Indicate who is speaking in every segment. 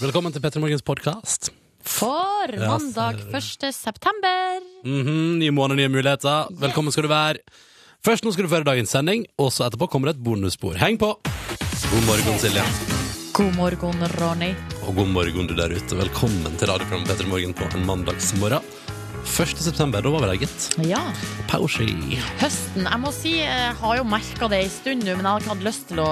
Speaker 1: Velkommen til Petter Morgens podkast.
Speaker 2: For mandag 1. september.
Speaker 1: Mhm, nye måneder, nye muligheter. Velkommen skal du være. Først nå skal du føre dagens sending, og så etterpå kommer det et bonusspor. Heng på! God morgen, Silje.
Speaker 2: God morgen, Ronny.
Speaker 1: Og god morgen, du der ute. Velkommen til radioprogrammet Petter Morgen på en mandagsmorgen. 1. september, da var vi der, gitt.
Speaker 2: Ja.
Speaker 1: Pausi.
Speaker 2: Høsten. Jeg må si, jeg har jo merka det en stund nå, men jeg har ikke hatt lyst til å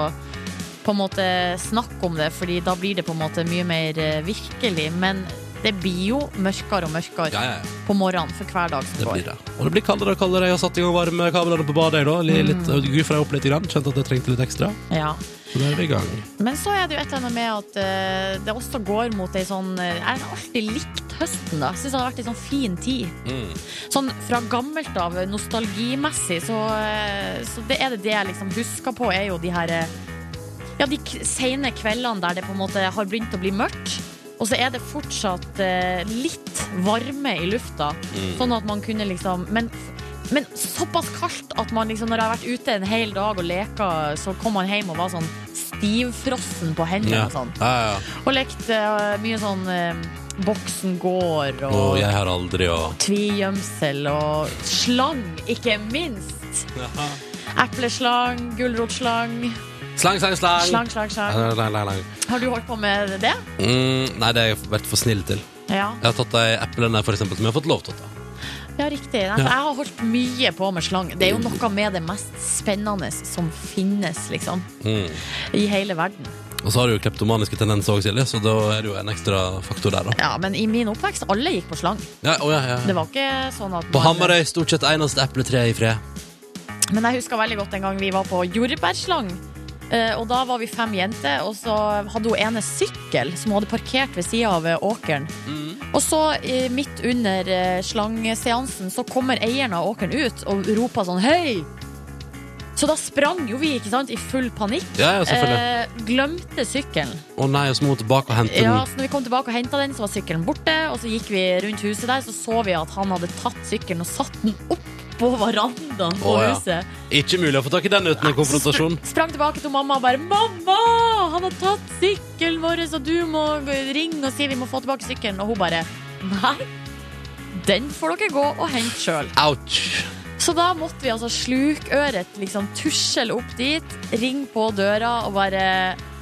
Speaker 2: på en måte snakke om det, Fordi da blir det på en måte mye mer eh, virkelig. Men det blir jo mørkere og mørkere
Speaker 1: Ja, ja, ja.
Speaker 2: på morgenen for hver dag som
Speaker 1: Det blir
Speaker 2: går.
Speaker 1: det. Og det blir kaldere og kaldere. Jeg har satt i gang varmekablene på badet. jeg, da. Li- Litt, Gufra opp litt, grann. kjente at jeg trengte litt ekstra.
Speaker 2: Ja.
Speaker 1: Så da er vi i gang.
Speaker 2: Men så er det jo et eller annet med at eh, det også går mot ei sånn eh, Jeg har alltid likt høsten, da. Jeg Syns det har vært ei sånn fin tid. Sånn fra gammelt av, nostalgimessig, så, eh, så det er det det jeg liksom husker på, er jo de her eh, Ja, de k- sene kveldene der det på en måte har begynt å bli mørkt. Og så er det fortsatt eh, litt varme i lufta,
Speaker 1: Mm.
Speaker 2: sånn at man kunne liksom men, men såpass kaldt at man liksom, når jeg har vært ute en hel dag og leka, så kom man hjem og var sånn stivfrossen på hendene
Speaker 1: Ja.
Speaker 2: og sånn.
Speaker 1: Ja, ja.
Speaker 2: Og lekte eh, mye sånn eh, Boksen går og
Speaker 1: Og jeg har aldri å
Speaker 2: tvigjømsel og slang, ikke minst. Epleslang, gulrotslang,
Speaker 1: Slang, slang, slang.
Speaker 2: slang, slang, slang.
Speaker 1: Nei, nei, nei, nei.
Speaker 2: Har du holdt på med det?
Speaker 1: Mm, nei, det har jeg vært for snill til.
Speaker 2: Ja,
Speaker 1: Jeg har tatt de eplene for eksempel, som jeg har fått lov til å ta.
Speaker 2: ja riktig. Nei, for Jeg har holdt mye på med slang. Det er jo noe med det mest spennende som finnes, liksom.
Speaker 1: Mm.
Speaker 2: I hele verden.
Speaker 1: Og så har du jo kleptomaniske tendenser òg, Silje, så da er det jo en ekstra faktor der, da.
Speaker 2: Ja, Men i min oppvekst, alle gikk på slang.
Speaker 1: Ja, å, ja, ja.
Speaker 2: Det var ikke sånn at
Speaker 1: På
Speaker 2: man-
Speaker 1: Hamarøy stort sett eneste epletre i fred.
Speaker 2: Men jeg husker veldig godt en gang vi var på jordbærslang. Eh, Og da var vi fem jenter, og så hadde hun ene sykkel som hun hadde parkert ved sida av eh, åkeren.
Speaker 1: Mm.
Speaker 2: Og så eh, midt under eh, slangseansen så kommer eieren av åkeren ut og roper sånn Hei! Så da sprang jo vi ikke sant, i full panikk.
Speaker 1: Ja, ja, selvfølgelig.
Speaker 2: Eh, glemte sykkelen.
Speaker 1: Å nei, og så må hun tilbake og hente
Speaker 2: Ja,
Speaker 1: den.
Speaker 2: så når vi kom tilbake og henta den, så var sykkelen borte. Og så gikk vi rundt huset der, så så vi at han hadde tatt sykkelen og satt den opp på verandaen på
Speaker 1: Å, ja.
Speaker 2: huset.
Speaker 1: Ikke mulig å få tak i den uten en konfrontasjon.
Speaker 2: Spr- Sprang tilbake til mamma og bare 'Mamma! Han har tatt sykkelen vår, så du må g- ringe og si vi må få tilbake sykkelen.' Og hun bare 'Nei, den får dere gå og hente sjøl'.
Speaker 1: Ouch.
Speaker 2: Så da måtte vi altså slukøret liksom tusjel opp dit, ringe på døra og bare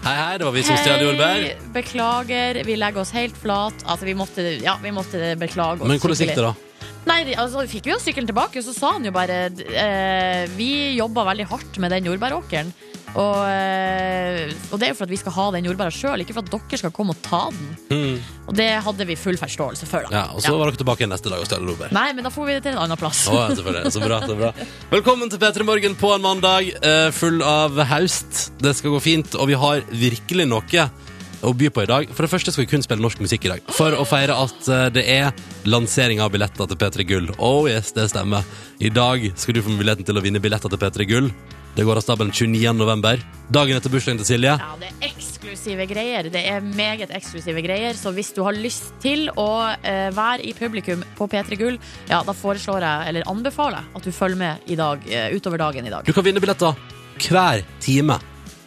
Speaker 1: Hei, hei, det var vi som stjal jordbær.
Speaker 2: «Hei, beklager, vi legger oss helt flat. Altså, vi måtte, ja, vi måtte beklage oss
Speaker 1: Men hvordan gikk
Speaker 2: skikkelig.
Speaker 1: det, da?
Speaker 2: Nei, de- altså fikk vi jo sykkelen tilbake, og så sa han jo bare d- eh, Vi jobba veldig hardt med den jordbæråkeren. Og, eh, og det er jo for at vi skal ha den jordbæra sjøl, ikke for at dere skal komme og ta den.
Speaker 1: Mm.
Speaker 2: Og det hadde vi full forståelse for, da.
Speaker 1: Ja, og så var dere tilbake igjen neste dag og stjal jordbær.
Speaker 2: Nei, men da får vi det til en annen plass.
Speaker 1: Å, ja, selvfølgelig. Så bra, så bra. Velkommen til P3 Morgen på en mandag eh, full av haust. Det skal gå fint, og vi har virkelig noe å by på i dag. For det første skal vi kun spille norsk musikk i dag. For å feire at eh, det er lansering av billetter til P3 Gull. Oh yes, det stemmer. I dag skal du få muligheten til å vinne billetter til P3 Gull. Det går av stabelen 29. november. Dagen etter bursdagen til Silje.
Speaker 2: Ja, det er eksklusive greier. Det er meget eksklusive greier. Så hvis du har lyst til å eh, være i publikum på P3 Gull, ja, da foreslår jeg, eller anbefaler jeg, at du følger med i dag, eh, utover dagen i dag.
Speaker 1: Du kan vinne billetter hver time.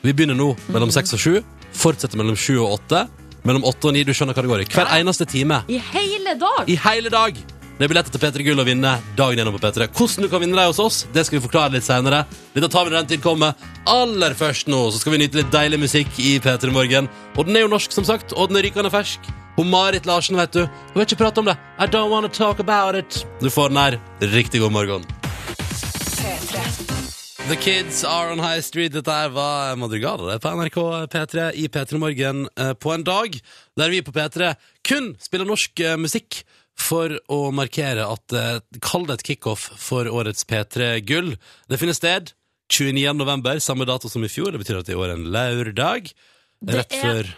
Speaker 1: Vi begynner nå mellom seks og sju. Fortsetter mellom sju og åtte. Mellom åtte og ni. Du skjønner hva det går i. Hver eneste time.
Speaker 2: I hele dag!
Speaker 1: i hele dag. Det er billetter til P3 Gull å vinne dagen gjennom på P3. Hvordan du kan vinne dem hos oss, det skal vi forklare litt senere. Dette tar vi når den tid kommer. Aller først nå så skal vi nyte litt deilig musikk i P3 Morgen. Og den er jo norsk, som sagt, og den er rykende fersk. Og Marit Larsen, vet du. Hun vil ikke prate om det. I don't wanna talk about it. Du får den her. Riktig god morgen. The Kids Are On High Street. Dette her var Madrugada det er på NRK P3 i P3 Morgen eh, på en dag der vi på P3 kun spiller norsk eh, musikk for å markere at eh, Kall det et kickoff for årets P3 Gull. Det finner sted 29. november, samme dato som i fjor. Det betyr at det i år er en lørdag. Rett
Speaker 2: er-
Speaker 1: før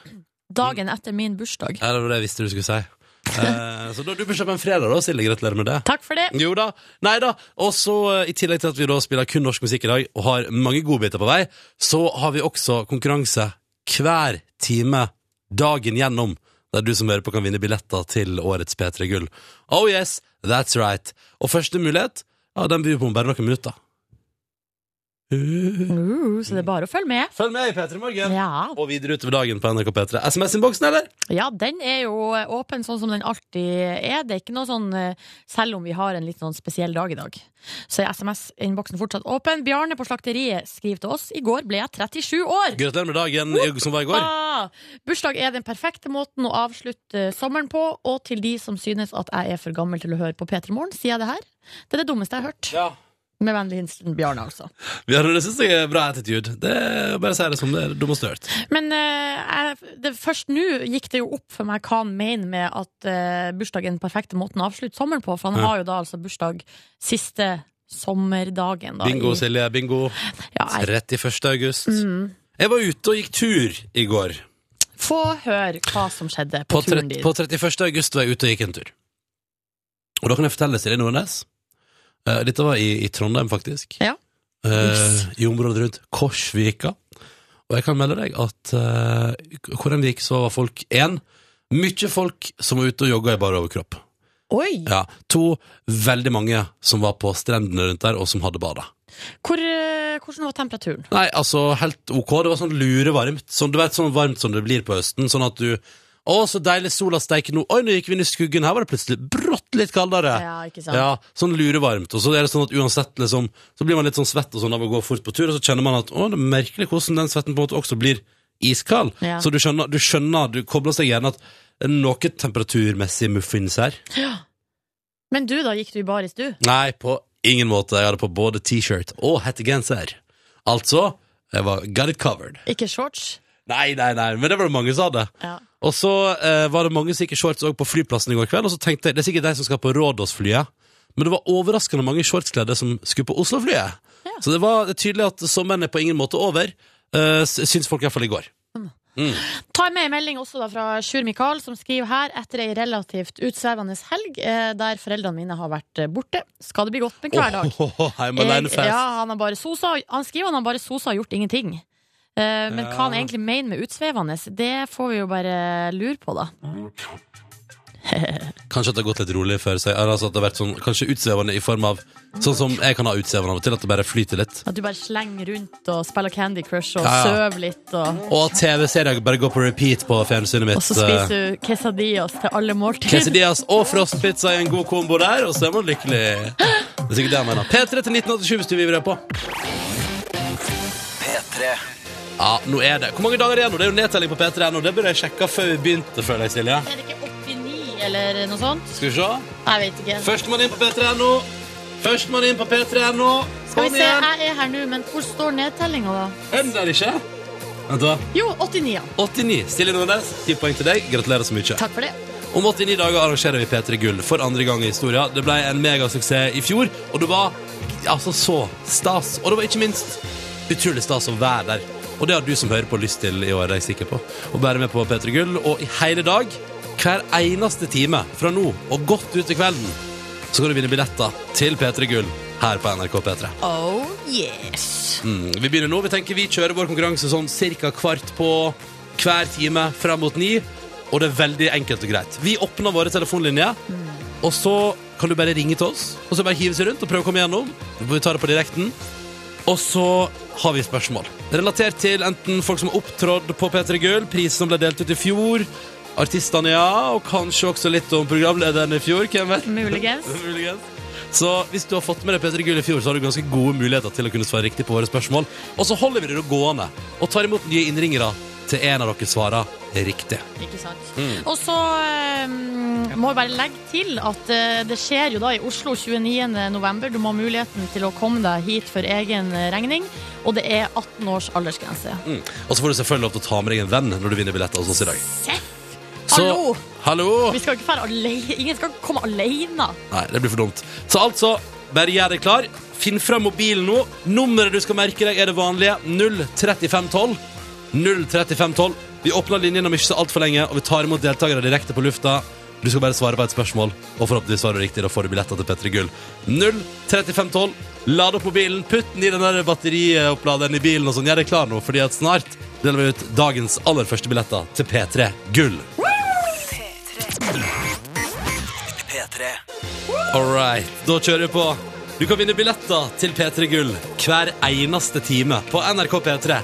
Speaker 2: Dagen etter min bursdag.
Speaker 1: Ja, det var det jeg visste du skulle si. Eh, så da, du bør kjøpe en fredag, da, Silje. Gratulerer med det.
Speaker 2: Takk for det.
Speaker 1: Jo da. Nei da. Og så, eh, i tillegg til at vi da spiller kun norsk musikk i dag, og har mange godbiter på vei, så har vi også konkurranse hver time dagen gjennom, der du som hører på kan vinne billetter til årets P3 Gull. Oh yes, that's right. Og første mulighet, ja, den byr vi på om bare noen minutter.
Speaker 2: Uh, så det er bare å følge med.
Speaker 1: Følg med i P3 Morgen!
Speaker 2: Ja.
Speaker 1: Og videre utover dagen på NRK P3. SMS-innboksen, eller?
Speaker 2: ja, den er jo åpen sånn som den alltid er. Det er ikke noe sånn eh, Selv om vi har en litt sånn spesiell dag i dag, så er SMS-innboksen fortsatt åpen. Bjarne på Slakteriet skriver til oss i går ble jeg 37 år.
Speaker 1: Gratulerer med dagen i- som var i går.
Speaker 2: Ah, bursdag er den perfekte måten å avslutte sommeren på, og til de som synes at jeg er for gammel til å høre på P3 Morgen, sier jeg det her. Det er det dummeste jeg har hørt.
Speaker 1: Ja.
Speaker 2: Med vennlig hilsen Bjarne, altså.
Speaker 1: Bjarne, det syns jeg er bra attitude. Det er bare å si det som det er dumt og størt.
Speaker 2: Men eh, jeg, det, først nå gikk det jo opp for meg hva han mener med at eh, bursdag er den perfekte måten å avslutte sommeren på, for han
Speaker 1: Ja.
Speaker 2: har jo da altså bursdag siste sommerdagen. Da,
Speaker 1: Bingo,
Speaker 2: i-
Speaker 1: Silje. Bingo.
Speaker 2: ja, jeg, Mm.
Speaker 1: 31. august. Jeg var ute og gikk tur i går.
Speaker 2: Få høre hva som skjedde på,
Speaker 1: På, tre,
Speaker 2: turen din.
Speaker 1: på 31. august var jeg ute og gikk en tur. Og da kan jeg fortelle Silje Nordnes. Eh, dette var i, i Trondheim, faktisk.
Speaker 2: Ja.
Speaker 1: Eh,
Speaker 2: Yes.
Speaker 1: I området rundt Korsvika. Og jeg kan melde deg at eh, hvor enn vi gikk, så var folk én mye folk som var ute og jogga i bar overkropp.
Speaker 2: Oi!
Speaker 1: Ja, to veldig mange som var på strendene rundt der, og som hadde bada.
Speaker 2: Hvor, eh, hvordan var temperaturen?
Speaker 1: Nei, altså helt ok. Det var sånn lurevarmt. Sånn, du vet, sånn varmt som det blir på høsten. Sånn at du Å, så deilig sola steiker nå. Oi, nå gikk vi inn i skuggen. Her var det plutselig brått litt kaldere.
Speaker 2: Ja, ikke sant?
Speaker 1: Ja, sånn lurevarmt. Og så er det sånn at uansett, liksom, så blir man litt sånn svett og sånn av å gå fort på tur, og så kjenner man at å, det er merkelig hvordan den svetten på en måte også blir iskald.
Speaker 2: Ja.
Speaker 1: Så du skjønner, du skjønner, du kobler seg gjerne at det er noe temperaturmessig muffins her.
Speaker 2: Men du, da? Gikk du i baris, du?
Speaker 1: Nei, på ingen måte. Jeg hadde på både T-shirt og hettegenser. Altså, jeg var got it covered.
Speaker 2: Ikke shorts?
Speaker 1: Nei, nei, nei, men det var det mange som hadde.
Speaker 2: Ja.
Speaker 1: Og så eh, var det mange sikkert shorts også på flyplassen i går kveld, og så tenkte jeg, det er sikkert de som skal på Rådåsflyet. Men det var overraskende mange shortskledde som skulle på Osloflyet.
Speaker 2: Ja.
Speaker 1: Så det var det er tydelig at sommeren er på ingen måte over, eh, s- syns folk i hvert fall i går.
Speaker 2: Ta med en melding også da fra Sjur Mikael, som skriver her etter ei relativt utsvevende helg eh, der foreldrene mine har vært eh, borte. Skal det bli godt med hver dag.
Speaker 1: hjemme alene
Speaker 2: Jeg-
Speaker 1: fest.
Speaker 2: ja, han, har bare sosa, han skriver han har bare sosa og gjort ingenting. Eh, men
Speaker 1: Ja.
Speaker 2: hva han egentlig mener med utsvevende, det får vi jo bare lure på, da.
Speaker 1: Kanskje at det har gått litt rolig før seg, eller altså at det har vært sånn, kanskje utsvevende i form av, sånn som jeg kan ha utsvevende av og til, at det bare flyter litt.
Speaker 2: At du bare slenger rundt og spiller Candy Crush og
Speaker 1: Ja, ja.
Speaker 2: søver litt. Og,
Speaker 1: Og TV-serier bare går på repeat på fjernsynet mitt.
Speaker 2: og så spiser du quesadillas til alle måltider.
Speaker 1: Quesadillas og frostpizza i en god kombo der, og så er man lykkelig. Det er sikkert det jeg mener. P3 til 1987 hvis du vibrer på.
Speaker 3: P3
Speaker 1: Ja, nå er det. Hvor mange dager igjen nå? Det er jo nedtelling på P3 nå. Det burde jeg sjekka før vi begynte, føler jeg, Silje.
Speaker 2: Er det ikke 89 eller noe sånt?
Speaker 1: Skal vi se.
Speaker 2: Jeg vet ikke.
Speaker 1: Førstemann inn på P3 nå. Førstemann inn på P3 nå.
Speaker 2: Skal
Speaker 1: Kom
Speaker 2: vi se,
Speaker 1: igjen.
Speaker 2: jeg er her nå, men hvor står nedtellinga, da?
Speaker 1: Er den der ikke? Vent, da.
Speaker 2: Jo, 89. ja.
Speaker 1: 89. Silje Nordnes, 10 poeng til deg. Gratulerer så mye.
Speaker 2: Takk for det.
Speaker 1: Om 89 dager arrangerer vi P3 Gull for andre gang i historien. Det ble en megasuksess i fjor, og det var altså så stas. Og det var ikke minst utrolig stas å være der. Og det har du som hører på lyst til i år, det er jeg sikker på. Å være med på P3 Gull, og i hele dag, hver eneste time fra nå og godt ut i kvelden, så kan du vinne billetter til P3 Gull her på NRK P3.
Speaker 2: Oh yes.
Speaker 1: Mm, vi begynner nå. Vi tenker vi kjører vår konkurranse sånn cirka kvart på hver time frem mot ni. Og det er veldig enkelt og greit. Vi åpner våre telefonlinjer, og så kan du bare ringe til oss. Og så bare hive seg rundt og prøve å komme gjennom. Vi tar det på direkten. Og så har vi spørsmål relatert til enten folk som har opptrådt på P3 Gull, prisen som ble delt ut i fjor, artistene, ja, og kanskje også litt om programlederen i fjor. Hvem vet?
Speaker 2: Muligens.
Speaker 1: Muligens. Så hvis du har fått med deg Peter Gull i fjor, så har du ganske gode muligheter til å kunne svare riktig på våre spørsmål. Og så holder vi det gående og tar imot nye innringere til en av dere svarer riktig.
Speaker 2: Ikke sant.
Speaker 1: Mm.
Speaker 2: Og så eh, må jeg bare legge til at eh, det skjer jo da i Oslo 29. november. Du må ha muligheten til å komme deg hit for egen eh, regning. Og det er 18 års aldersgrense.
Speaker 1: Mm. Og så får du selvfølgelig lov til å ta med deg en venn når du vinner billetter hos oss i dag.
Speaker 2: Seff!
Speaker 1: Så,
Speaker 2: Hallo!
Speaker 1: hallo!
Speaker 2: Vi skal ikke være alene. Ingen skal komme alene.
Speaker 1: Nei, det blir for dumt. Så altså, bare gjør deg klar. Finn frem mobilen nå. Nummeret du skal merke deg, er det vanlige. 03512. 03512. Vi åpner linjen om ikke så altfor lenge, og vi tar imot deltakere direkte på lufta. Du skal bare svare på et spørsmål, og forhåpentligvis svarer du riktig. Da får du billetter til P3 Gull. 03512. Lad opp mobilen, putt den i den der batterioppladeren i bilen og sånn. Gjør deg klar nå, fordi at snart deler vi ut dagens aller første billetter til P3 Gull.
Speaker 3: P3
Speaker 1: All right, da kjører vi på. Du kan vinne billetter til P3 Gull hver eneste time på NRK P3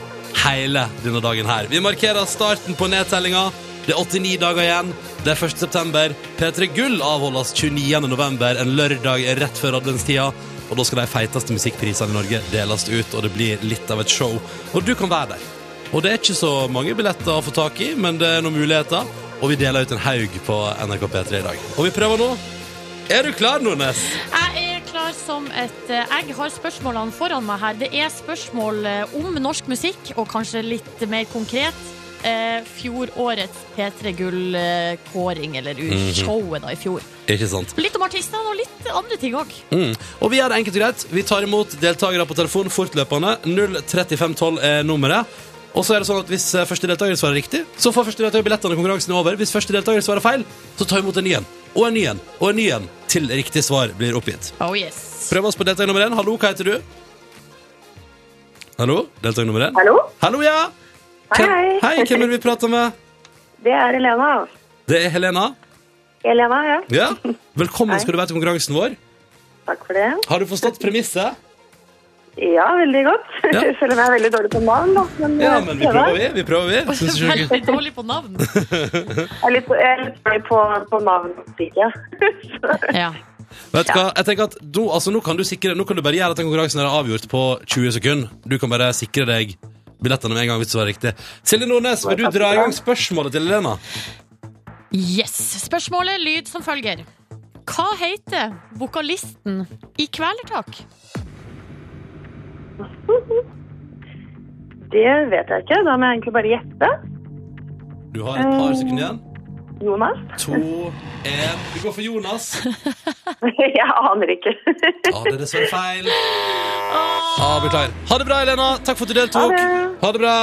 Speaker 1: hele denne dagen her. Vi markerer starten på nedtellinga. Det er 89 dager igjen. Det er 1. september. P3 Gull avholdes 29. november, en lørdag rett før adventstida. Og da skal de feiteste musikkprisene i Norge deles ut, og det blir litt av et show. Og du kan være der. Og det er ikke så mange billetter å få tak i, men det er noen muligheter. Og vi deler ut en haug på NRK P3 i dag. Og vi prøver nå. Er du klar, Nordnes?
Speaker 2: Jeg er klar som et eh, egg. Har spørsmålene foran meg her. Det er spørsmål eh, om norsk musikk, og kanskje litt mer konkret. Eh, fjorårets P3 Gull-kåring, eller
Speaker 1: Mhm.
Speaker 2: u- showet da i fjor.
Speaker 1: Ikke sant?
Speaker 2: Litt om artistene og litt andre ting òg.
Speaker 1: Mm. Og vi gjør det enkelt og greit. Vi tar imot deltakere på telefon fortløpende. 03512 er nummeret. Og så er det sånn at Hvis eh, første deltaker svarer riktig, så får første deltaker billettene. og konkurransen er over. Hvis første deltaker svarer feil, så tar vi imot en ny en. Og en ny en. Og en ny en. Til riktig svar blir oppgitt.
Speaker 2: Oh yes.
Speaker 1: Prøv oss på deltaker nummer én. Hallo, hva heter du? Hallo, deltaker nummer én.
Speaker 3: Hallo?
Speaker 1: Hallo, ja.
Speaker 3: Hei,
Speaker 1: Hvem-
Speaker 3: hei.
Speaker 1: Hei, hvem er det vi prater med?
Speaker 3: Det er Elena.
Speaker 1: Det er Helena.
Speaker 3: Elena, ja.
Speaker 1: Ja. Velkommen
Speaker 3: Hei.
Speaker 1: skal du være til konkurransen vår.
Speaker 3: Takk for det.
Speaker 1: Har du forstått premisset?
Speaker 3: Ja, veldig godt.
Speaker 1: Ja.
Speaker 3: Jeg føler meg veldig dårlig på navn, da. Men,
Speaker 1: Ja,
Speaker 3: eh,
Speaker 1: men vi prøver, vi. vi prøver, vi. Synes ikke-
Speaker 2: Veldig dårlig på navn.
Speaker 3: Jeg er litt, jeg er litt dårlig på, på navn. Ja.
Speaker 2: Ja.
Speaker 1: Vet du hva, jeg tenker at du, altså, nå, kan du sikre, nå kan du bare gjøre at den konkurransen er avgjort på 20 sekunder. Du kan bare sikre deg billettene med en gang hvis det var riktig. Silje Nordnes, vil du dra i gang spørsmålet til Elena?
Speaker 2: Yes. Spørsmålet lyd som følger. Hva heter vokalisten i Kvelertak?
Speaker 3: Det vet jeg ikke. Da må jeg egentlig bare gjette.
Speaker 1: Du har et par sekunder igjen.
Speaker 3: Jonas?
Speaker 1: To, én Du går for Jonas.
Speaker 3: Jeg aner ikke.
Speaker 1: Ja, det er dessverre feil. Ja, Beklager. Ha det bra, Elena. Takk for at du deltok.
Speaker 3: Ha det.
Speaker 1: Ha det bra.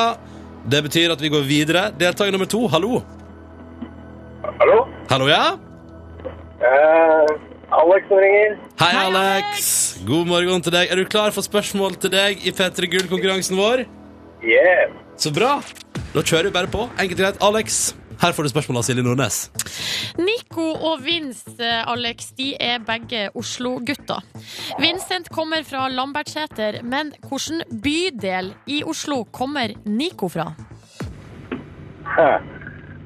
Speaker 1: Det betyr at vi går videre. Deltaker nummer to, hallo.
Speaker 4: Hallo?
Speaker 1: Hallo, ja?
Speaker 4: Eh, Alex som ringer.
Speaker 1: Hei,
Speaker 2: Hei,
Speaker 1: Alex. God morgen til deg. Er du klar for spørsmål til deg i P3 Gull-konkurransen vår?
Speaker 4: Yeah.
Speaker 1: Så bra! Da kjører vi bare på. Enkelt og greit. Alex, her får du spørsmål av Silje Nordnes.
Speaker 2: Nico og Vince, eh, Alex, de er begge Oslo-gutter. Vincent kommer fra Lambertseter, men hvilken bydel i Oslo kommer Nico fra?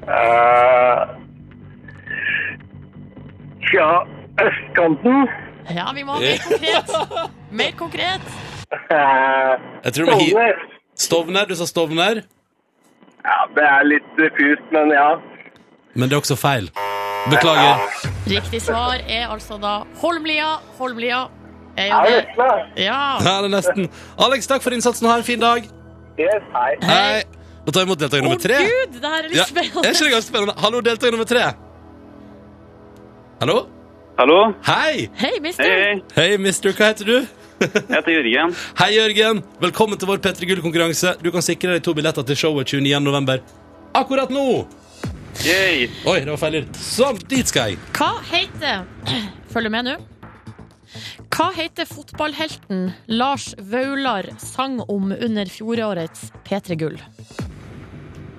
Speaker 4: Eh, tja, østkanten.
Speaker 2: Ja, vi må ha mer konkret. Mer konkret.
Speaker 4: Eh,
Speaker 1: Jeg tror det blir hi-
Speaker 4: Stovner.
Speaker 1: Stovner. Du sa Stovner,
Speaker 4: Ja, det er litt diffust, men ja.
Speaker 1: men det er også feil. Beklager.
Speaker 2: Riktig svar er altså da Holmlia. Holmlia er
Speaker 4: Er
Speaker 2: jo
Speaker 4: det
Speaker 2: det.
Speaker 4: Vesle?
Speaker 2: Ja.
Speaker 1: Ja, det er nesten. Alex, takk for innsatsen og ha en fin dag.
Speaker 4: Yes, hei.
Speaker 1: Hei. Da tar vi imot deltaker
Speaker 2: Å
Speaker 1: nummer tre.
Speaker 2: gud, det her er
Speaker 1: Ja,
Speaker 2: litt
Speaker 1: er ikke det
Speaker 2: spennende.
Speaker 1: ganske spennende? Hallo, deltaker nummer tre. Hallo?
Speaker 5: Hallo.
Speaker 1: Hei!
Speaker 2: Hei,
Speaker 5: Hei,
Speaker 2: mister.
Speaker 5: hei.
Speaker 1: Hei, mister. Hva heter du?
Speaker 5: Jeg heter Jørgen.
Speaker 1: Hei, Jørgen. Velkommen til vår P3 Gull-konkurranse. Du kan sikre deg to billetter til showet 29. november. Akkurat nå!
Speaker 5: Yay.
Speaker 1: Oi, det var feil lyd. Sånn, dit skal jeg.
Speaker 2: Hva heter Følg med nå. Hva heter fotballhelten Lars Vaular sang om under fjorårets P3 Gull?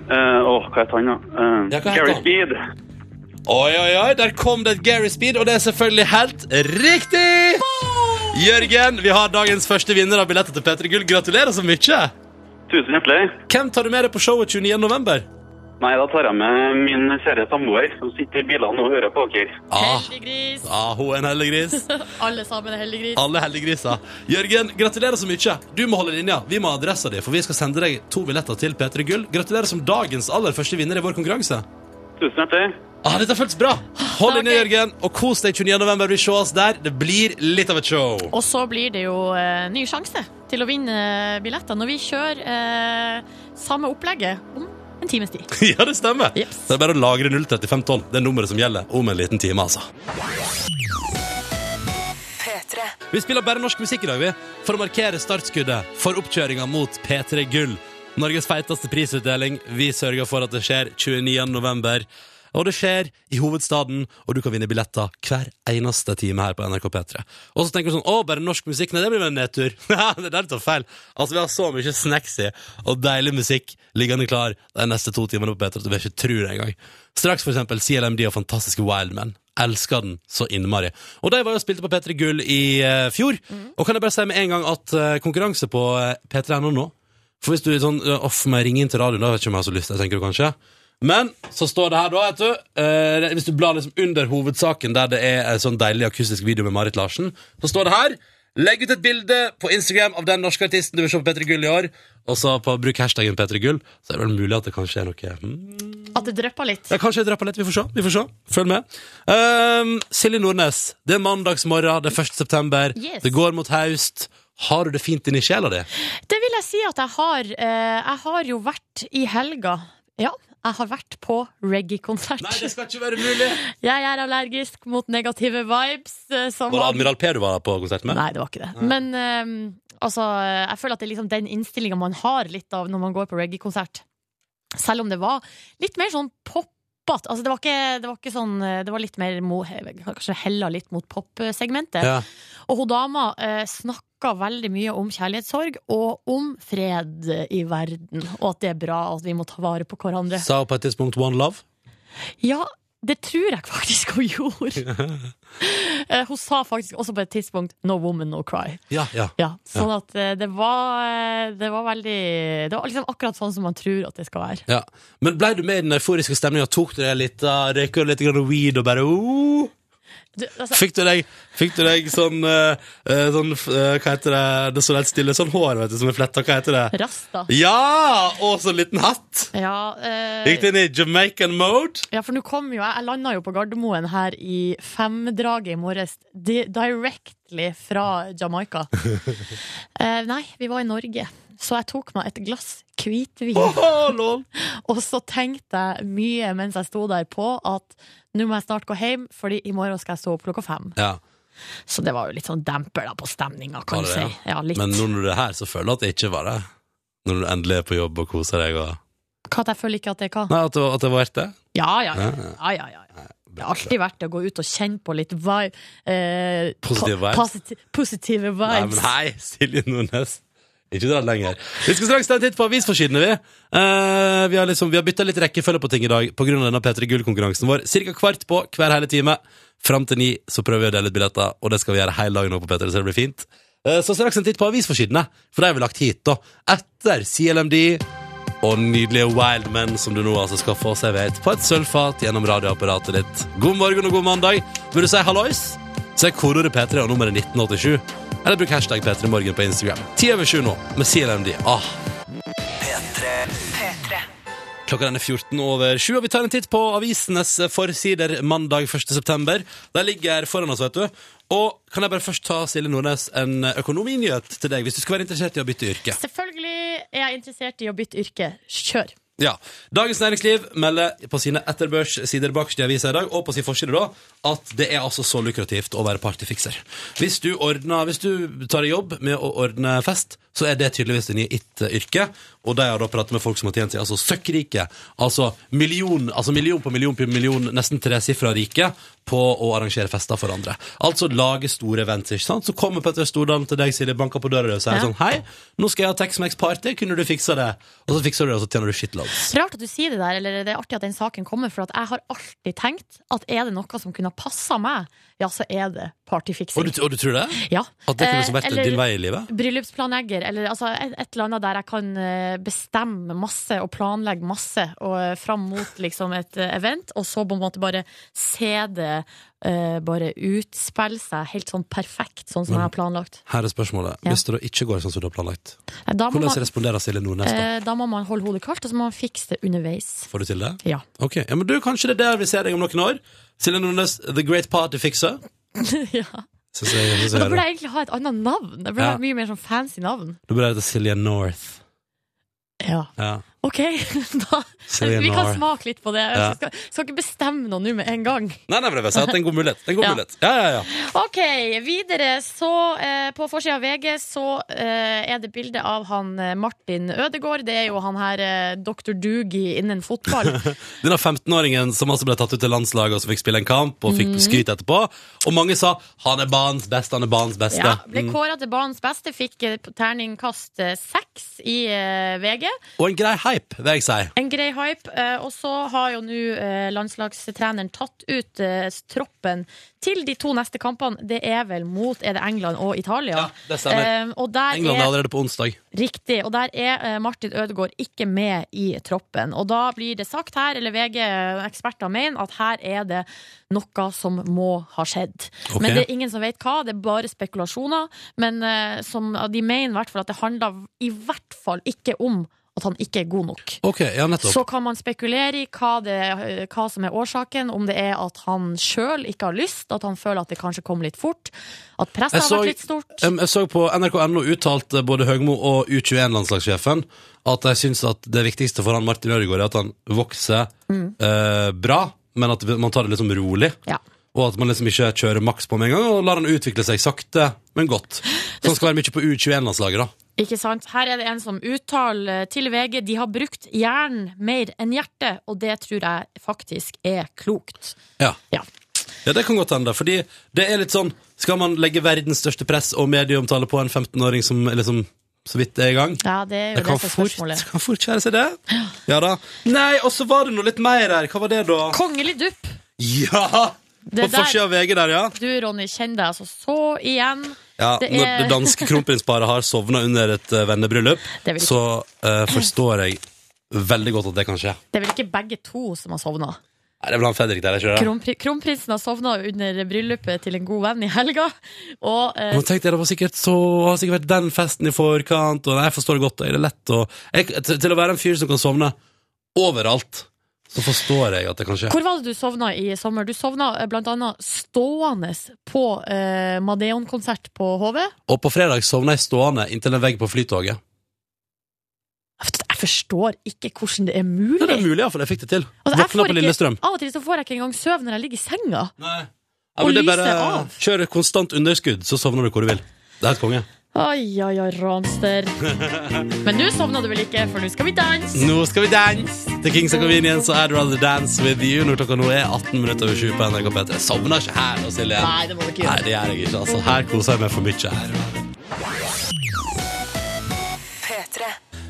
Speaker 5: Eh, åh, hva heter han, da? Eh,
Speaker 1: Ja, hva heter
Speaker 5: Gary
Speaker 1: han?
Speaker 5: Speed.
Speaker 1: Oi, oi, oi, der kom det et Gary Speed, og det er selvfølgelig helt riktig! Jørgen, vi har dagens første vinner av billetter til P3 Gull. Gratulerer så mye!
Speaker 5: Tusen hjertelig.
Speaker 1: Hvem tar du med deg på showet 29. november?
Speaker 5: Nei, da tar jeg med min kjære samboer, som sitter i bilene og hører på dere.
Speaker 1: Ah,
Speaker 2: Heldiggris.
Speaker 1: ah, hun er en heldig gris.
Speaker 2: Alle sammen er heldiggris.
Speaker 1: Alle heldiggriser. Jørgen, gratulerer så mye. Du må holde linja. Vi må ha adressa di, for vi skal sende deg to billetter til P3 Gull. Gratulerer som dagens aller første vinner i vår konkurranse.
Speaker 5: Tusen hjertelig.
Speaker 1: Ah, dette føltes bra! Hold linja,
Speaker 2: Ok.
Speaker 1: Jørgen, og kos deg 29. november. Vi ses der. Det blir litt av et show.
Speaker 2: Og så blir det jo eh, ny sjanse til å vinne eh, billetter når vi kjører eh, samme opplegget om en times tid.
Speaker 1: Ja, det stemmer.
Speaker 2: Jeps.
Speaker 1: Det er bare å lagre 035 tonn. Det er nummeret som gjelder om en liten time, altså. Vi spiller bare norsk musikk i dag, vi. For å markere startskuddet for oppkjøringa mot P3 Gull. Norges feiteste prisutdeling. Vi sørger for at det skjer 29. november. Og det skjer i hovedstaden, og du kan vinne billetter hver eneste time her på NRK P3. Og så tenker du sånn Å, bare norsk musikk? Nei, det blir vel en nedtur. Ja, det der tar feil. Altså, vi har så mye snacksy og deilig musikk liggende klar de neste to timene på P3 at du vil ikke tro det engang. Straks, for eksempel, CLMD og fantastiske Wildman. Elsker den så innmari. Og de var jo og spilte på P3 Gull i eh, fjor. Og kan jeg bare si med en gang at eh, konkurranse på eh, P3.no nå For hvis du er sånn eh, Off, må jeg ringe inn til radioen, da vet jeg ikke om jeg har så lyst, jeg tenker du kanskje. Men så står det her, da, vet du. eh, det- hvis du blar liksom under hovedsaken, der det er en sånn deilig akustisk video med Marit Larsen, så står det her Legg ut et bilde på Instagram av den norske artisten du vil se på P3 Gull i år. Og så på, bruk hashtaggen P3 Gull, så er det vel mulig at det kanskje er noe hmm,
Speaker 2: At det drypper litt.
Speaker 1: ja, kanskje jeg drepper litt. Vi får se. Vi får se. Følg med. Ehm, Silje Nordnes, det er mandagsmorgen, det er 1. september.
Speaker 2: Yes.
Speaker 1: Det går mot haust. Har du det fint inni sjela di?
Speaker 2: Det vil jeg si at jeg har. eh, Jeg har jo vært i helga. Ja, jeg har vært på reggae-konsert.
Speaker 1: skal ikke være mulig!
Speaker 2: Jeg er allergisk mot negative vibes. eh, Som
Speaker 1: Var det Admiral P du var på konsert med?
Speaker 2: Nei, det var ikke det. Men eh, altså, jeg føler at det er liksom den innstillinga man har litt av når man går på reggae-konsert. Selv om det var litt mer sånn poppete. Altså, det, var ikke- det var ikke sånn eh, Det var litt mer mo, Kanskje hella litt mot popsegmentet.
Speaker 1: Ja.
Speaker 2: Og hun dama eh, snakka veldig mye om kjærlighetssorg og om fred i verden. Og at det er bra, og at vi må ta vare på hverandre.
Speaker 1: Sa hun på et tidspunkt One Love?
Speaker 2: Ja, det tror jeg faktisk hun gjorde. Eh, hun sa faktisk også på et tidspunkt 'No woman, no cry'.
Speaker 1: Ja, ja.
Speaker 2: Ja, sånn at eh, det var, eh, det var veldig Det var liksom akkurat sånn som man tror at det skal være.
Speaker 1: ja. Men blei du med i den euforiske stemninga? Tok du deg litt av røyka litt grann weed og bare oh?
Speaker 2: Du, altså,
Speaker 1: Fikk du deg, fikk du deg sånn, eh, eh, sånn eh, Hva heter det? Det står helt stille. Sånn hår vet du, som er fletta. Hva heter det?
Speaker 2: Rasta.
Speaker 1: Ja! Og så en liten hatt!
Speaker 2: Ja, eh,
Speaker 1: Gikk du inn i Jamaican mode?
Speaker 2: Ja, for nå kom jo jeg Jeg landa jo på Gardermoen her i femdraget i morges. di- Directly fra Jamaica. Eh, nei, vi var i Norge. Så jeg tok meg et glass hvitvin,
Speaker 1: Åh, lol.
Speaker 2: og så tenkte jeg mye mens jeg sto der på at nå må jeg snart gå hjem, fordi i morgen skal jeg stå opp klokka fem.
Speaker 1: Ja,
Speaker 2: Så det var jo litt sånn demper da på stemninga,
Speaker 1: Var
Speaker 2: kan du
Speaker 1: det
Speaker 2: si.
Speaker 1: det?
Speaker 2: Ja, litt.
Speaker 1: Men nå når du er her, så føler jeg at det ikke var det. Når du endelig er på jobb og koser deg. Og...
Speaker 2: Hva at jeg føler ikke at det er hva?
Speaker 1: Nei, at det, at det var verdt det.
Speaker 2: Ja, ja, ja. ja, ja, ja. Det har alltid vært å gå ut og kjenne på litt vibe, eh,
Speaker 1: Positive
Speaker 2: po-
Speaker 1: vibes.
Speaker 2: positi- positive
Speaker 1: Nei, men
Speaker 2: vibes.
Speaker 1: hei, Silje Nordnes. Ikke dra det lenger. Vi skal straks ta en titt på avisforsidene, vi. Eh, vi har, liksom, vi har bytta litt rekkefølge på ting i dag pga. denne P3 Gull-konkurransen vår. Cirka kvart på hver hele time. Fram til ni så prøver vi å dele ut billetter, og det skal vi gjøre hele dagen nå på P3, så det blir fint. Eh, så straks en titt på avisforsidene, for de har vi lagt hit, da. Etter CLMD og nydelige Wildmen som du nå altså skal få servert på et sølvfat gjennom radioapparatet ditt. God morgen og god mandag. Vil du si hallois? Så er kodeordet P3 og nummeret 1987. Eller bruk hashtag P3morgen på Instagram. Ti over sju nå med CLMD. Ah. Klokka den er 14 over 7, og vi tar en titt på avisenes forsider mandag 1. september. De ligger foran oss, vet du. Og kan jeg bare først ta Silje Nordnes en økonominyhet til deg, hvis du skulle være interessert i å bytte yrke?
Speaker 2: Selvfølgelig er jeg interessert i å bytte yrke. Kjør!
Speaker 1: Ja. Dagens Næringsliv melder på sine etterbørssider bakerst i avisa i dag, og på sin forside, da, at det er altså så lukrativt å være partyfikser. Hvis du, ordner, hvis du tar deg jobb med å ordne fest, så er det tydeligvis det nye it-yrket. Og de har da pratet med folk som har tjent seg altså søkkrike. Altså million, altså million på million på million, nesten tresifra rike på å arrangere fester for andre. Altså lage store events, ikke sant. Så kommer Petter Stordalen til deg, Silje, banker på døra di og sier
Speaker 2: Ja.
Speaker 1: sånn Hei, nå skal jeg ha Tex-Mex-party, kunne du fiksa det? Og så fikser du det, og så tjener du shitloads.
Speaker 2: Rart at du sier det der, eller det er artig at den saken kommer, for at jeg har alltid tenkt at er det noe som kunne ha passa meg, ja, så er det
Speaker 1: Og
Speaker 2: partyfiksing.
Speaker 1: du, og du tror det?
Speaker 2: Ja.
Speaker 1: At det kunne liksom
Speaker 2: Eh,
Speaker 1: vært
Speaker 2: eller-
Speaker 1: din vei i livet?
Speaker 2: Bryllupsplanlegger, eller altså, et, et eller annet der jeg kan eh, bestemme masse og planlegge masse og, eh, fram mot liksom, et eh, event, og så på en måte bare se det eh, bare utspille seg helt sånn perfekt, sånn som jeg har planlagt.
Speaker 1: Her er spørsmålet.
Speaker 2: Ja.
Speaker 1: Hvis det da ikke går sånn som du har planlagt,
Speaker 2: Eh, Da må,
Speaker 1: hvordan
Speaker 2: man,
Speaker 1: responderer Silje Nordnes da?
Speaker 2: eh, da må man holde hodet kaldt, og så må man fikse det underveis.
Speaker 1: Får du til det?
Speaker 2: Ja.
Speaker 1: Ok, ja, men du, Kanskje det er der vi ser deg om noen år? Silje Nordnes, The Great Party Fixer?
Speaker 2: ja.
Speaker 1: Synes jeg, synes jeg
Speaker 2: Men da burde
Speaker 1: hører.
Speaker 2: jeg egentlig ha et annet navn. Det burde
Speaker 1: Ja.
Speaker 2: ha et mye mer sånn fancy navn.
Speaker 1: Da burde jeg hete Silje North.
Speaker 2: Ja.
Speaker 1: Ja.
Speaker 2: OK, da
Speaker 1: Sayonara.
Speaker 2: Vi kan smake litt på det.
Speaker 1: Ja.
Speaker 2: Jeg skal, skal ikke bestemme noe nå med en gang.
Speaker 1: Nei, nei, men jeg vil si at det er en god mulighet. Det er en god
Speaker 2: Ja.
Speaker 1: mulighet. Ja, ja, ja.
Speaker 2: OK, videre så eh, På forsida av VG så eh, er det bilde av han eh, Martin Ødegaard. Det er jo han her eh, Dr. Doogie innen fotball.
Speaker 1: Denne 15-åringen som altså ble tatt ut til landslaget og som fikk spille en kamp og
Speaker 2: Mm.
Speaker 1: fikk skryt etterpå. Og mange sa 'han er banens beste', 'han er banens beste'.
Speaker 2: Ja, ble
Speaker 1: Mm.
Speaker 2: kåra til banens beste, fikk eh, terningkast eh, seks i eh, VG.
Speaker 1: Og en grei hype, vil jeg si.
Speaker 2: En grei hype. eh, Og så har jo nå eh, landslagstreneren tatt ut eh, troppen til de to neste kampene. Det er vel mot er det England og Italia.
Speaker 1: Ja, det stemmer.
Speaker 2: Eh, og der
Speaker 1: England er
Speaker 2: er,
Speaker 1: allerede på onsdag.
Speaker 2: riktig, og der er eh, Martin Ødegaard ikke med i troppen. Og da blir det sagt her, eller VG-eksperter mener, at her er det noe som må ha skjedd.
Speaker 1: Ok.
Speaker 2: Men det er ingen som vet hva, det er bare spekulasjoner. Men eh, som, de mener i hvert fall at det handler i hvert fall ikke om at han ikke er god nok.
Speaker 1: Ok, ja, nettopp.
Speaker 2: Så kan man spekulere i hva, det, eh, hva som er årsaken, om det er at han sjøl ikke har lyst, at han føler at det kanskje kom litt fort, at presset
Speaker 1: Jeg
Speaker 2: har
Speaker 1: så-
Speaker 2: vært litt stort.
Speaker 1: Um, Jeg så på NRK.no uttalte både Høgmo og U21-landslagssjefen at de syns at det viktigste for han Martin Ødegaard er at han vokser eh, bra, men at man tar det liksom rolig.
Speaker 2: Mm. Ja.
Speaker 1: Og at man liksom ikke kjører maks på med en gang, og lar han utvikle seg sakte, men godt. Så han skal være mye på U21-landslaget, da.
Speaker 2: Ikke sant? Her er det en som uttaler til VG de har brukt hjernen mer enn hjertet, og det tror jeg faktisk er klokt.
Speaker 1: Ja.
Speaker 2: Ja.
Speaker 1: ja, det kan godt hende. Fordi det er litt sånn Skal man legge verdens største press og medieomtale på en 15-åring som er liksom så vidt er i gang?
Speaker 2: Ja, det er jo
Speaker 1: Det
Speaker 2: det
Speaker 1: kan
Speaker 2: som er
Speaker 1: fort,
Speaker 2: spørsmålet.
Speaker 1: kan fort skjære seg, det. Ja da. Nei, og så var det noe litt mer her. Hva var det, da?
Speaker 2: Kongelig dupp!
Speaker 1: Ja!
Speaker 2: Det
Speaker 1: på
Speaker 2: der-
Speaker 1: forsida av VG der, ja.
Speaker 2: Du, Ronny, kjenner deg altså så igjen.
Speaker 1: ja
Speaker 2: Det
Speaker 1: Når
Speaker 2: er-
Speaker 1: det danske kronprinsparet har sovna under et eh, vennebryllup,
Speaker 2: Det vil ikke-
Speaker 1: så eh, forstår jeg veldig godt at det kan skje.
Speaker 2: Det er vel ikke begge to som har sovna?
Speaker 1: Nei, det er vel han Fredrik der, ikke det?
Speaker 2: Kronpri kronprinsen har sovna under bryllupet til en god venn i helga, og eh,
Speaker 1: Nå tenkte jeg, Det var sikkert så det har sikkert vært den festen i forkant og Nei, jeg forstår det godt. Jeg, det er lett å jeg, til- Til å være en fyr som kan sovne overalt, så forstår jeg at det kan skje.
Speaker 2: Hvor var det du sovna i sommer? Du sovna eh, blant annet stående på eh, Madeon-konsert på HV.
Speaker 1: Og på fredag sovna jeg stående inntil en vegg på Flytoget.
Speaker 2: Jeg forstår ikke hvordan det er
Speaker 1: Det er
Speaker 2: mulig.
Speaker 1: det mulig, iallfall. Jeg fikk det til.
Speaker 2: Altså, jeg
Speaker 1: Våkna
Speaker 2: får
Speaker 1: på
Speaker 2: ikke-
Speaker 1: Lillestrøm.
Speaker 2: Av og til så får jeg ikke engang søvn når jeg ligger i senga.
Speaker 1: Nei.
Speaker 2: Og
Speaker 1: Ja, men det er
Speaker 2: lyset
Speaker 1: bare
Speaker 2: av.
Speaker 1: Kjør konstant underskudd, så sovner du hvor du vil. Det er helt konge.
Speaker 2: Ai, ai, ai, ranster. Men nå sovna du vel ikke, for nå skal vi danse.
Speaker 1: Nå skal vi danse! Til Kings of Convenience og I'd Rather Dance With You når klokka nå er 18 minutter over 7 på NRK P3. Jeg Sovner ikke her nå, Silje.
Speaker 2: Nei, det må du ikke
Speaker 1: Nei,
Speaker 2: gjøre.
Speaker 1: det gjør jeg ikke. altså. Her koser jeg meg for mye.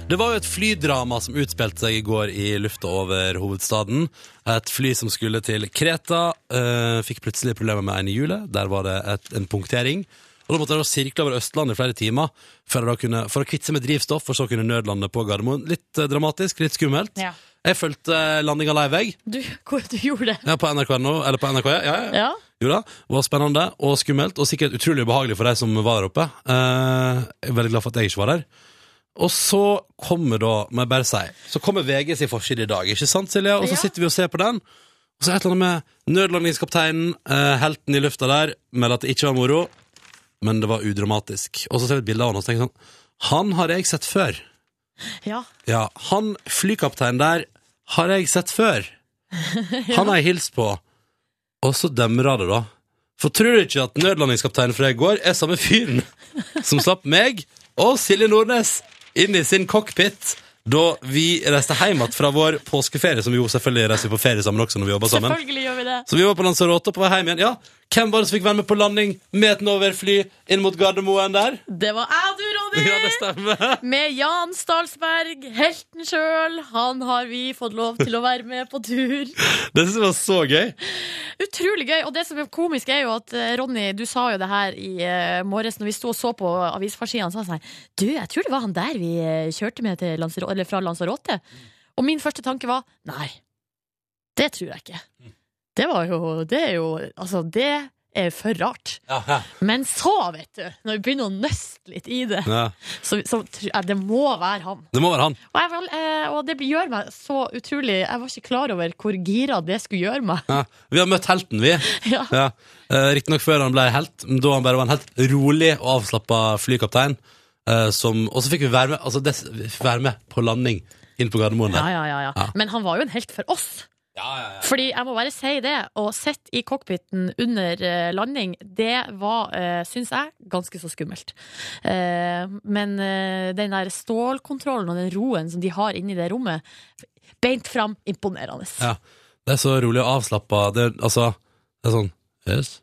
Speaker 1: Det var jo et flydrama som utspilte seg i går i lufta over hovedstaden. Et fly som skulle til Kreta, eh, fikk plutselig problemer med en i hjulet. Der var det et, en punktering. Og Da måtte de da sirkle over Østlandet i flere timer for å, da kunne, for å kvitte seg med drivstoff, for så å kunne nødlande på Gardermoen. Litt eh, dramatisk, litt skummelt.
Speaker 2: Ja.
Speaker 1: Jeg fulgte eh, landinga live, jeg.
Speaker 2: Du, hvor du gjorde det.
Speaker 1: Ja, på NRK nå, eller på NRK, ja. ja, ja.
Speaker 2: Ja.
Speaker 1: Jo da, det var spennende og skummelt, og sikkert utrolig ubehagelig for de som var der oppe. Eh, jeg er veldig glad for at jeg ikke var der. Og så kommer da, må jeg bare si, så kommer VG sin forside i dag, ikke sant Silje? Og så
Speaker 2: Ja.
Speaker 1: sitter vi og ser på den, og så er det et eller annet med nødlandingskapteinen, eh, helten i lufta der, melder at det ikke var moro, men det var udramatisk. Og så ser vi et bilde av han, og så tenker jeg sånn, han har jeg sett før.
Speaker 2: ja.
Speaker 1: Ja, han flykapteinen der har jeg sett før. Han har jeg hilst på. Og så dømmer jeg det, da. For tror du ikke at nødlandingskapteinen fra i går er samme fyren som slapp meg og Silje Nordnes inn i sin cockpit da vi reiste hjem igjen fra vår påskeferie, som vi jo selvfølgelig reiser på ferie sammen også når vi jobber sammen.
Speaker 2: Selvfølgelig gjør vi det.
Speaker 1: Så vi var på Lanzarote og på vei hjem igjen. Ja, hvem var det som fikk være med på landing med et Norwegian-fly inn mot Gardermoen der?
Speaker 2: Det var jeg, du, Ronny!
Speaker 1: Ja, det stemmer.
Speaker 2: Med Jan Stalsberg, helten sjøl. Han har vi fått lov til å være med på tur.
Speaker 1: Det synes jeg var så gøy.
Speaker 2: Utrolig gøy. Og det som er komisk, er jo at eh, Ronny, du sa jo det her i eh, morges når vi sto og så på avisforsidene. Så sa han sånn her, Du, jeg tror det var han der vi eh, kjørte med til Lanzarote, eller fra Lanzarote. Og min første tanke var nei. Det tror jeg ikke. Det var jo Det er jo Altså, det er for rart.
Speaker 1: Ja, ja.
Speaker 2: Men så, vet du, når vi begynner å nøste litt i det,
Speaker 1: ja.
Speaker 2: så, så tror jeg det må være han.
Speaker 1: Det må være han.
Speaker 2: Og, jeg, var- eh, og det gjør meg så utrolig Jeg var ikke klar over hvor gira det skulle gjøre meg.
Speaker 1: Ja, vi har møtt helten, vi.
Speaker 2: Ja.
Speaker 1: Ja. Eh, Riktignok før han ble helt, men da han bare var en helt rolig og avslappa flykaptein. eh, som, og så fikk vi være med, altså det, vi fikk være med på landing inn på Gardermoen
Speaker 2: Ja,
Speaker 1: der.
Speaker 2: ja, ja, ja.
Speaker 1: Ja.
Speaker 2: Men han var jo en helt for oss.
Speaker 1: Ja, ja, ja.
Speaker 2: Fordi jeg må bare si det, å sitte i cockpiten under eh, landing, det var, uh, syns jeg, ganske så skummelt. Eh, men eh, den der stålkontrollen og den roen som de har inni det rommet, beint fram, imponerende.
Speaker 1: Ja. Det er så rolig og avslappa. Det, er- altså, det er sånn Yes.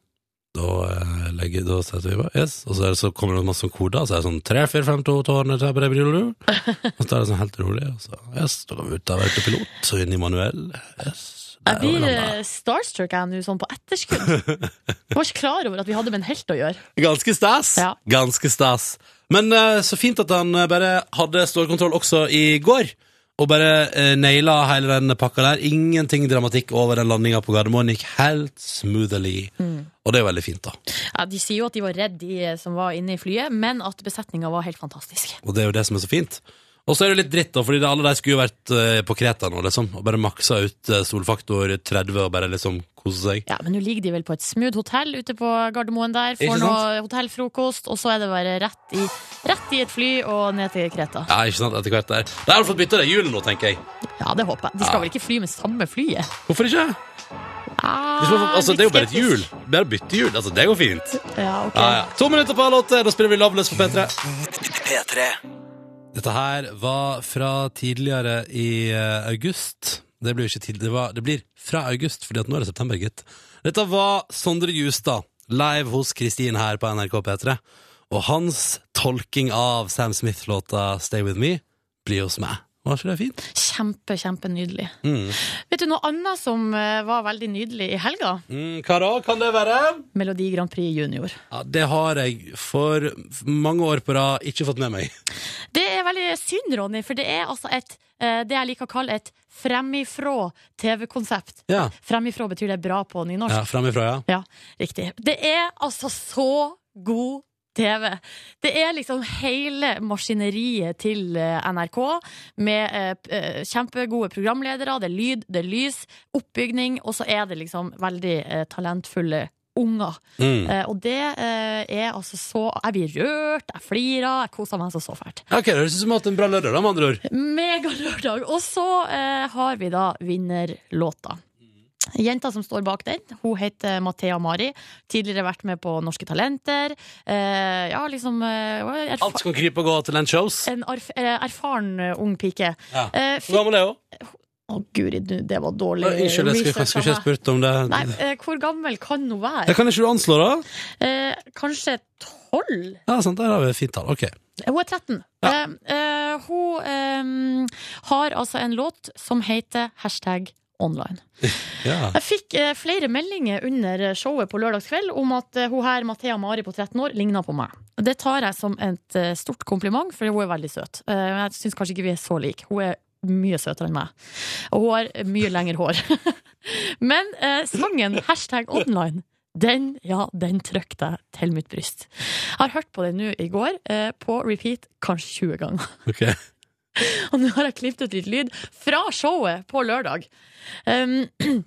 Speaker 1: Da, eh, legger, da setter vi på Yes. Og så, er det, så kommer det masse koder. Så er det sånn 3, 4, 5, 2, tårne, tre, bre, bre, bre. Og så er det sånn helt rolig. Og så, yes, da går vi ut av autopilot og inn i manuell. Yes. Der
Speaker 2: Jeg blir
Speaker 1: var vi
Speaker 2: eh,
Speaker 1: landet.
Speaker 2: starstruck jeg nå, sånn på etterskudd. Jeg var ikke klar over at vi hadde med en helt å gjøre.
Speaker 1: Ganske stas.
Speaker 2: Ja.
Speaker 1: Ganske stas. Men eh, så fint at han eh, bare hadde stålkontroll også i går. Og bare eh, naila hele den pakka der. Ingenting dramatikk over den landinga på Gardermoen. Gikk helt smoothly.
Speaker 2: Mm.
Speaker 1: Og det er jo veldig fint, da.
Speaker 2: Ja, de sier jo at de var redd, de eh, som var inne i flyet, men at besetninga var helt fantastisk.
Speaker 1: Og det er jo det som er så fint. Og så er det litt dritt, da, fordi det, alle de skulle jo vært eh, på Kreta nå, liksom. Og bare maksa ut eh, solfaktor 30 og bare liksom kose seg.
Speaker 2: Ja, Men nå ligger de vel på et smooth hotell ute på Gardermoen der.
Speaker 1: Ikke
Speaker 2: Får noe hotellfrokost, og så er det bare rett i, rett i et fly og ned til Kreta.
Speaker 1: Ja, ikke sant, etter hvert der. De har fått bytta det hjulet nå, tenker jeg.
Speaker 2: Ja, det håper jeg. De skal vel ikke fly med samme flyet?
Speaker 1: Hvorfor ikke?
Speaker 2: Ah,
Speaker 1: Hvis man, får- altså,
Speaker 2: litt
Speaker 1: det er jo bare et
Speaker 2: skeptisk.
Speaker 1: hjul. Bare bytte hjul. Altså, det går fint.
Speaker 2: Ja, ok.
Speaker 1: Ja, ja. To minutter på halv åtte, da spiller vi Loveless på P3.
Speaker 6: P3
Speaker 1: Dette her var fra tidligere i eh, august. Det blir, jo ikke tid, det, var, det blir fra august, fordi at nå er det september, gitt. Dette var Sondre Justad, live hos Kristin her på NRK P3. Og hans tolking av Sam Smith-låta 'Stay With Me' blir hos meg. Var ikke det fint?
Speaker 2: Kjempe, kjempenydelig.
Speaker 1: Mm.
Speaker 2: Vet du noe annet som eh, var veldig nydelig i helga?
Speaker 1: Mm, hva da? Kan det være?
Speaker 2: Melodi Grand Prix Junior.
Speaker 1: Ja, det har jeg for mange år på rad ikke fått med meg.
Speaker 2: Det er veldig synd, Ronny, for det er altså et eh, det jeg liker å kalle et fremifrå TV-konsept.
Speaker 1: Ja,
Speaker 2: Fremifrå betyr det bra på nynorsk.
Speaker 1: ja Framifrå, ja.
Speaker 2: Ja, riktig. Det er altså så god TV. Det er liksom hele maskineriet til eh, NRK, med eh, p- eh, kjempegode programledere, det er lyd, det er lys, oppbygning, og så er det liksom veldig eh, talentfulle unger.
Speaker 1: Mm.
Speaker 2: Eh, og det eh, er altså så Jeg blir rørt, jeg flirer, jeg koser meg så, så fælt.
Speaker 1: Ok, Det høres ut som vi har hatt en bra lørdag, da, med andre ord.
Speaker 2: Megalørdag. Og så eh, har vi da vinnerlåta. Jenta som står bak den, hun heter Mathea Mari. Tidligere vært med på Norske Talenter. Eh, ja, liksom eh, hun er erfa
Speaker 1: Alt skal krype og gå til land shows.
Speaker 2: En arf eh, erfaren eh, ung pike.
Speaker 1: Ja.
Speaker 2: Eh,
Speaker 1: Hvor
Speaker 2: fikk
Speaker 1: gammel er hun?
Speaker 2: Å, guri, du, det var dårlig
Speaker 1: Nei, Unnskyld, jeg skulle
Speaker 2: research
Speaker 1: kanskje ikke
Speaker 2: av meg.
Speaker 1: spurt om det.
Speaker 2: Nei, eh, hvor gammel kan hun
Speaker 1: Det
Speaker 2: være?
Speaker 1: kan ikke du anslå, da?
Speaker 2: Eh, kanskje tolv?
Speaker 1: Ja, sant, Der har vi et fint tall. Ok.
Speaker 2: Hun er 13. Eh, eh, hun ehm, har altså en låt som heter hashtag online.
Speaker 1: Ja.
Speaker 2: Jeg fikk eh, flere meldinger under eh, showet på lørdagskveld om at eh, hun her, Mathea Mari på 13 år, ligner på meg. Det tar jeg som et eh, stort kompliment, for hun er veldig søt. Eh, Men jeg syns kanskje ikke vi er så like. Hun er mye søtere enn meg. Og hun har mye lengre hår. Men eh, sangen hashtag online den, ja, den trykte jeg til mitt bryst. Jeg har hørt på den nå i går, eh, på repeat kanskje 20 ganger.
Speaker 1: ok.
Speaker 2: Og nå har jeg klippet ut litt lyd fra showet på lørdag. Um,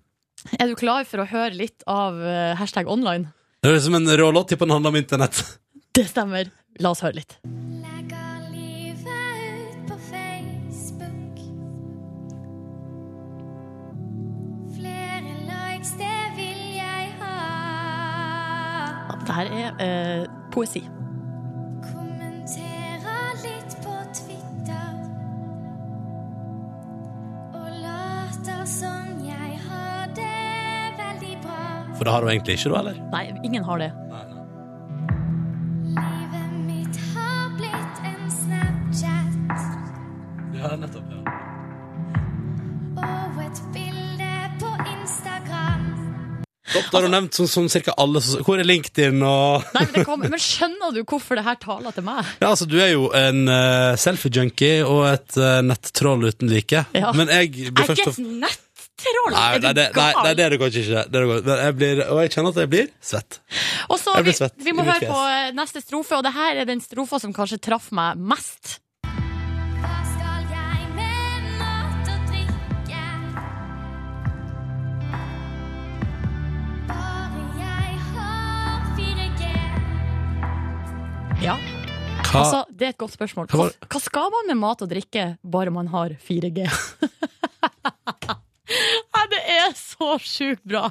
Speaker 2: er du klar for å høre litt av eh, hashtag online?
Speaker 1: Det høres ut som en rå låt, tipper den handler om internett.
Speaker 2: Det stemmer. La oss høre litt.
Speaker 7: Legger livet ut på Facebook. Flere likes, det vil jeg ha.
Speaker 2: Dette her er eh, poesi.
Speaker 7: Kommenterer litt på Twitter. Og later som jeg har det veldig bra.
Speaker 1: For det har hun egentlig ikke, da, eller?
Speaker 2: Nei, ingen har det.
Speaker 7: Livet mitt har blitt en Snapchat.
Speaker 1: Ja, nettopp, ja.
Speaker 7: Og et bilde på Instagram.
Speaker 1: Topp, da har hun nevnt som, som cirka alle som Hvor er LinkedIn og
Speaker 2: Nei, men, det kom, men skjønner du hvorfor det her taler til meg?
Speaker 1: Ja, altså, du er jo en eh, selfie-junkie og et eh, nettroll uten like.
Speaker 2: Ja.
Speaker 1: Men jeg blir
Speaker 2: Jeg er
Speaker 1: først
Speaker 2: ikke
Speaker 1: og
Speaker 2: et nettroll!
Speaker 1: Nei,
Speaker 2: Er du
Speaker 1: nei, det, nei,
Speaker 2: gal?
Speaker 1: nei, det er det kanskje ikke. Det er det godt. Men jeg blir, og jeg kjenner at jeg blir svett.
Speaker 2: Og så
Speaker 1: Jeg
Speaker 2: vi,
Speaker 1: blir svett
Speaker 2: vi må
Speaker 1: i mitt
Speaker 2: høre på eh, neste strofe, og det her er den strofa som kanskje traff meg mest.
Speaker 7: Hva skal jeg med mat og drikke? Bare jeg har 4G.
Speaker 2: Ja,
Speaker 1: Hva
Speaker 2: altså, det er et godt spørsmål.
Speaker 1: Ah. Hva
Speaker 2: Hva,
Speaker 1: var-
Speaker 2: hva skal man med mat og drikke bare man har 4G? Nei, det er så sjukt bra!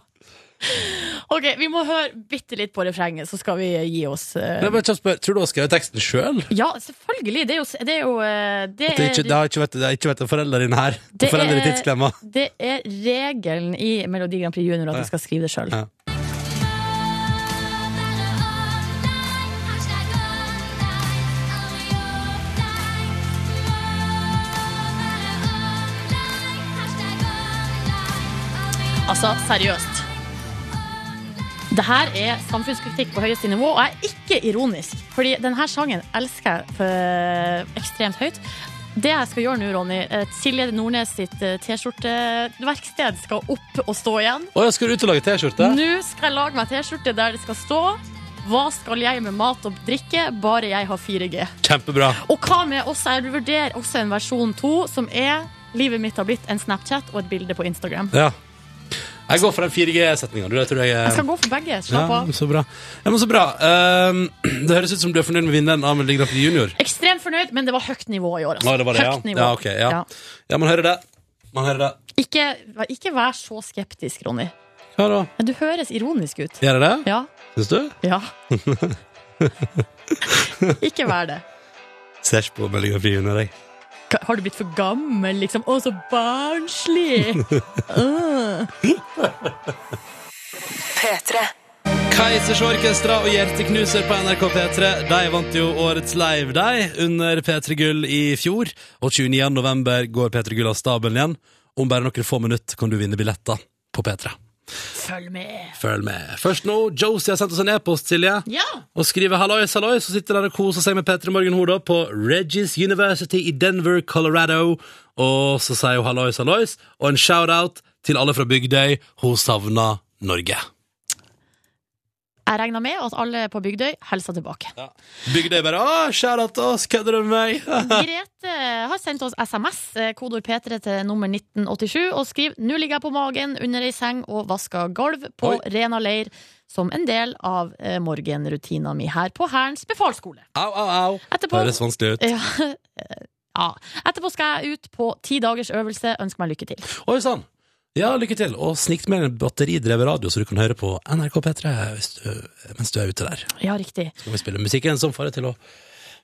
Speaker 2: Ok, Vi må høre bitte litt på refrenget, så skal vi gi oss. eh.
Speaker 1: Nei, men kjapt spør, Tror du hun har skrevet teksten sjøl?
Speaker 2: Ja, selvfølgelig! Det er jo Det er, jo, eh, det
Speaker 1: Det, er ikke-
Speaker 2: er-
Speaker 1: det har ikke vært- det har ikke vært en forelder inn her.
Speaker 2: Det
Speaker 1: Forelder i
Speaker 2: er-
Speaker 1: tidsklemma.
Speaker 2: Det er regelen i Melodi Grand Prix Junior at du skal skrive det sjøl.
Speaker 1: Ja.
Speaker 2: Altså, seriøst. Det her er samfunnskritikk på høyeste nivå, og jeg er ikke ironisk. Fordi denne sangen elsker jeg eh, ekstremt høyt. Det jeg skal gjøre nå, Ronny eh, Silje Nordnes sitt eh, T-skjorteverksted skal opp og stå igjen.
Speaker 1: Å, jeg skal ut og lage T-skjorte?
Speaker 2: Nå skal jeg lage meg T-skjorte der det skal stå Hva skal jeg med mat og drikke, bare jeg har 4G.
Speaker 1: Kjempebra.
Speaker 2: Og hva med også, jeg vurderer også en versjon 2 som er Livet mitt har blitt en Snapchat og et bilde på Instagram.
Speaker 1: Ja. Jeg går for den 4G-setninga. Det tror jeg er
Speaker 2: Jeg skal gå for begge. Slapp
Speaker 1: ja,
Speaker 2: av.
Speaker 1: så bra. Ja, men så bra. Ehm, det høres ut som du er fornøyd med vinneren av Melodi Grand Prix Junior.
Speaker 2: Ekstremt fornøyd, men det var høyt nivå i år. Altså.
Speaker 1: Å, det var det,
Speaker 2: høyt
Speaker 1: ja.
Speaker 2: nivå.
Speaker 1: Ja, ok, ja.
Speaker 2: Ja.
Speaker 1: ja, man hører det. Man hører det.
Speaker 2: Ikke, ikke vær så skeptisk, Ronny.
Speaker 1: Hva da?
Speaker 2: Men du høres ironisk ut.
Speaker 1: Gjør jeg det?
Speaker 2: Ja.
Speaker 1: Syns du?
Speaker 2: ja. ikke vær det.
Speaker 1: Ser ikke på Melodi Grand Prix Junior, jeg.
Speaker 2: Ka- Har du blitt for gammel, liksom? Å, så barnslig!
Speaker 1: Keisers Orkestra og Hjerteknuser på NRK P3. De vant jo årets live, de, under P3 Gull i fjor. Og 29. november går P3 Gull av stabelen igjen. Om bare noen få minutter kan du vinne billetter på P3.
Speaker 2: Følg med.
Speaker 1: Følg med. Først nå, Josie har sendt oss en e-post, Silje.
Speaker 2: Ja!
Speaker 1: Og skriver 'hallois, hallois', og sitter der og koser seg med P3 Morgen Hoda på Regis University i Denver, Colorado. Og så sier hun 'hallois, hallois', og en shout-out til alle fra Bygdøy. Hun savner Norge.
Speaker 2: Jeg regner med at alle på Bygdøy hilser tilbake.
Speaker 1: Ja. Bygdøy bare 'Å, kjære til oss, kødder du med meg?'
Speaker 2: Grete har sendt oss SMS, eh, kodeord P3 til nummer 1987, og skriver Nå ligger jeg på magen under ei seng og vasker gulv på
Speaker 1: Oi.
Speaker 2: Rena leir som en del av eh, morgenrutina mi her på Hærens befalsskole.
Speaker 1: Au, au, au.
Speaker 2: Etterpå,
Speaker 1: Høres vanskelig ut.
Speaker 2: ja, eh, ja. Etterpå skal jeg ut på ti dagers øvelse. Ønsker meg lykke til.
Speaker 1: Oi sann. Ja, lykke til. Og snikt med en batteridrevet radio, så du kan høre på NRK P3 hvis du, mens du er ute der.
Speaker 2: Ja, riktig.
Speaker 1: Så kan vi spille musikken som får deg til å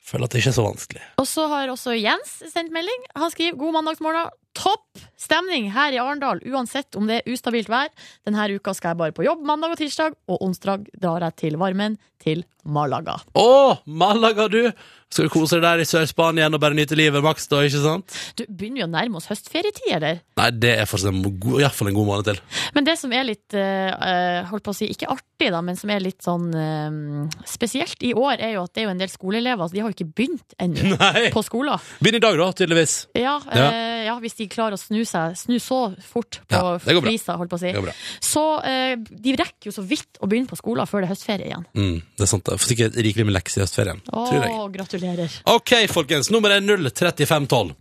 Speaker 1: føle at det ikke er så vanskelig.
Speaker 2: Og så har også Jens sendt melding. Han skriver god mandagsmorgen. Topp stemning her i Arendal, uansett om det er ustabilt vær. Denne uka skal jeg bare på jobb mandag og tirsdag, og onsdag drar jeg til varmen, til Malaga.
Speaker 1: Å, Malaga, du! Skal du kose deg der i Sør-Spania og bare nyte livet maks, da, ikke sant?
Speaker 2: Du begynner jo å nærme oss høstferietid, eller?
Speaker 1: Nei, det er fortsatt en god, i hvert fall en god måned til.
Speaker 2: Men det som er litt, eh, eh, holdt på å si, ikke artig, da, men som er litt sånn eh, spesielt i år, er jo at det er jo en del skoleelever, så de har jo ikke begynt ennå
Speaker 1: Nei!
Speaker 2: på skolen.
Speaker 1: Begynn i dag, da, tydeligvis.
Speaker 2: Ja,
Speaker 1: Ja.
Speaker 2: eh, ja, hvis de klarer å snu seg Snu så fort på
Speaker 1: Ja, det går bra.
Speaker 2: flisa, holdt på å si.
Speaker 1: Det går bra.
Speaker 2: Så eh, de rekker jo så vidt å begynne på skolen før det er høstferie igjen.
Speaker 1: Mm, det er sant. det. Får sikkert rikelig med lekser i høstferien.
Speaker 2: Å,
Speaker 1: Tror jeg.
Speaker 2: gratulerer.
Speaker 1: Ok, folkens. Nummeret er 03512.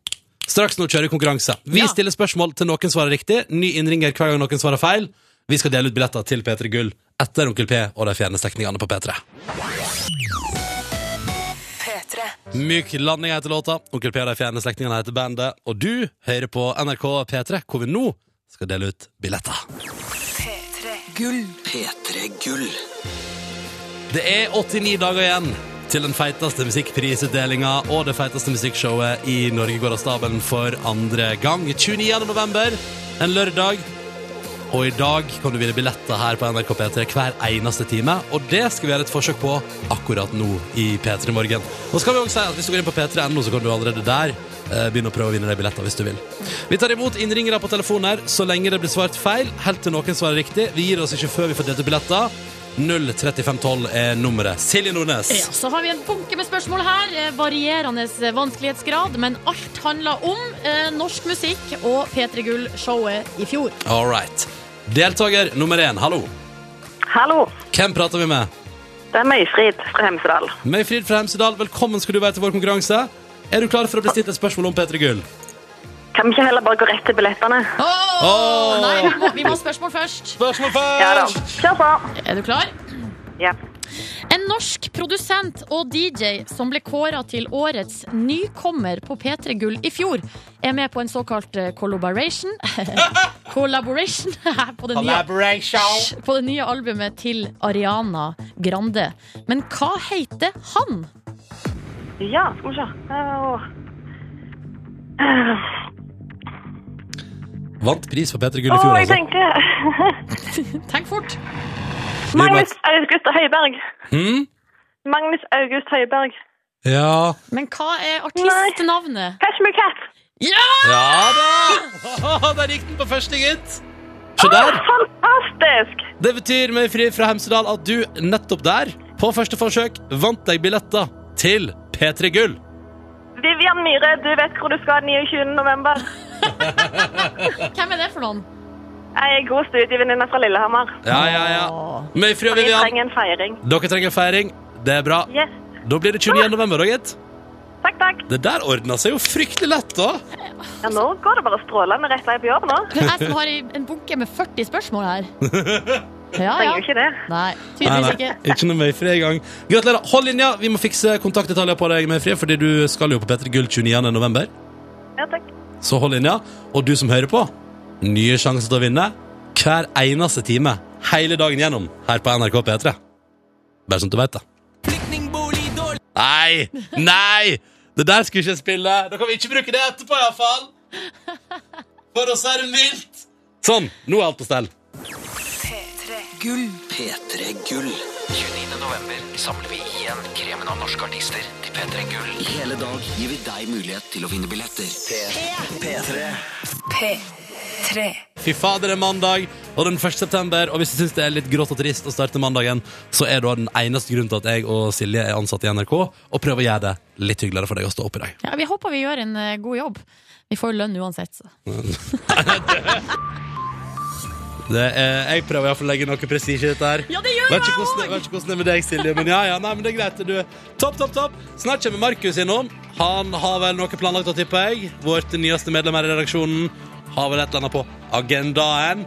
Speaker 1: Straks nå kjører vi konkurranse. Vi
Speaker 2: Ja.
Speaker 1: stiller spørsmål til noen svarer riktig. Ny innringer hver gang noen svarer feil. Vi skal dele ut billetter til P3 Gull etter Onkel P og de fjerne slektningene på P3. Myk landing heter låta. Onkel P og de fjerne slektningene heter bandet. Og du hører på NRK P3, hvor vi nå skal dele ut billetter.
Speaker 6: P3 Gull.
Speaker 1: Det er 89 dager igjen til den feiteste musikkprisutdelinga og det feiteste musikkshowet i Norge går av stabelen for andre gang. 29. november, en lørdag. Og i dag kan du vinne billetter her på NRK P3 hver eneste time. Og det skal vi gjøre et forsøk på akkurat nå i P3 Morgen. Og så kan vi også si at hvis du går inn på p3.no, så kan du allerede der eh, begynne å prøve å vinne deg billetter hvis du vil. Vi tar imot innringere på telefon her så lenge det blir svart feil, helt til noen svarer riktig. Vi gir oss ikke før vi får delt ut billetter. 03512 er nummeret. Silje Nordnes.
Speaker 2: Ja, så har vi en bunke med spørsmål her. eh, Varierende vanskelighetsgrad, men alt handler om eh, norsk musikk og P3 Gull-showet i fjor.
Speaker 1: All right. Deltaker nummer én, hallo.
Speaker 3: Hallo,
Speaker 1: Hvem prater vi med?
Speaker 3: det er Møyfrid fra Hemsedal.
Speaker 1: Møyfrid fra Hemsedal, velkommen skal du være til vår konkurranse. Er du klar for å bli stilt et spørsmål om P3 Gull?
Speaker 3: Kan vi ikke heller bare gå rett til billettene?
Speaker 2: Åh!
Speaker 1: Åh!
Speaker 2: Nei, vi må, vi må ha spørsmål først.
Speaker 1: Spørsmål
Speaker 3: Ja da.
Speaker 1: først!
Speaker 3: Kjør på!
Speaker 2: Er du klar?
Speaker 3: Ja.
Speaker 2: En En norsk produsent og DJ som ble kåra til årets nykommer på P3 Gull i fjor, er med på en såkalt eh, collaboration Collaboration på det, nye, på det nye albumet til Ariana Grande. Men hva heter han?
Speaker 3: Ja, skal vi se. Åh.
Speaker 1: Vant pris for P3 Gull i
Speaker 3: Åh,
Speaker 1: fjor,
Speaker 3: jeg
Speaker 1: altså.
Speaker 3: tenkte
Speaker 2: Tenk fort.
Speaker 3: Magnus August Høiberg.
Speaker 1: Hmm?
Speaker 3: Magnus August Høiberg.
Speaker 1: Ja.
Speaker 2: Men hva er artistnavnet?
Speaker 3: Catch me cat!
Speaker 2: Ja!
Speaker 1: ja da! Der gikk den på første, gitt. Se der.
Speaker 3: Fantastisk!
Speaker 1: Det betyr med fri fra Hemsedal at du nettopp der, på første forsøk, vant deg billetter til P3 Gull.
Speaker 3: Vivian Myhre, du vet hvor du skal 29. november.
Speaker 2: Hvem er det for noen?
Speaker 3: Jeg er god studievenninne fra Lillehammer.
Speaker 1: Ja, ja, ja. Møyfri og
Speaker 3: Vi
Speaker 1: Vivian,
Speaker 3: trenger en feiring.
Speaker 1: dere trenger feiring. Det er bra.
Speaker 3: Yes.
Speaker 1: Da blir det 29. november, da, gitt.
Speaker 3: Takk, takk.
Speaker 1: Det der ordna seg jo fryktelig lett, da.
Speaker 3: Ja, nå går det bare strålende rett vei på jobb nå.
Speaker 2: Det er jeg som har i- en bunke med 40 spørsmål her. Ja,
Speaker 3: Trenger
Speaker 2: ja.
Speaker 3: jo ikke det.
Speaker 2: Nei, tydeligvis ikke.
Speaker 1: ikke noe Møyfri engang. Gratulerer. Hold linja. Vi må fikse kontaktdetaljer på deg, Møyfri, fordi du skal jo på P3 Gull 29. november.
Speaker 3: Ja, takk.
Speaker 1: Så hold linja. Og du som hører på, nye sjanser til å vinne hver eneste time hele dagen gjennom her på NRK P3. Bare sånn at du veit det. Nei! Nei! Det der skulle ikke jeg spille. Da kan vi ikke bruke det etterpå, iallfall. For å si det mildt. Sånn. Nå er alt på stell.
Speaker 6: P3 Gull.
Speaker 8: 29. november samler vi igjen kremen av norske artister til P3 Gull.
Speaker 6: I hele dag gir vi deg mulighet til å vinne billetter. P3.
Speaker 1: Fy fader, det er mandag, og den 1. september. Og hvis du syns det er litt grått og trist å starte mandagen, så er da den eneste grunnen til at jeg og Silje er ansatt i NRK, og prøver å gjøre det litt hyggeligere for deg å stå opp i dag.
Speaker 2: Ja, vi håper vi gjør en eh, god jobb. Vi får jo lønn uansett. Så.
Speaker 1: Det er, jeg prøver i hvert fall å legge noe prestisje i dette her.
Speaker 2: Ja, det gjør
Speaker 1: vet
Speaker 2: jeg
Speaker 1: ikke, hvordan, det- vet ikke hvordan det er med deg, Silje, men ja, ja, nei, men det er greit. Du, topp, topp, topp. Snart kommer Markus innom. Han har vel noe planlagt å tippe, jeg. Vårt nyeste medlem her i redaksjonen har vel et eller annet på agendaen.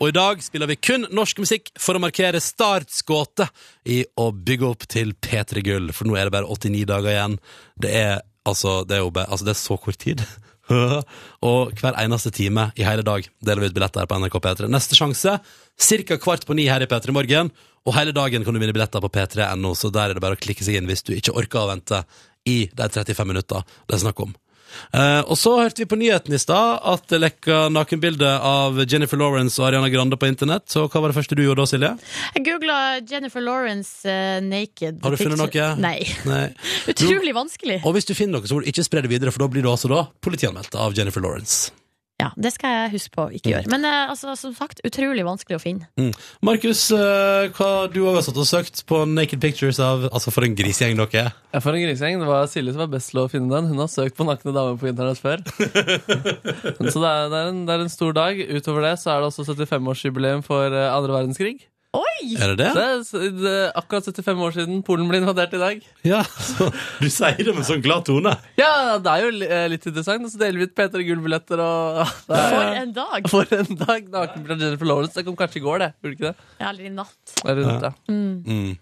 Speaker 1: Og i dag spiller vi kun norsk musikk for å markere startskuddet i å bygge opp til P3 Gull, for nå er det bare 89 dager igjen. Det er altså Det er, jo bare, altså, det er så kort tid. og hver eneste time i hele dag deler vi ut billetter her på NRK P3. Neste sjanse ca. kvart på ni her i P3 Morgen. Og hele dagen kan du vinne billetter på p3.no, så der er det bare å klikke seg inn hvis du ikke orker å vente i de 35 minutter det er snakk om. Eh, og så hørte vi på nyheten i stad at det lekka nakenbilde av Jennifer Lawrence og Ariana Grande på internett. Så hva var det første du gjorde da, Silje?
Speaker 2: Jeg googla Jennifer Lawrence eh, naked.
Speaker 1: Har du funnet noe?
Speaker 2: picture. Nei.
Speaker 1: Nei.
Speaker 2: Utrolig vanskelig.
Speaker 1: Og hvis du finner noe, så må du ikke spre det videre, for da blir du altså da politianmeldt av Jennifer Lawrence.
Speaker 2: Ja, Det skal jeg huske på å ikke gjøre. Men eh, altså, som sagt, utrolig vanskelig å finne.
Speaker 1: Mm. Markus, eh, hva du har satt og søkt på Naked Pictures av Altså, for en grisegjeng dere er.
Speaker 9: Jeg får en grisegjeng. Det var Silje som var best til å finne den. Hun har søkt på nakne damer på internett før. så det er, det, er en, det er en stor dag. Utover det så er det også 75-årsjubileum for eh, andre verdenskrig.
Speaker 2: Oi!
Speaker 1: Er det
Speaker 9: Så det
Speaker 1: det?
Speaker 9: er, s- det er akkurat 75 år siden Polen ble invadert i dag.
Speaker 1: Ja, så, Du sier det med sånn glad tone.
Speaker 9: Ja, det er jo li- eh, litt interessant. Og så deler vi ut Peter Gull-billetter og Ah, det er,
Speaker 2: For en dag!
Speaker 9: For en dag! Nakenbilde av Jennifer Lawrence. Det kom kanskje i går, det. Gjorde det ikke det?
Speaker 2: Eller i natt.
Speaker 9: Eller rundt, ja.
Speaker 1: Mm.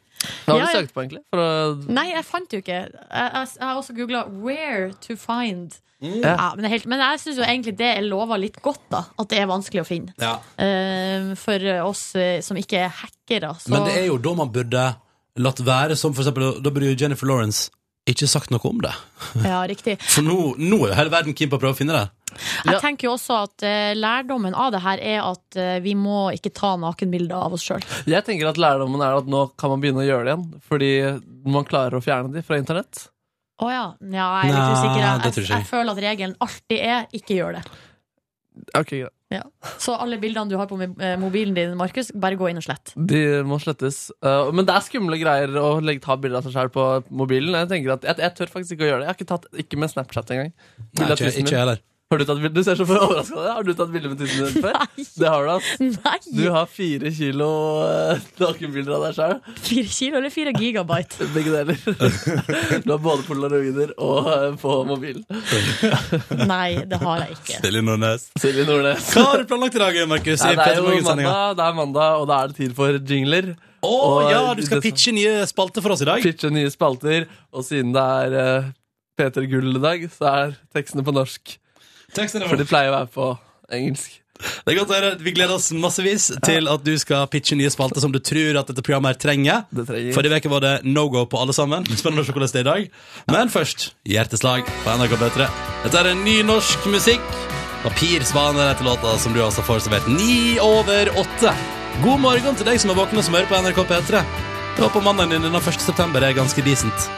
Speaker 9: Hva har
Speaker 2: Ja,
Speaker 9: du
Speaker 2: ja.
Speaker 9: søkt på, egentlig? For å,
Speaker 2: Nei, jeg fant jo ikke. Jeg, jeg, jeg har også googla 'where to find'.
Speaker 1: Mm.
Speaker 2: Ja, men, det er helt, men jeg syns egentlig det er lova litt godt, da. At det er vanskelig å finne.
Speaker 1: Ja.
Speaker 2: Eh, for oss eh, som ikke er hackere. Så.
Speaker 1: Men det er jo da man burde latt være, som for eksempel Da burde jo Jennifer Lawrence ikke sagt noe om det.
Speaker 2: Ja, riktig.
Speaker 1: For nå, nå er jo hele verden keen på å prøve å finne det.
Speaker 2: Jeg
Speaker 9: Ja.
Speaker 2: tenker jo også at eh, lærdommen av det her er at eh, vi må ikke ta nakenbilder av oss sjøl.
Speaker 9: jeg tenker at lærdommen er at nå kan man begynne å gjøre det igjen. Fordi man klarer å fjerne de fra internett.
Speaker 2: Å ja. ja. Jeg er litt
Speaker 1: Nei,
Speaker 2: usikker. Jeg,
Speaker 1: det tror
Speaker 2: jeg,
Speaker 1: ikke jeg.
Speaker 2: jeg føler at regelen alltid er ikke gjør det.
Speaker 9: Ok, greit.
Speaker 2: Så alle bildene du har på mi- eh, mobilen din, Markus, bare gå inn og slett.
Speaker 9: De må slettes. Uh, men det er skumle greier å legge, ta bilder av seg selv på mobilen. Jeg tenker at jeg, jeg tør faktisk ikke å gjøre det. Jeg har ikke tatt ikke med Snapchat engang.
Speaker 1: Nei,
Speaker 9: Bildet av
Speaker 1: ikke,
Speaker 9: tissen
Speaker 1: ikke jeg
Speaker 9: min.
Speaker 1: heller.
Speaker 9: Har du tatt bilde? Du ser så overraska ut. Har du tatt bilde med tissen din før?
Speaker 2: Nei.
Speaker 9: Det har du, ass. Du
Speaker 2: Nei!
Speaker 9: har fire kilo eh, nakenbilder av deg sjøl.
Speaker 2: Fire kilo eller fire gigabyte?
Speaker 9: Begge deler. Du har både polaroider og eh, på mobilen.
Speaker 2: Nei, det har jeg ikke.
Speaker 1: Silje Nordnes.
Speaker 9: Silje Nordnes.
Speaker 1: Hva har du planlagt i dag, Markus? i
Speaker 9: Nei, det er jo
Speaker 1: Petter Morgen-sendinga?
Speaker 9: mandag, det er mandag, og da er det tid for jingler.
Speaker 1: Å
Speaker 9: og-
Speaker 1: ja, du skal
Speaker 9: det-
Speaker 1: pitche nye spalter for oss i dag?
Speaker 9: Pitche nye spalter, og siden det er eh, Peter Gull i dag, så er tekstene på norsk.
Speaker 1: Teksten er
Speaker 9: For
Speaker 1: vår.
Speaker 9: de pleier å være på engelsk.
Speaker 1: Det er godt å høre. Vi gleder oss massevis til at du skal pitche nye spalter som du tror at dette programmet her trenger.
Speaker 9: Det trenger.
Speaker 1: Forrige uke var det no go på alle sammen. Spennende å se hvordan det er i dag. Men først hjerteslag på NRK P3. Dette er en ny norsk musikk. Papirsvaner heter låta som du altså får servert ni over åtte. God morgen til deg som er våken og som hører på NRK P3. Det var på mandagen din den 1. september. Det er ganske decent.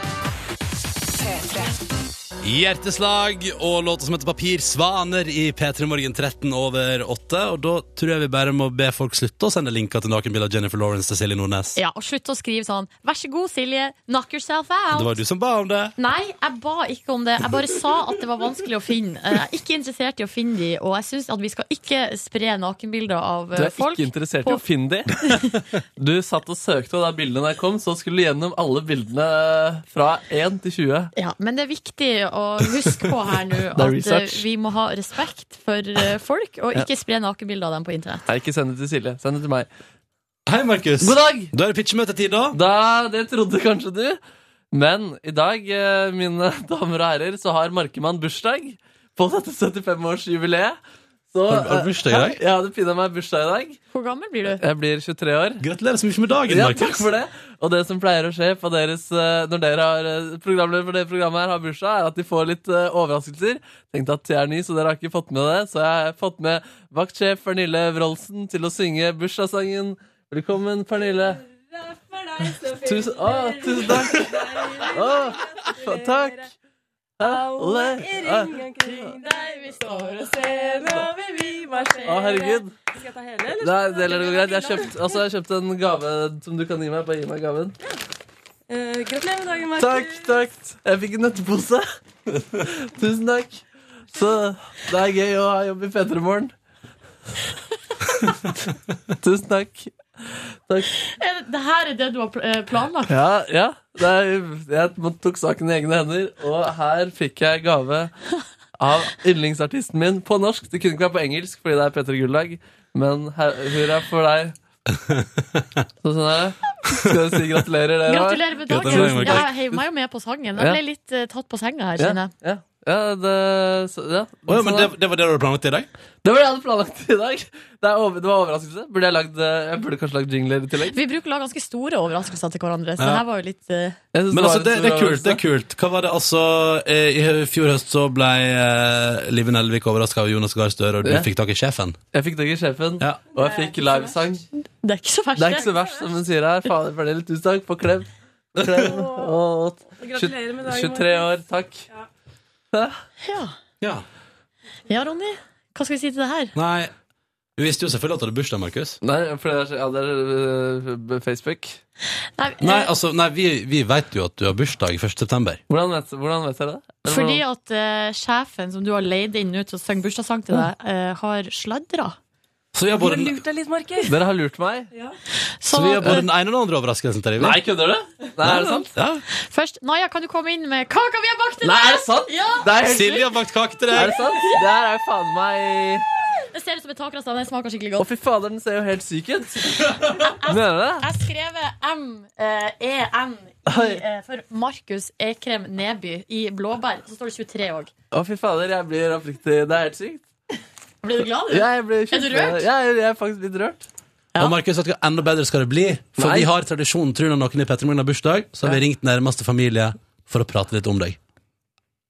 Speaker 1: Hjerteslag og låta som heter Papir Svaner i P3 Morgen 13 over 8. Og da tror jeg vi bare må be folk slutte å sende linker til nakenbilder av Jennifer Lawrence til Silje Nordnes.
Speaker 2: Ja, og slutt å skrive sånn Vær så god, Silje, knock yourself out.
Speaker 1: Det var du som ba om det.
Speaker 2: Nei, jeg ba ikke om det. Jeg bare sa at det var vanskelig å finne. Eh, Jeg er ikke interessert i å finne de, og jeg syns at vi skal ikke spre nakenbilder av
Speaker 9: Du
Speaker 2: eh,
Speaker 9: er
Speaker 2: folk.
Speaker 9: ikke interessert i
Speaker 2: på-
Speaker 9: å finne de. Du satt og søkte, og da bildene der kom, så skulle du gjennom alle bildene fra 1 til 20.
Speaker 2: Ja, men det er viktig å huske på her nå
Speaker 9: Det er
Speaker 2: at eh,
Speaker 9: research.
Speaker 2: vi må ha respekt for eh, folk, og ikke spre nakenbilder av dem på internett.
Speaker 9: Nei, ikke send det til Silje. Send det til meg.
Speaker 1: Hei, Markus.
Speaker 9: God dag!
Speaker 1: Da er det pitchmøtetid, da.
Speaker 9: Da, det trodde kanskje du. Men i dag, eh, mine damer og herrer, så har Markemann bursdag på dette 75-årsjubileet. Så,
Speaker 1: Har- har du bursdag i dag?
Speaker 9: eh, Ja, det pinner meg bursdag i dag.
Speaker 2: Hvor gammel blir du?
Speaker 9: Jeg blir 23 år.
Speaker 1: Gratulerer så mye med dagen,
Speaker 9: Ja, takk
Speaker 1: Markus.
Speaker 9: for det. Og det som pleier å skje på deres, eh, når dere har eh, programleder for det programmet her har bursdag, er at de får litt eh, overraskelser. Tenkte at jeg er ny, så dere har ikke fått med det. Så jeg har fått med vaktsjef Pernille Wroldsen til å synge bursdagssangen. Velkommen, Pernille. Tusen, å, tusen takk. Å, fa- takk. Alle Å, å, herregud. Det er, det er greit. Jeg har kjøpt, altså, jeg har kjøpt en gave som du kan gi meg. Bare gi meg gaven.
Speaker 10: Eh, Gratulerer med dagen,
Speaker 9: Takk, takk. Jeg fikk en nøttepose. Tusen takk. Så det er gøy å ha jobb i P3 Morgen. Tusen takk. Takk.
Speaker 2: Er det- Det her er det du har pl- eh, planlagt?
Speaker 9: Ja, ja. Det er, jeg tok saken i egne hender, og her fikk jeg gave av yndlingsartisten min på norsk. Det kunne ikke være på engelsk, fordi det er P3 Gulldag, men her, hurra for deg. Så sånn er det. Skal jeg si gratulerer, dere? var?
Speaker 2: Gratulerer med dagen.
Speaker 1: Gratulerer med dagen.
Speaker 2: Ja, jeg heiv meg jo med på sangen. Jeg
Speaker 9: Ja.
Speaker 2: ble litt eh, tatt på senga her,
Speaker 9: Ja,
Speaker 2: kjenner jeg.
Speaker 9: ja, ja, det, så, ja.
Speaker 1: Å, ja, men
Speaker 9: Sånn
Speaker 1: det,
Speaker 9: er det.
Speaker 1: det var det du hadde planlagt i dag?
Speaker 9: Det var det jeg hadde planlagt i dag. Det, er over, det var overraskelse. Burde jeg, lagd, eh, jeg burde kanskje lagd jingler i tillegg.
Speaker 2: Vi bruker å lage ganske store overraskelser til hverandre, så
Speaker 1: Ja.
Speaker 2: det her var jo litt eh,
Speaker 9: Jeg synes
Speaker 1: Men
Speaker 9: var
Speaker 1: altså,
Speaker 9: en
Speaker 1: det,
Speaker 9: stor
Speaker 1: det er kult. det er
Speaker 9: overraskelse.
Speaker 1: kult Hva var det altså eh, I fjor høst så ble eh, Live Nelvik overraska av Jonas Gahr Støre, og du
Speaker 9: Ja.
Speaker 1: fikk tak i sjefen.
Speaker 9: Jeg fikk tak i sjefen,
Speaker 1: Ja.
Speaker 9: og jeg fikk livesang.
Speaker 2: Det er ikke så verst.
Speaker 9: Det er ikke så verst, som hun sier her. Fader, Pernille, tusen takk. På klem. På klem. Å,
Speaker 10: Gratulerer med dagen.
Speaker 9: 23 år, takk.
Speaker 2: Ja.
Speaker 1: Ja.
Speaker 2: ja, Ronny. Hva skal vi si til det her?
Speaker 1: Nei, du visste jo selvfølgelig at du hadde bursdag, Markus.
Speaker 9: Nei, for det er, ja, det er øh, Facebook.
Speaker 2: Nei,
Speaker 1: Nei,
Speaker 2: eh,
Speaker 1: altså, nei, vi, vi vet jo at du har bursdag 1. september.
Speaker 9: Hvordan vet, hvordan vet dere det? Eller
Speaker 2: Fordi
Speaker 9: hvordan-
Speaker 2: at eh, sjefen som du har leid inn nå til å synge bursdagssang til deg, eh, har sladra.
Speaker 1: Så vi har
Speaker 10: Du
Speaker 1: både,
Speaker 10: har
Speaker 1: den-
Speaker 10: lurt deg litt, Markus.
Speaker 9: Dere har lurt meg?
Speaker 1: så vi
Speaker 2: at,
Speaker 1: har både
Speaker 2: eh,
Speaker 1: den ene og den andre overraskelsen til deg. vi.
Speaker 9: Nei, kødder du? Nei, er det sant?
Speaker 1: Ja.
Speaker 2: først, Naja, kan du komme inn med kaka vi har bakt til
Speaker 9: Nei, er
Speaker 2: deg?
Speaker 9: det sant?
Speaker 2: Ja!
Speaker 9: Det er, helt-
Speaker 1: Silje har bakt kake til
Speaker 9: er
Speaker 1: deg.
Speaker 9: det sant? Det her er jo faen meg
Speaker 2: Det ser ut som et takras, den smaker skikkelig
Speaker 9: Å,
Speaker 2: godt.
Speaker 9: fy fader, den ser jo helt syk ut. Mener du
Speaker 2: Jeg
Speaker 9: det?
Speaker 2: eh, har skrevet M-E-N E, i, eh, for Markus Ekrem Neby i blåbær. Så står det 23 òg.
Speaker 9: Å, fy fader, jeg blir oppriktig Det er helt sykt.
Speaker 2: Blir du glad, du?
Speaker 9: Jeg blir
Speaker 2: Er du rørt?
Speaker 9: Ja, jeg, jeg er faktisk litt rørt.
Speaker 2: Ja.
Speaker 1: Og Markus, vet du hva enda bedre skal det bli? For
Speaker 9: Nei.
Speaker 1: vi har tradisjonen, tror jeg, når noen i Petter Morgen har bursdag, så har vi ringt nærmeste familie for å prate litt om deg.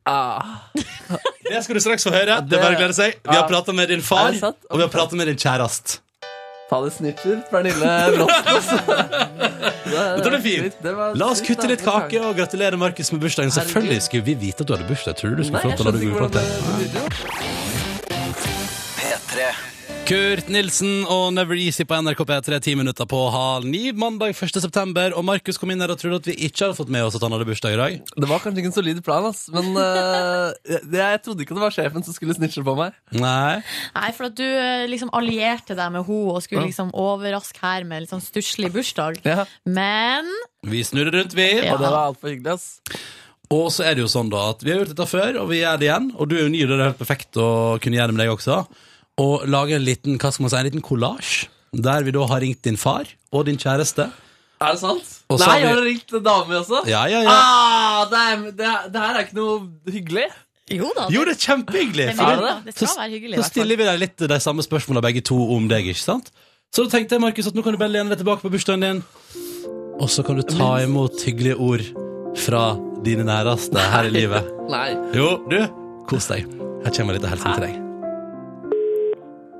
Speaker 9: Ah,
Speaker 1: Det skal du straks få høre.
Speaker 9: Det er bare å glede
Speaker 1: seg. Vi
Speaker 9: har
Speaker 1: prata med din
Speaker 9: Er det sant? og
Speaker 1: vi har prata med din kjæreste.
Speaker 9: fader, snitcher. Pernille Bråsten, altså. Det-
Speaker 1: den er fin.
Speaker 9: det- det var
Speaker 1: La oss
Speaker 9: sykt,
Speaker 1: kutte
Speaker 9: da.
Speaker 1: litt kake og gratulere Markus med bursdagen. Selvfølgelig
Speaker 9: Herregud.
Speaker 1: skulle vi vite Sånn at du hadde bursdag. Tror du du
Speaker 9: Nei,
Speaker 1: skulle få lov
Speaker 9: jeg
Speaker 1: til å la
Speaker 9: skjønner
Speaker 1: det
Speaker 9: ikke
Speaker 1: gå
Speaker 9: hvordan
Speaker 1: bort
Speaker 9: det
Speaker 1: til?
Speaker 9: det blir gjort.
Speaker 6: P3.
Speaker 1: Kurt Nilsen og Never Easy på NRK P3, ti minutter på halv ni, mandag 1. september. Og Markus kom inn her og trodde at vi ikke hadde fått med oss at han hadde bursdag i dag.
Speaker 9: Det var kanskje ikke en solid plan, ass, men eh, jeg, jeg trodde ikke det var sjefen som skulle snitche på meg.
Speaker 1: Nei.
Speaker 2: Nei, for at du eh, liksom allierte deg med henne og skulle liksom overraske her med litt sånn stusslig bursdag.
Speaker 9: Ja.
Speaker 2: Men
Speaker 1: Vi snurrer rundt, vi.
Speaker 9: Og det var altfor hyggelig, ass.
Speaker 1: Og så er det jo sånn da at vi har gjort dette før, og vi gjør det igjen. Og du er jo ny, og det er helt perfekt å kunne gjøre det med deg også. Og lage en liten hva skal man si, en liten kollasj, der vi da har ringt din far og din kjæreste.
Speaker 9: Er det sant?
Speaker 1: Og så
Speaker 9: Nei,
Speaker 1: har vi-
Speaker 9: har du ringt damer også?
Speaker 1: Ja, ja, ja.
Speaker 9: Ah, det, er, det, er- det her er ikke noe hyggelig.
Speaker 2: jo da,
Speaker 1: Jo, det er kjempehyggelig!
Speaker 2: det,
Speaker 1: for
Speaker 9: er
Speaker 2: det,
Speaker 9: det?
Speaker 2: det skal være hyggelig. i
Speaker 1: Så
Speaker 2: hvert fall.
Speaker 1: stiller vi deg litt de samme spørsmålene begge to om deg, ikke sant? Så da tenkte jeg, Markus, at nå kan du bare lene deg tilbake på bursdagen din, og så kan du ta imot hyggelige ord fra dine næreste her i livet.
Speaker 9: Nei.
Speaker 1: Jo, du, kos deg. Her kommer en liten hilsen til deg.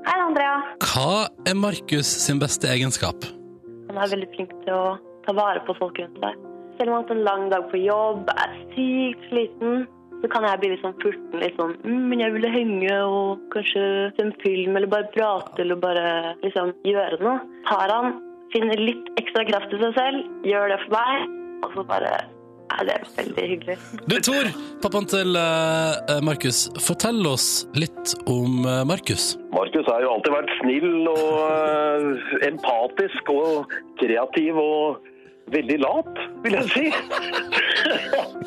Speaker 3: Hei, Andrea.
Speaker 1: Hva er Markus sin beste egenskap?
Speaker 3: Han er veldig flink til å ta vare på folk rundt seg. Selv om han har hatt en lang dag på jobb, er sykt sliten, så kan jeg bli litt sånn furten. Litt sånn mm, 'Men jeg ville henge og kanskje se en film, eller bare prate, eller bare liksom gjøre noe'. Har han finner litt ekstra kraft i seg selv, gjør det for meg, og så bare er det er veldig hyggelig.
Speaker 1: Du, Tor, pappaen til eh, Markus, fortell oss litt om eh, Markus.
Speaker 4: Markus har jo alltid vært snill og eh, empatisk og kreativ og veldig lat, vil jeg si.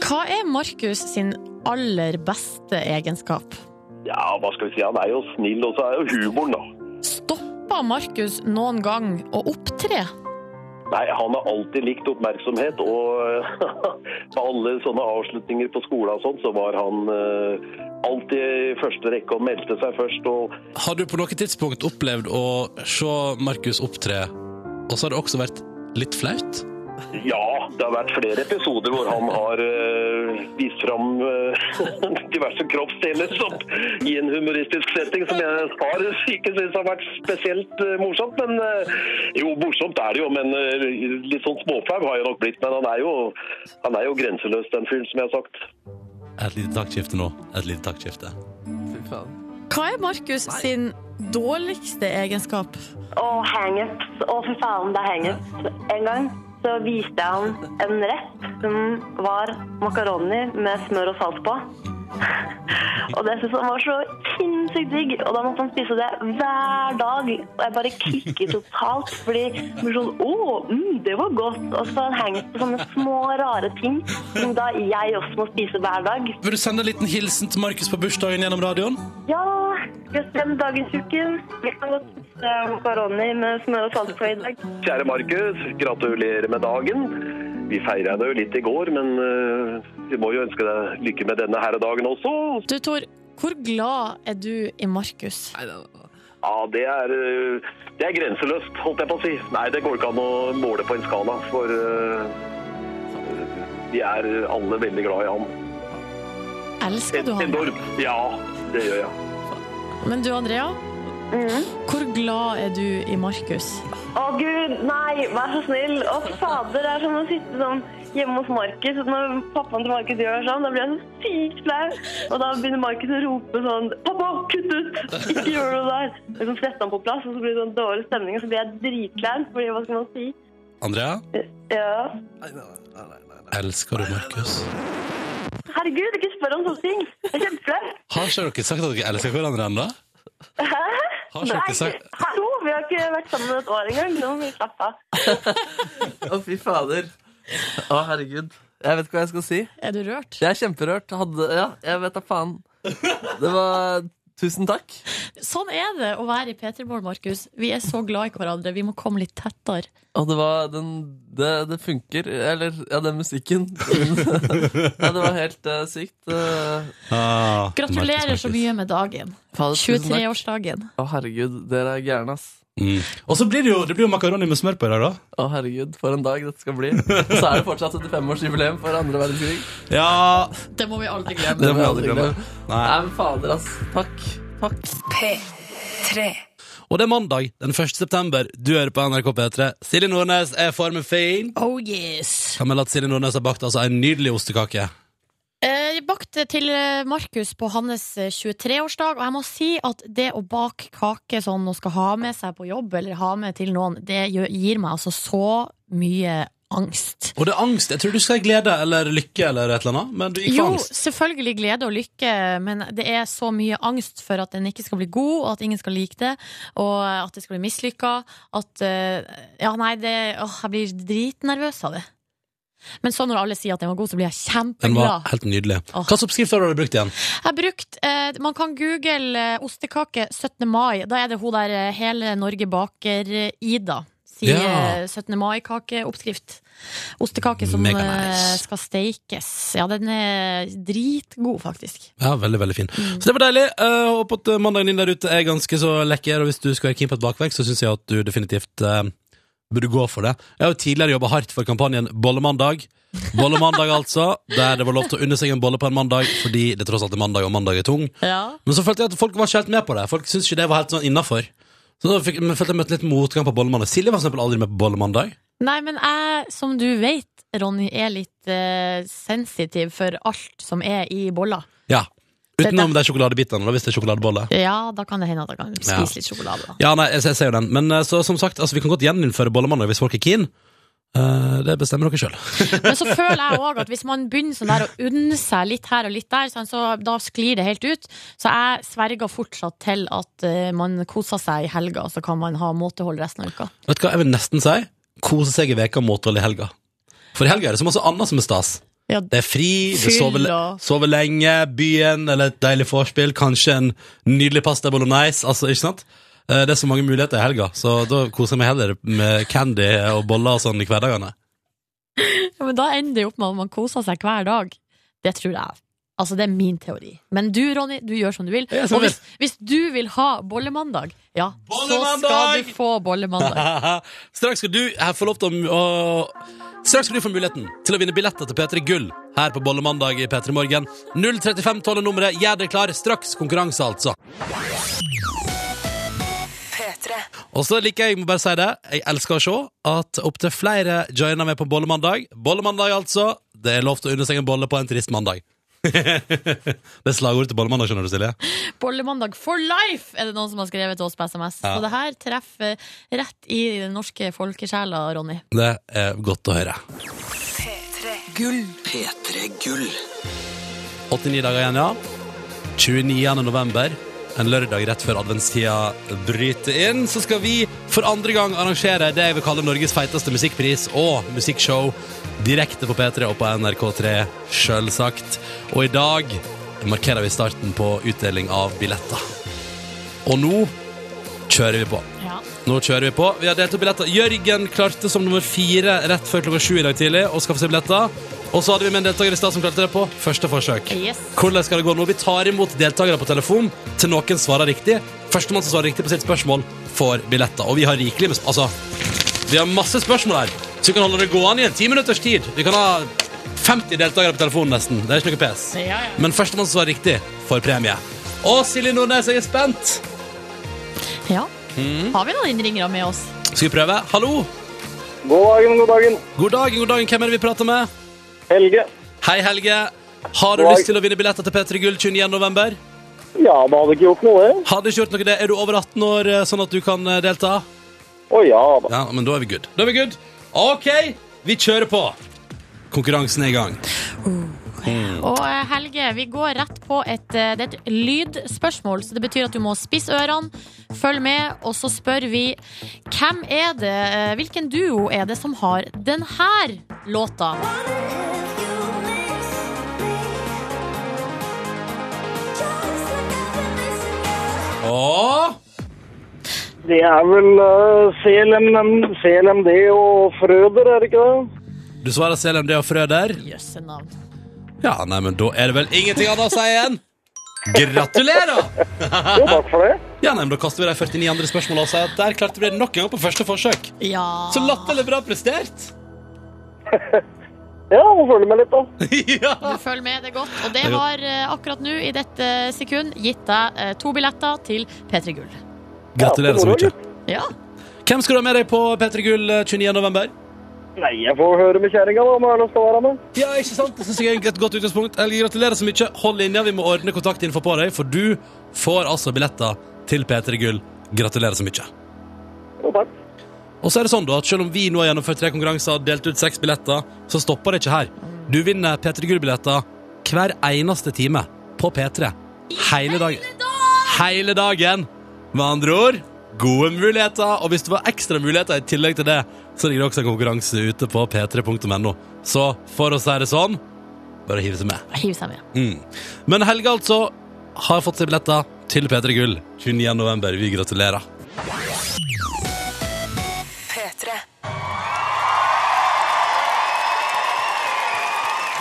Speaker 2: Hva er Markus sin aller beste egenskap?
Speaker 4: Ja, hva skal vi si, han er jo snill, og så er jo humoren, da.
Speaker 2: Stoppa Markus noen gang å opptre?
Speaker 4: Nei, han har alltid likt oppmerksomhet, og eh, på alle sånne avslutninger på skolen og sånn, så var han eh, alltid i første rekke og meldte seg først. Og
Speaker 1: Har du på noe tidspunkt opplevd å se Markus opptre, og så har det også vært litt flaut?
Speaker 4: ja, det har vært flere episoder hvor han har eh, vist fram eh, diverse kroppsdeler som, i en humoristisk setting som jeg har ikke synes har vært spesielt eh, morsomt. Men eh, jo, morsomt er det jo, men eh, litt sånn småflau har jeg nok blitt. Men han er jo, han er jo grenseløs, den fyren, som jeg har sagt.
Speaker 1: Et lite taktskifte nå. Et lite taktskifte.
Speaker 9: Fy faen.
Speaker 2: Hva er Markus sin dårligste egenskap?
Speaker 3: Og hangups. Å, fy faen, det er hangups. En gang så viste jeg han en rett som var makaroni med smør og salt på. Og det syntes han var så sinnssykt digg, og da måtte han spise det hver dag. Og jeg bare kikket totalt, fordi jeg ble sånn Å, mm, det var godt. Og så får han hangups på sånne små, rare ting som da jeg også må spise hver dag.
Speaker 1: Vil du sende en liten hilsen til Markus på bursdagen gjennom radioen?
Speaker 3: Ja, vi har stemt dagens uke. Vi kan godt spise makaroni med smør og salt på i dag.
Speaker 4: Kjære Markus, gratulerer med dagen. Vi feira det jo litt i går, men eh, vi må jo ønske deg lykke med denne her dagen også.
Speaker 2: Du, Tor, hvor glad er du i Markus?
Speaker 9: Nei, det var-
Speaker 4: Ja, det er, eh, det er grenseløst, holdt jeg på å si. Nei, det går ikke an å måle på en skala, for eh, vi er alle veldig glad i han.
Speaker 2: Elsker du han?
Speaker 4: Enormt. Ja, det gjør jeg.
Speaker 2: Men du, Andrea?
Speaker 3: Mm.
Speaker 2: Hvor glad er du i Markus?
Speaker 3: Å gud, nei, vær så snill. Å fader, det er som å sitte sånn hjemme hos Markus. og Når pappaen til Markus gjør sånn, da blir jeg så sykt flau. Og da begynner Markus å rope sånn Pappa, kutt ut! Ikke gjør noe der! Liksom setter han på plass, og så blir det sånn dårlig stemning, og så blir jeg dritklein. Fordi hva skal man si?
Speaker 1: Andrea,
Speaker 3: Ja.
Speaker 9: nei, nei, nei, nei, nei.
Speaker 1: elsker du Markus?
Speaker 3: Herregud, ikke spør om sånne ting! Det er kjempeflaut.
Speaker 1: Har ikke dere sagt at dere elsker hverandre ennå? Har ikke dere
Speaker 3: Nei,
Speaker 1: sagt
Speaker 3: hallo, vi har ikke vært sammen et år engang. Nå må vi slappe av.
Speaker 9: Å, fy fader. Å, herregud. Jeg vet ikke hva jeg skal si.
Speaker 2: Er du rørt?
Speaker 9: Jeg er kjemperørt. Hadde, ja, jeg vet da faen. Det var Tusen takk.
Speaker 2: Sånn er det å være i P3 Morgen, Markus. Vi er så glad i hverandre. Vi må komme litt tettere.
Speaker 9: Og det var den Det, det funker. Eller, ja, den musikken. ja, det var helt eh, sykt. eh.
Speaker 1: Ah,
Speaker 2: Gratulerer
Speaker 1: Markus,
Speaker 2: så
Speaker 1: Markus.
Speaker 2: mye med dagen.
Speaker 9: Fader, tusen takk.
Speaker 2: 23-årsdagen.
Speaker 9: Å, herregud. Dere er gærne, ass.
Speaker 1: Mm. Og så blir det jo, det blir jo makaroni med smør på i dag, da.
Speaker 9: Å, herregud, for en dag dette skal bli. Og så er det fortsatt 75-årsjubileum for andre verdenskrig.
Speaker 1: Ja,
Speaker 2: Det må vi aldri glemme.
Speaker 1: det må jeg aldri
Speaker 9: aldri
Speaker 1: glemme.
Speaker 9: glemme.
Speaker 1: Nei.
Speaker 9: Nei, men fader, ass. Takk. Takk.
Speaker 1: Og det er mandag den 1. september. Du hører på NRK P3. Silje Nordnes er formen fin.
Speaker 2: Oh yes!
Speaker 1: Kan melde at Silje Nordnes har bakt altså en nydelig ostekake.
Speaker 2: Eh, vi bakte til eh, Markus på hans eh, 23-årsdag, og jeg må si at det å bake kake sånn og skal ha med seg på jobb, eller ha med til noen, det gjør, gir meg altså så mye angst.
Speaker 1: Og det er angst. Jeg tror du skal ha glede eller lykke eller et eller annet, men du gikk for
Speaker 2: Jo,
Speaker 1: angst.
Speaker 2: selvfølgelig glede og lykke, men det er så mye angst for at den ikke skal bli god, og at ingen skal like det, og at det skal bli mislykka, at eh, Ja, nei, det Åh, jeg blir dritnervøs av det. Men så når alle sier at den var god, så blir jeg
Speaker 1: Den
Speaker 2: kjempeglad.
Speaker 1: var helt nydelig. Hva slags oppskrift har du brukt igjen?
Speaker 2: Jeg har brukt, eh, Man kan google eh, ostekake 17. mai. Da er det hun der eh, hele Norge baker eh, Ida. Sier
Speaker 11: Ja.
Speaker 2: eh, 17. mai-kakeoppskrift. Ostekake som
Speaker 1: Mega
Speaker 2: eh, skal steikes. Ja, den er dritgod, faktisk.
Speaker 1: Ja, veldig, veldig fin.
Speaker 2: Mm.
Speaker 1: Så det var deilig. Eh, håper at mandagen din der ute er ganske så lekker, og hvis du skal være keen på et bakverk, så syns jeg at du definitivt eh, burde gå for det. Jeg har jo tidligere jobba hardt for kampanjen Bollemandag. Bollemandag, altså. Der det var lov til å unne seg en bolle på en mandag, fordi det tross alt er mandag, og mandag er tung.
Speaker 2: Ja.
Speaker 1: Men så følte jeg at folk var ikke helt med på det. Folk syntes ikke det var helt sånn innafor. Så da fikk, men følte jeg møtte litt motgang på bollemandag. Silje var for eksempel aldri med på bollemandag.
Speaker 2: Nei, men jeg, som du vet, Ronny, er litt eh, sensitiv for alt som er i boller.
Speaker 1: Ja. Utenom de sjokoladebitene, da, hvis det er sjokoladebolle.
Speaker 2: Ja, da kan det hende at jeg kan spise
Speaker 1: Ja.
Speaker 2: litt sjokolade. Da.
Speaker 1: Ja, nei, jeg, jeg ser jo den. Men eh, så, som sagt, altså, vi kan godt gjeninnføre bollemandag hvis folk er keen. Eh, det bestemmer dere sjøl.
Speaker 2: Men så føler jeg òg at hvis man begynner sånn der å unne seg litt her og litt der, sånn, så da sklir det helt ut. Så jeg sverger fortsatt til at eh, man koser seg i helga, så kan man ha måtehold resten av uka.
Speaker 1: Vet du hva, jeg vil nesten si kose seg i veka måtehold i helga. For i helga er det så masse annet som er stas.
Speaker 2: Ja,
Speaker 1: det er fri, det
Speaker 2: fyll
Speaker 1: sover,
Speaker 2: og-
Speaker 1: sover lenge, byen eller et deilig vorspiel, kanskje en nydelig pasta bolognese, altså, ikke sant? Eh, Det er så mange muligheter i helga, så da koser jeg meg heller med candy og boller og sånn i hverdagene.
Speaker 2: Ja, men da ender det jo opp med at man koser seg hver dag. Det tror jeg. Altså, det er min teori. Men du, Ronny, du gjør som du vil.
Speaker 1: som jeg
Speaker 2: Og hvis, hvis du vil ha bollemandag, ja, så skal
Speaker 1: Bollemandag!
Speaker 2: du få bollemandag.
Speaker 1: Straks skal du her få lov til å, å Straks skal du få muligheten til å vinne billetter til P3 Gull her på Bollemandag i P3 Morgen. 03512 er nummeret. Gjør deg klar. Straks konkurranse, altså. Og så liker jeg, jeg må bare si det, jeg elsker å se at opptil flere joiner med på bollemandag. Bollemandag, altså. Det er lov til å unne seg en bolle på en trist mandag. det er slagordet til bollemandag, skjønner du, Silje.
Speaker 2: Bollemandag for life, er det noen som har skrevet til oss på SMS.
Speaker 1: Ja.
Speaker 2: Og det her treffer rett i den norske folkesjela, Ronny.
Speaker 1: Det er godt å høre.
Speaker 6: Gull. P3 Gull.
Speaker 1: 89 dager igjen, ja. 29. november, en lørdag rett før adventstida bryter inn, så skal vi for andre gang arrangere det jeg vil kalle Norges feiteste musikkpris og musikkshow direkte på P3 og på NRK3, sjølsagt. Og i dag markerer vi starten på utdeling av billetter. Og nå kjører vi på. Nå kjører vi på. Vi har delt opp billetter. Jørgen klarte som nummer fire rett før klokka sju i dag tidlig å skaffe seg billetter. Og så hadde vi med en deltaker i stad som klarte det på første forsøk.
Speaker 2: Yes.
Speaker 1: Hvordan skal det gå nå? Vi tar imot deltakere på telefon til noen svarer riktig. Førstemann som svarer riktig på sitt spørsmål, får billetter. Og vi har rikelig med sp- Altså, vi har masse spørsmål her, så vi kan holde det gående i en ti minutters tid. Vi kan ha 50 deltakere på telefonen nesten. Det er ikke noe pes. Men førstemann som svarer riktig, får premie. Å, Silje Nordnes, jeg er spent!
Speaker 2: Ja.
Speaker 1: Mm.
Speaker 2: Har vi noen innringere med oss?
Speaker 1: Skal vi prøve? Hallo!
Speaker 12: God dagen, god dagen.
Speaker 1: God dagen, god dagen. Hvem er det vi prater med?
Speaker 12: Helge.
Speaker 1: Hei, Helge. Har
Speaker 12: God
Speaker 1: du
Speaker 12: dag.
Speaker 1: lyst til å vinne billetter til P3 Gull 29. november?
Speaker 12: Ja, det hadde ikke gjort noe, eh? det.
Speaker 1: Hadde ikke gjort noe det. Er du over 18 år, eh, sånn at du kan eh, delta?
Speaker 12: Å ja da.
Speaker 1: Ja, men da er vi good. Da er vi good. OK, vi kjører på. Konkurransen er i gang. Mm.
Speaker 2: Og eh, Helge, vi går rett på et, eh, det er et lydspørsmål, så det betyr at du må spisse ørene, følg med, og så spør vi hvem er det, eh, hvilken duo er det som har den her låta?
Speaker 1: Åh!
Speaker 12: Det er vel eh, CLM, CLMD og Frøder, er det ikke det?
Speaker 1: Du svarer CLMD og Frøder.
Speaker 2: Jøsse navn.
Speaker 1: Ja, nei, men da er det vel ingenting annet å si igjen. Gratulerer!
Speaker 12: Jo, takk for det.
Speaker 1: Ja, nei, men Da kaster vi de 49 andre spørsmålene og sier at der klarte vi det nok en gang på første forsøk.
Speaker 2: Ja.
Speaker 1: Så latterlig bra prestert.
Speaker 12: Ja, må følge med litt, da.
Speaker 2: Du følger med, det er godt. Og det
Speaker 1: Det er godt.
Speaker 2: har eh, akkurat nå, i dette eh, sekund, gitt deg eh, to billetter til P3 Gull.
Speaker 1: Gratulerer så mye.
Speaker 2: Ja.
Speaker 1: Hvem skal du ha med deg på P3 Gull eh, 29. november?
Speaker 12: Nei, jeg får høre med kjerringa da, om jeg har lyst til å være med.
Speaker 1: Ja, ikke sant? Det synes jeg er et godt utgangspunkt. Eller gratulerer så mye. Hold linja, vi må ordne kontaktinfo på deg, for du får altså billetter til P3 Gull. Gratulerer så mye. Og så er det sånn da, at selv om vi nå har gjennomført tre konkurranser og delt ut seks billetter, så stopper det ikke her. Du vinner P3 Gull-billetter hver eneste time på P3. Hele dagen. Hele dagen. Med andre ord, gode muligheter. Og hvis det var ekstra muligheter i tillegg til det, så ligger det også en konkurranse ute på p3.no. Så for å si det sånn, bare hiv seg med.
Speaker 2: Hiv seg med.
Speaker 1: Mm. Men Helge altså har fått seg billetter til P3 Gull 29. november. Vi gratulerer.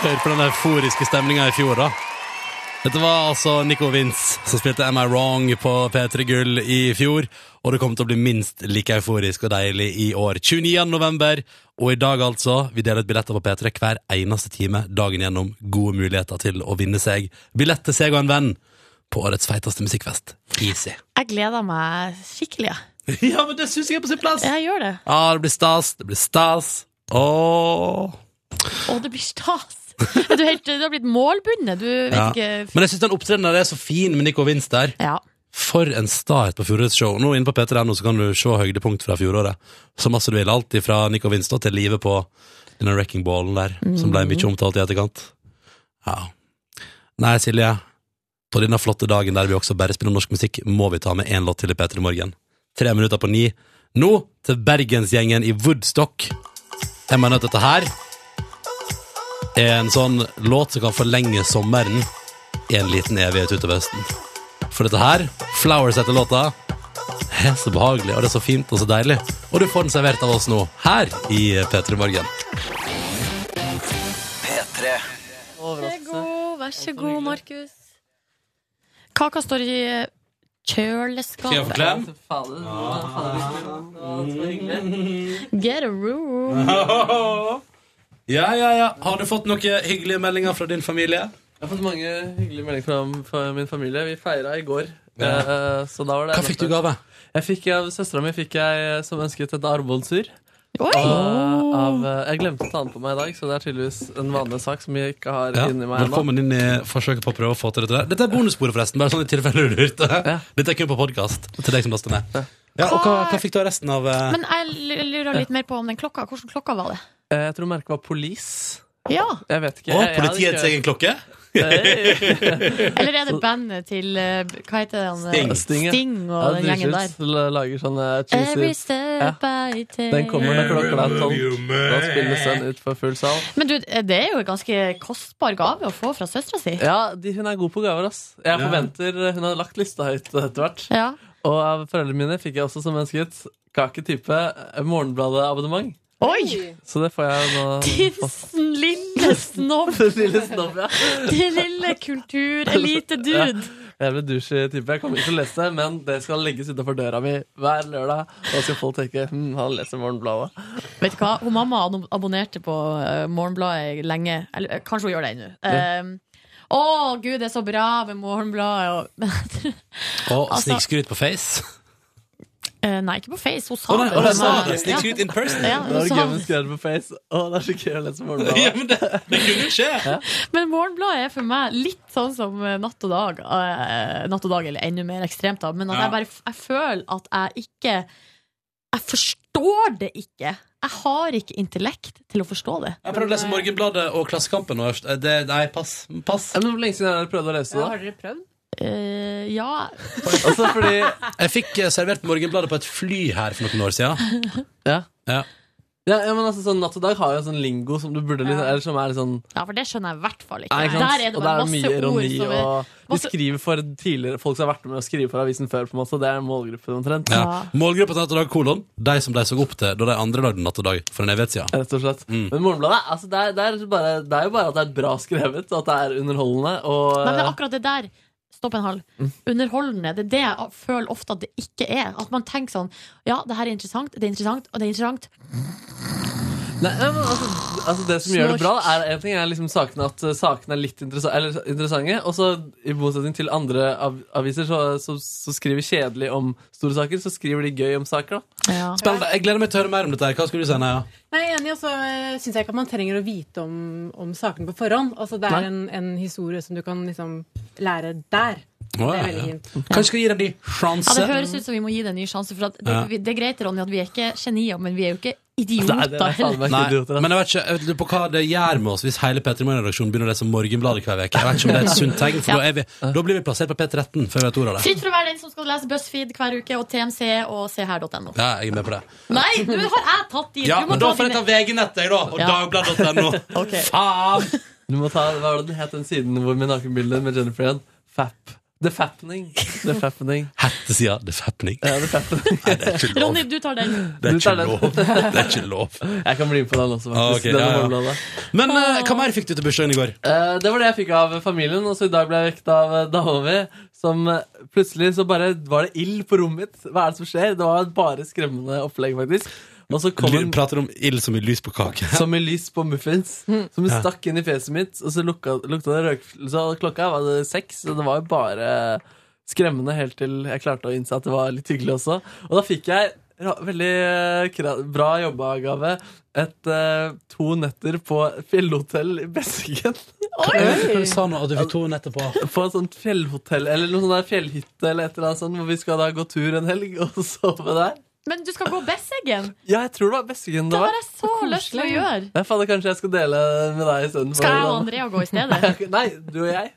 Speaker 1: Hør på den euforiske stemninga i fjor, da. Dette var altså Nico Vince som spilte Am I Wrong på P3 Gull i fjor. Og det kommer til å bli minst like euforisk og deilig i år. 29. november. Og i dag, altså. Vi deler ut billetter på P3 hver eneste time dagen gjennom. Gode muligheter til å vinne seg billett til seg og en venn på årets feiteste musikkfest. Easy.
Speaker 2: Jeg gleder meg skikkelig.
Speaker 1: Ja, men det syns jeg er på sin plass!
Speaker 2: Jeg gjør det.
Speaker 1: Ja, det blir stas. Det blir stas. Åh.
Speaker 2: Å, det blir stas! Du, er helt, du har blitt målbundet. Du vet
Speaker 1: Ja.
Speaker 2: ikke
Speaker 1: Men jeg syns den opptredenen der er så fin med Nico Vince der. For en start på fjorårets show. Nå inne på p3.no så kan du se høydepunkt fra fjoråret. Så masse du vil. Alt fra Nico Vince da, til livet på denne wrecking-ballen der, som ble mye omtalt i etterkant. Ja. Nei, Silje. På denne flotte dagen der vi også bare spiller norsk musikk, må vi ta med én låt til i P3 Morgen. Tre minutter på ni. Nå til bergensgjengen i Woodstock. Jeg mener at dette her er en sånn låt som kan forlenge sommeren i en liten evighet utover høsten. For dette her, Flowers etter låta, er så behagelig, og det er så fint og så deilig. Og du får den servert av oss nå, her i P3 Morgen.
Speaker 6: P3.
Speaker 2: Vær så god, vær så god, Markus. Kaka står i
Speaker 9: Skal jeg få klem?
Speaker 2: kjøleskapet. Get a room.
Speaker 1: Ja, ja, ja. Har du fått noen hyggelige meldinger fra din familie?
Speaker 9: Jeg har fått mange hyggelige meldinger fra, fra min familie. Vi feira i går.
Speaker 1: Ja.
Speaker 9: eh, så da var det
Speaker 1: Hva fikk du i gave?
Speaker 9: Jeg fikk Av søstera mi fikk jeg eh, som ønsket et armbåndsur.
Speaker 1: Ah.
Speaker 2: Oi!
Speaker 9: Og av, eh, jeg glemte å ta den på meg i dag, så det er tydeligvis en vanlig sak som jeg ikke har
Speaker 1: Ja,
Speaker 9: inni meg ennå.
Speaker 1: velkommen inn i forsøket på å prøve å få til dette der. Dette er bonussporet, forresten. Bare sånn i tilfelle du lurte. Dette er kun på podkast. Til deg som laster ned. Ja, og hva, hva fikk du av resten av eh,
Speaker 2: Men jeg l- lurer litt mer på om den klokka. Hvordan klokka var det?
Speaker 9: Eh, Jeg tror merket var Police.
Speaker 2: Ja.
Speaker 9: Jeg vet
Speaker 1: Å,
Speaker 9: ikke. Jeg- jeg hadde
Speaker 1: politiets
Speaker 9: ikke-
Speaker 1: egen klokke?
Speaker 2: Eller er det bandet til eh, Hva heter han?
Speaker 9: Sting.
Speaker 2: eh, Sting og den gjengen der.
Speaker 9: der. Lager sånne
Speaker 2: Every
Speaker 9: cheesy Ja.
Speaker 2: step I take
Speaker 9: Den kommer når klokka er tolv. Da spilles den ut for full sal.
Speaker 2: Men du, eh, det er jo en ganske kostbar gave å få fra søstera si.
Speaker 9: Ja, de, hun er god på gaver, ass. Jeg
Speaker 2: Ja.
Speaker 9: forventer eh, Hun har lagt lista høyt etter hvert.
Speaker 2: Ja.
Speaker 9: Og av foreldrene mine fikk jeg også som ønsket kake type eh, Morgenbladet-abonnement.
Speaker 2: Oi!
Speaker 9: Så det får jeg nå.
Speaker 2: Din lille snobb.
Speaker 9: Den lille snobb, ja.
Speaker 2: Din lille kulturelite-dude.
Speaker 9: Jeg er en douche-type. Jeg kommer ikke til å lese, men det skal legges utenfor døra mi hver lørdag. Og da skal folk tenke hm, han leser Morgenbladet.
Speaker 2: Vet du hva? Hun mamma an- abonnerte på eh, Morgenbladet lenge. Eller eh, kanskje hun gjør det ennå. Um, Å, gud, det er så bra med Morgenbladet. og-
Speaker 1: Og
Speaker 2: Altså-
Speaker 1: snikskryt på face?
Speaker 2: Eh, Nei, ikke på Face. Hun sa
Speaker 1: Å, nei,
Speaker 2: det.
Speaker 1: å, hun sa
Speaker 2: men-
Speaker 1: det. Sneak
Speaker 2: Ja.
Speaker 1: shoot in person.
Speaker 2: Ja,
Speaker 9: Da
Speaker 2: hun
Speaker 9: er det
Speaker 2: sa
Speaker 9: gøy med
Speaker 2: det.
Speaker 9: skrevet på Face. Å, det er så gøy å lese Morgenbladet.
Speaker 1: Ja, men det, kunne skje!
Speaker 2: Men Morgenbladet er for meg litt sånn som eh, Natt og dag. eh, Natt og dag, eller enda mer ekstremt, da. Men at
Speaker 11: Ja.
Speaker 2: jeg bare f- jeg føler at jeg ikke Jeg forstår det ikke. Jeg har ikke intellekt til å forstå det.
Speaker 1: Jeg prøvde å lese Morgenbladet og Klassekampen. nå først. Eh, Det, nei, pass. pass.
Speaker 9: Hvor lenge siden har dere prøvd å lese
Speaker 2: Ja, har dere prøvd? Eh, ja.
Speaker 1: Jeg fikk eh, servert Morgenbladet på et fly her for noen år siden.
Speaker 9: Ja.
Speaker 1: Ja.
Speaker 9: Ja, ja, men altså, sånn, Natt og dag har jo en sånn lingo som du burde litt, eller som er litt sånn
Speaker 2: ja, for det skjønner jeg i hvert fall ikke.
Speaker 9: Nei, ikke sant?
Speaker 2: Der er det
Speaker 9: og
Speaker 2: bare
Speaker 9: det
Speaker 2: masse
Speaker 9: mye
Speaker 2: ord
Speaker 9: ironi,
Speaker 2: som er
Speaker 9: og De
Speaker 2: masse-
Speaker 9: skriver for tidligere folk som har vært med å skrive for avisen før. på en måte Det er målgruppen omtrent.
Speaker 1: Ja. Målgruppa til Natt og Dag kolon, de som de så opp til da de andre lagde Natt og Dag for en evighet siden.
Speaker 9: Rett og slett. Men Morgenbladet altså, det, er, det, er bare, det er jo bare at det er bra skrevet, og at det er underholdende. Og,
Speaker 2: Nei, men det er akkurat det der. Stopp en halv.
Speaker 9: Mm.
Speaker 2: Underholdende. Det er det jeg føler ofte at det ikke er. At man tenker sånn Ja, det her er interessant, det er interessant, og det er interessant.
Speaker 9: Nei, nei, men altså, altså Det som gjør det bra, er en ting er liksom sakene at eh, sakene er litt interessa eller, interessante. Og så i motsetning til andre av aviser så, så, så skriver kjedelig om store saker, så skriver de gøy om saker. da
Speaker 1: Spennende. Jeg gleder meg til å høre mer om dette. her Hva skulle du si, Neia?
Speaker 11: Nei, jeg er enig, og så syns jeg ikke at man trenger å vite om, om sakene på forhånd. Altså, det
Speaker 1: Nei.
Speaker 11: er en, en historie som du kan liksom lære der.
Speaker 1: Å,
Speaker 11: det er
Speaker 1: ja,
Speaker 11: veldig
Speaker 1: ja.
Speaker 11: fint.
Speaker 1: Kanskje skal gi dem de
Speaker 2: Ja,
Speaker 1: sjanse?
Speaker 2: det høres ut som vi må gi det en ny sjanse. For at det,
Speaker 1: Ja.
Speaker 2: vi- det er greit, Ronny, at vi er ikke genier, men vi er jo ikke idioter. heller.
Speaker 1: Nei, men jeg vet ikke jeg vet ikke på hva det gjør med oss hvis hele P3 Morgen-redaksjonen begynner å lese Morgenbladet hver uke. Jeg vet ikke om det er et sunt tegn, for da, er vi, da blir vi plassert på P13 før vi vet ordet av det.
Speaker 2: Fritt for å være den som skal lese BuzzFeed hver uke, og TMC og seher.no.
Speaker 1: Ja, jeg er med på det.
Speaker 2: Nei, nå har jeg tatt de!
Speaker 1: Ja,
Speaker 2: Du må
Speaker 1: men da
Speaker 2: ta
Speaker 1: får jeg
Speaker 2: dine.
Speaker 1: ta VG-nettet, jeg, da. Og
Speaker 2: Ja.
Speaker 1: Dagbladet.no. Faen!
Speaker 9: Du må ta, Hva var det det het den siden hvor med nakenbildet med Jennifer igjen? Fap. The Fappening. The Fappening.
Speaker 1: Hettesida The Fappening.
Speaker 9: Ja, The Fappening.
Speaker 1: det er ikke lov.
Speaker 2: Ronny, du tar den.
Speaker 1: Det er
Speaker 9: Du tar
Speaker 1: ikke
Speaker 9: den.
Speaker 1: lov. Det er ikke lov.
Speaker 9: Jeg kan bli med på den også,
Speaker 1: Ah,
Speaker 9: faktisk.
Speaker 1: ok,
Speaker 9: Denne
Speaker 1: ja, ja.
Speaker 9: Morgenbladet.
Speaker 1: Men
Speaker 9: Ah.
Speaker 1: eh, hva mer fikk du til bursdagen i går?
Speaker 9: Eh, det var det jeg fikk av familien, og så i dag ble jeg vekket av eh, dama mi. Som eh, plutselig så bare var det ild på rommet mitt. Hva er det som skjer? Det var bare skremmende opplegg, faktisk. Og så kom
Speaker 1: Ly-
Speaker 9: en
Speaker 1: Prater om ild som i lys på kake.
Speaker 9: som i lys på muffins, som
Speaker 1: Ja.
Speaker 9: stakk inn i fjeset mitt, og så lukka, lukta det røyk... Så klokka var det seks, så det var jo bare skremmende helt til jeg klarte å innse at det var litt hyggelig også. Og da fikk jeg ra- veldig eh, kra- bra jobba, Gave. Et eh, to netter på fjellhotell i Bessingen.
Speaker 1: Hva sa nå at du fikk to netter på?
Speaker 9: På et sånt fjellhotell, eller noe sånt der fjellhytte, eller et eller annet sånt, hvor vi skal da gå tur en helg og sove der.
Speaker 2: Men du skal gå Besseggen!
Speaker 9: Ja, jeg tror det var Bessingen det
Speaker 2: Det har
Speaker 9: var.
Speaker 2: jeg så lyst til å gjøre.
Speaker 9: Nei, fader, kanskje jeg skal dele med deg isteden.
Speaker 2: Skal jeg og Andrea gå i stedet?
Speaker 9: Nei, du og jeg.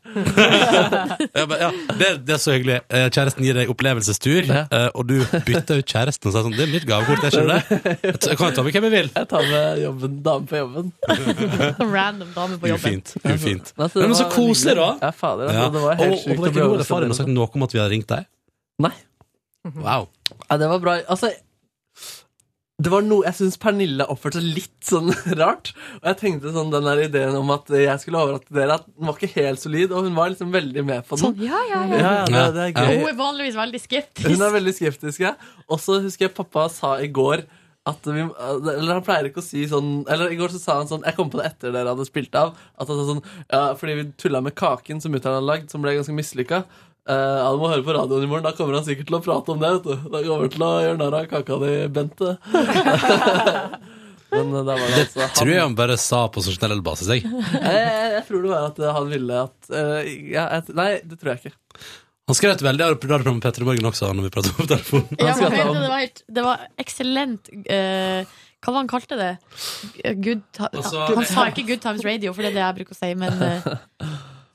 Speaker 1: Ja, men, ja, det, det er så hyggelig. Eh, Kjæresten gir deg opplevelsestur, eh, og du bytter ut kjæresten og sier sånn 'Det er mitt gavekort, jeg skjønner det'. Jeg t- Jeg kan jo ta med hvem jeg vil.
Speaker 9: Jeg tar med jobben, dame på jobben.
Speaker 2: Random dame på jobben.
Speaker 1: Ufint. ufint.
Speaker 9: Men altså, det
Speaker 1: Men, men så
Speaker 9: var
Speaker 1: koselig, da!
Speaker 9: Ja, fader, altså,
Speaker 1: Ja.
Speaker 9: det var helt
Speaker 1: og, og
Speaker 9: sykt
Speaker 1: på
Speaker 9: å Mhm. bli
Speaker 1: hvilken måte
Speaker 9: overrasket
Speaker 1: faren har
Speaker 9: over
Speaker 1: sagt noe om at vi hadde ringt deg?
Speaker 9: Nei.
Speaker 1: Wow.
Speaker 9: Nei, det var bra. Altså, det var noe, jeg syns Pernille oppførte seg litt sånn rart. Og jeg tenkte sånn, den der ideen om at jeg skulle overraske dere, at den var ikke helt solid, og hun var liksom veldig med på den.
Speaker 2: Sånn, Ja, ja, ja.
Speaker 9: Ja, ja, det, det er gøy.
Speaker 2: Hun er vanligvis veldig skeptisk.
Speaker 9: Hun er veldig skeptisk, ja. Og så husker jeg pappa sa i går at vi, eller han pleier ikke å si sånn Eller i går så sa han sånn Jeg kom på det etter dere hadde spilt av. At han sa sånn ja, Fordi vi tulla med kaken som mutter'n hadde lagd, som ble ganske mislykka. Eh, ja, du må høre på radioen i morgen. Da kommer han sikkert til å prate om det. vet du Da kommer han til å gjøre narr av kaka di, Bente. Men eh, der var det
Speaker 1: Det
Speaker 9: altså han. Eh,
Speaker 1: tror jeg han bare sa på sånn generell basis, jeg.
Speaker 9: jeg, jeg, jeg tror det var at eh, han ville at eh, ja, jeg, Nei, det tror jeg ikke.
Speaker 1: Han skrev et veldig radioprogram med Petter i Morgen også, når vi pratet om telefonen.
Speaker 2: Ja, men mente det var, helt, det var eksellent eh, Hva var han kalte det? Good ti-
Speaker 1: Altså-
Speaker 2: han sa ikke Good Times Radio, for det er det jeg bruker å si, men eh,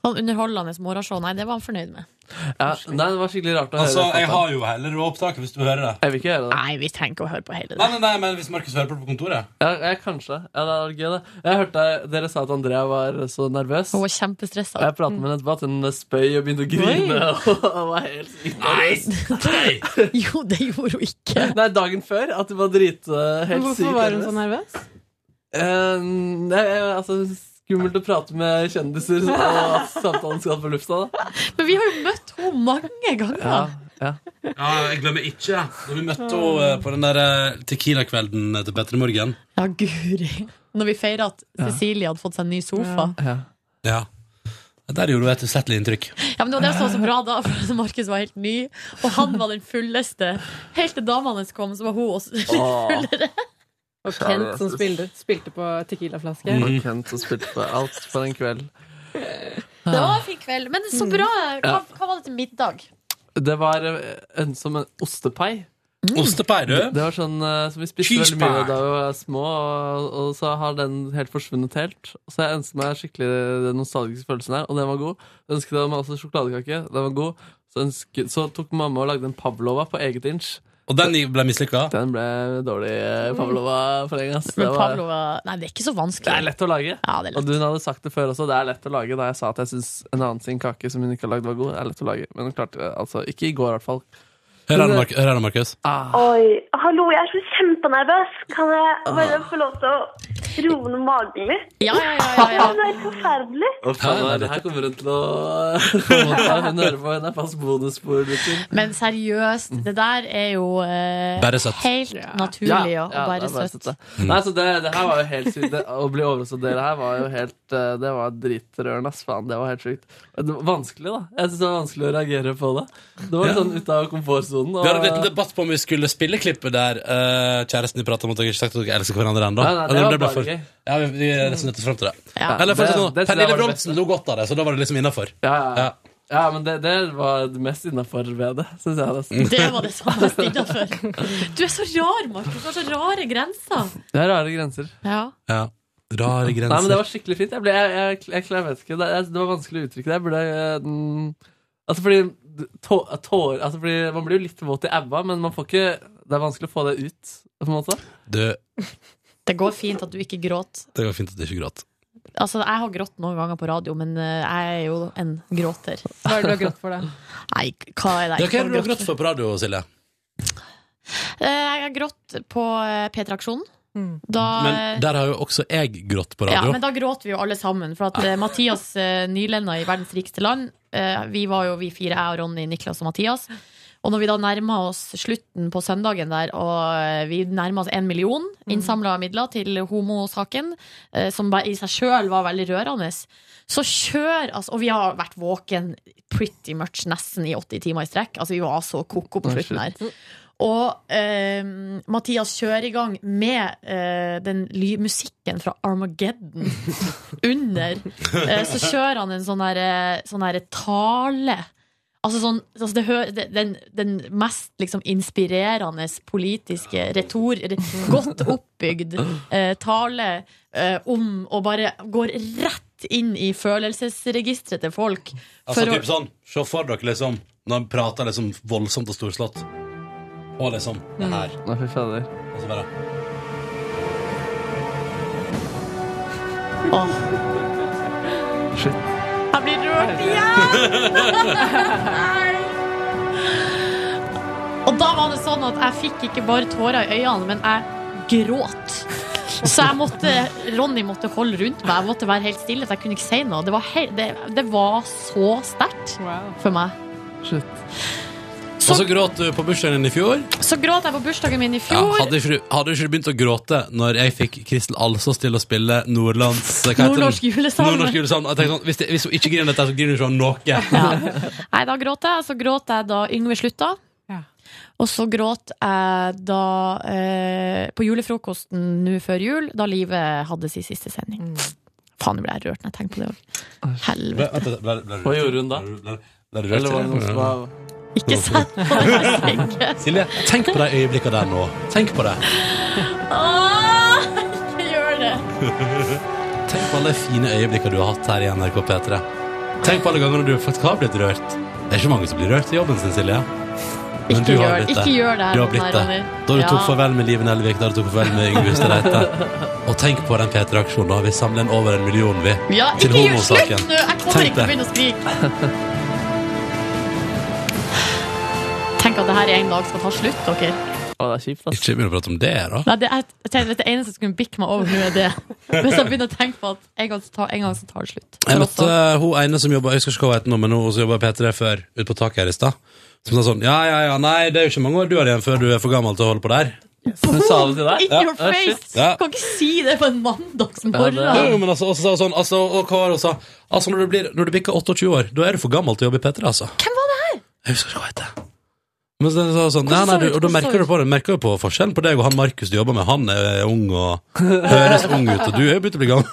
Speaker 2: sånn underholdende morgenshow. Nei, det var han fornøyd med.
Speaker 9: Ja, nei, det var skikkelig rart å
Speaker 1: Altså,
Speaker 9: høre.
Speaker 1: jeg
Speaker 9: pappa.
Speaker 1: har jo heller opptaket, hvis du hører det.
Speaker 9: Jeg vil ikke gjøre det.
Speaker 2: Nei, vi trenger ikke å høre på hele
Speaker 1: Nei,
Speaker 2: det.
Speaker 1: nei, nei, men hvis Markus hører på det på kontoret
Speaker 9: Ja, jeg, kanskje. Ja, det er gøy, det. Jeg hørte Dere sa at Andrea var så nervøs.
Speaker 2: Hun var kjempestressa.
Speaker 9: Og jeg pratet med henne etterpå at hun spøy og begynte å grine. Og var helt sykt nervøs.
Speaker 2: Jo, det gjorde hun ikke.
Speaker 9: Nei, dagen før. At hun var drite helt sykt
Speaker 11: Hvorfor var hun
Speaker 2: sånn?
Speaker 11: så nervøs?
Speaker 9: Eh, nei, jeg- altså, skummelt å prate med kjendiser og at samtalen skal på lufta, da.
Speaker 2: Men vi har jo møtt henne mange ganger.
Speaker 9: Ja, ja.
Speaker 1: Ja, jeg glemmer ikke Da vi møtte henne på den der eh, tequila-kvelden eh, til Petter i Morgen
Speaker 2: Ja, guri. Når vi feira at Cecilie hadde fått seg en ny sofa.
Speaker 9: Ja,
Speaker 1: Ja Der gjorde hun et usettelig inntrykk
Speaker 2: Ja, men Det var det som var så bra da, for Markus var helt ny, og han var den fulleste. Helt til dama hans kom, så var hun også litt fullere.
Speaker 11: Og Kent som spilte, spilte på Tequila-flaske.
Speaker 9: Og Kent og spilte på alt for en kveld.
Speaker 2: Det var en fin kveld. Men så bra. Hva,
Speaker 9: Ja.
Speaker 2: hva var det til middag?
Speaker 9: Det var eh, en som en ostepai.
Speaker 1: Ostepai, du?
Speaker 9: Det var sånn eh, som vi spiste veldig mye
Speaker 1: Cheesepai.
Speaker 9: da vi var små, og, og så har den helt forsvunnet helt. Så jeg ønsket meg skikkelig den nostalgiske følelsen her, og den var god. Jeg ønsket meg også sjokoladekake, den var god. Så, ønsket, så tok mamma og lagde en pavlova på eget inch.
Speaker 1: Og den ble mislykket
Speaker 9: Den ble dårlig eh, pavlova for lenge, ass. Det
Speaker 2: Men
Speaker 9: var,
Speaker 2: Pablo var Nei, det er ikke så
Speaker 9: det er
Speaker 2: vanskelig.
Speaker 9: lett å lage.
Speaker 2: Ja, det er lett.
Speaker 9: Og hun hadde sagt det før også, det er lett å lage. Da jeg sa at jeg synes en annen sin kake som hun ikke har lagd, var god, det er lett å lage. Men hun klarte det, altså, ikke i går i hvert fall.
Speaker 1: Hør her, Mark- hør her, Markus
Speaker 9: Ah.
Speaker 3: Ah. Oi, hallo, jeg er så kjempenervøs. Kan jeg bare få lov til å Roende magelig.
Speaker 2: Ja, ja,
Speaker 3: ja, ja. Det er forferdelig.
Speaker 9: nei, det her kommer hun til å Hun hører på, hun er fast liksom. bonusspor.
Speaker 2: Men seriøst, det der er jo eh,
Speaker 9: Bare søtt.
Speaker 2: helt naturlig og
Speaker 9: det
Speaker 2: bare
Speaker 9: er
Speaker 2: søtt.
Speaker 9: da. Nei, så det, det her var jo helt sykt. Det, å bli overrasket av dere her var jo helt eh, Det var dritrørende, ass. Faen, det var helt sjukt. Det var vanskelig, da. Jeg syns det var vanskelig å reagere på det. Det var litt
Speaker 1: Ja.
Speaker 9: sånn ut av komfortsonen.
Speaker 1: Vi hadde en liten debatt på om vi skulle spille klippet der eh, kjæresten vi prata om, at dere ikke sagt at dere elsker hverandre ennå.
Speaker 9: Nei, nei, det
Speaker 1: Eller om
Speaker 9: var
Speaker 1: ble
Speaker 9: bare
Speaker 1: for-
Speaker 9: gøy.
Speaker 1: Ja, vi, vi resonnerte oss fram til det.
Speaker 9: Ja.
Speaker 1: Eller for å si det
Speaker 9: Det-
Speaker 1: sånn,
Speaker 9: det tror jeg
Speaker 1: Pernille
Speaker 9: var det
Speaker 1: Bramsen lo godt av det, så da var det liksom innafor.
Speaker 9: Ja, ja. ja. men det, det var det mest innafor ved det, syns jeg. nesten.
Speaker 2: Det var det samme stilla før. Du er så rar, Markus. Du har så rare grenser.
Speaker 9: Det er rare grenser.
Speaker 2: Ja.
Speaker 1: Ja. Rare grenser.
Speaker 9: Nei, men Det var skikkelig fint. Jeg ble, jeg, jeg, jeg, jeg vet ikke, det, jeg- det var vanskelig å uttrykke det. Jeg burde, eh, den- altså fordi, tå, tår, altså fordi Man blir jo litt våt i æva, men man får ikke, det er vanskelig å få det ut. På en måte.
Speaker 1: Du,
Speaker 2: Det går fint at du ikke gråter.
Speaker 1: det går fint at du ikke gråt.
Speaker 2: Altså, jeg har grått noen ganger på radio, men eh, jeg er jo en gråter.
Speaker 11: er
Speaker 2: Hva
Speaker 11: det du har grått for, da?
Speaker 2: Nei, hva er det
Speaker 1: Ja,
Speaker 2: jeg
Speaker 1: Hva
Speaker 2: ikke
Speaker 1: er det du
Speaker 2: har
Speaker 1: har grått for på radio, Silje?
Speaker 2: Eh, Jeg har grått på eh, P3-aksjonen.
Speaker 11: Mm.
Speaker 2: Da,
Speaker 1: Men der har jo også jeg grått på
Speaker 2: eh, Ja,
Speaker 1: radio.
Speaker 2: men da gråter vi jo alle sammen. For at eh, Mathias eh, Nylenda i Verdens rikeste land eh, Vi var jo vi fire, jeg og Ronny, Niklas og Mathias. Og når vi da nærma oss slutten på søndagen der, og eh, vi nærma oss en million
Speaker 11: Mm.
Speaker 2: innsamla midler til homosaken, eh, som bare i seg sjøl var veldig rørende, så kjør altså, Og vi har vært våken pretty much nesten i 80 timer i strekk. Altså, vi var så ko-ko på
Speaker 13: Nei,
Speaker 2: slutten her. Og eh, Mathias kjører i gang med eh, den ly musikken fra Armageddon under. Eh, så kjører han en sånn her, eh, sånn her tale. Altså sånn, altså det hø det- den, den mest liksom inspirerende politiske retor... re- Godt oppbygd eh, tale eh, om å bare går rett inn i følelsesregisteret til folk.
Speaker 1: Altså
Speaker 2: for å-
Speaker 1: typ sånn, se for dere liksom Når han prater liksom voldsomt og storslått Og liksom, det
Speaker 2: Mm.
Speaker 1: her
Speaker 9: Nei, fy fader.
Speaker 1: Og så bare
Speaker 9: Shit.
Speaker 2: Jeg blir rørt igjen! Og da var det sånn at jeg fikk ikke bare tårer i øynene, men jeg gråt. Så jeg måtte, Ronny måtte holde rundt meg. Jeg måtte være helt stille, for jeg kunne ikke si noe. Det var, hel- det, det var så sterkt for meg.
Speaker 1: Og så gråt du på bursdagen din i fjor
Speaker 2: Så gråt jeg på bursdagen min i
Speaker 1: ja,
Speaker 2: fjor.
Speaker 1: hadde, ikke du, hadde ikke du begynt å gråte Når jeg fikk Kristel Alsås til å spille Nordlands hva heter den?
Speaker 2: Nordnorsk julesalme.
Speaker 1: Nordnorsk julesalme. Jeg tenkte sånn, hvis, det, hvis hun ikke griner dette Så griner hun ikke av noe
Speaker 2: Nei, da gråt jeg. Så gråt jeg da Yngve slutta. Og så gråt jeg da eh, på julefrokosten nå før jul, da livet hadde sin siste sending. Faen, nå ble jeg rørt når jeg tenker på det òg. Helvete.
Speaker 9: Hva gjorde hun da?
Speaker 1: Ble du
Speaker 9: Eller var det noen som var
Speaker 2: Ikke sett på det, jeg tenker.
Speaker 1: Silje, tenk på de øyeblikkene der nå Tenk på det
Speaker 2: Åh, Ikke gjør det!
Speaker 1: Tenk på alle de fine øyeblikkene du har hatt her i NRK P3 Tenk på alle gangene du faktisk har blitt rørt Det er ikke mange som blir rørt i jobben sin, Silje Men
Speaker 2: Ikke
Speaker 1: du har
Speaker 2: gjør-
Speaker 1: blitt det.
Speaker 2: ikke gjør det her,
Speaker 1: Du har blitt
Speaker 2: Ronny,
Speaker 1: det.
Speaker 2: Ronny.
Speaker 1: Da du tok
Speaker 2: Ja.
Speaker 1: farvel med Liven Elvik, da du tok farvel med Yngve Hustad Reite. Og tenk på den P3-aksjonen. da. Vi samler inn over en million, vi.
Speaker 2: Ja,
Speaker 1: til
Speaker 2: ikke gjør
Speaker 1: homosaken.
Speaker 2: slutt nå! Jeg kommer
Speaker 1: Tenk
Speaker 2: ikke til å
Speaker 1: det.
Speaker 2: begynne å skrike. Tenk at det her en dag skal ta slutt, dere.
Speaker 9: Å, det er kjipt,
Speaker 1: Ikke begynn å prate om det, da.
Speaker 2: Nei, det, er, jeg tenker, det eneste som kunne bikke meg over nå, er det. Hvis jeg begynner å tenke på at en gang så tar, en gang så tar det slutt.
Speaker 1: Jeg eh, møtte hun ene som jobba Jeg husker ikke hva hun heter nå, men hun som jobba i P3 før, ute på taket her i stad. Som sa sånn Ja, ja, ja, nei, det er jo ikke mange år du har igjen før du er for gammel til å holde på der.
Speaker 9: Hun sa det til deg?
Speaker 2: In your
Speaker 1: Ja.
Speaker 2: face!
Speaker 1: Ja.
Speaker 2: Kan ikke si det på en mandagsmorgen.
Speaker 1: Jo, jo, men altså, og så sa hun sånn, altså, og hva var det hun sa? Altså, når du, blir, når du bikker 28 år, da er du for gammel til å jobbe i P3, altså.
Speaker 2: Hvem var det her?
Speaker 1: Jeg husker ikke hva det heter. Men så, så, sånn, nei,
Speaker 2: Hvordan
Speaker 1: nei, du,
Speaker 2: så ut?
Speaker 1: og da
Speaker 2: Hvordan så
Speaker 1: merker du
Speaker 2: ut?
Speaker 1: på, det, merker du på forskjellen på deg og han Markus du jobber med. Han er ung og høres ung ut, og du er jo begynt å bli gammel.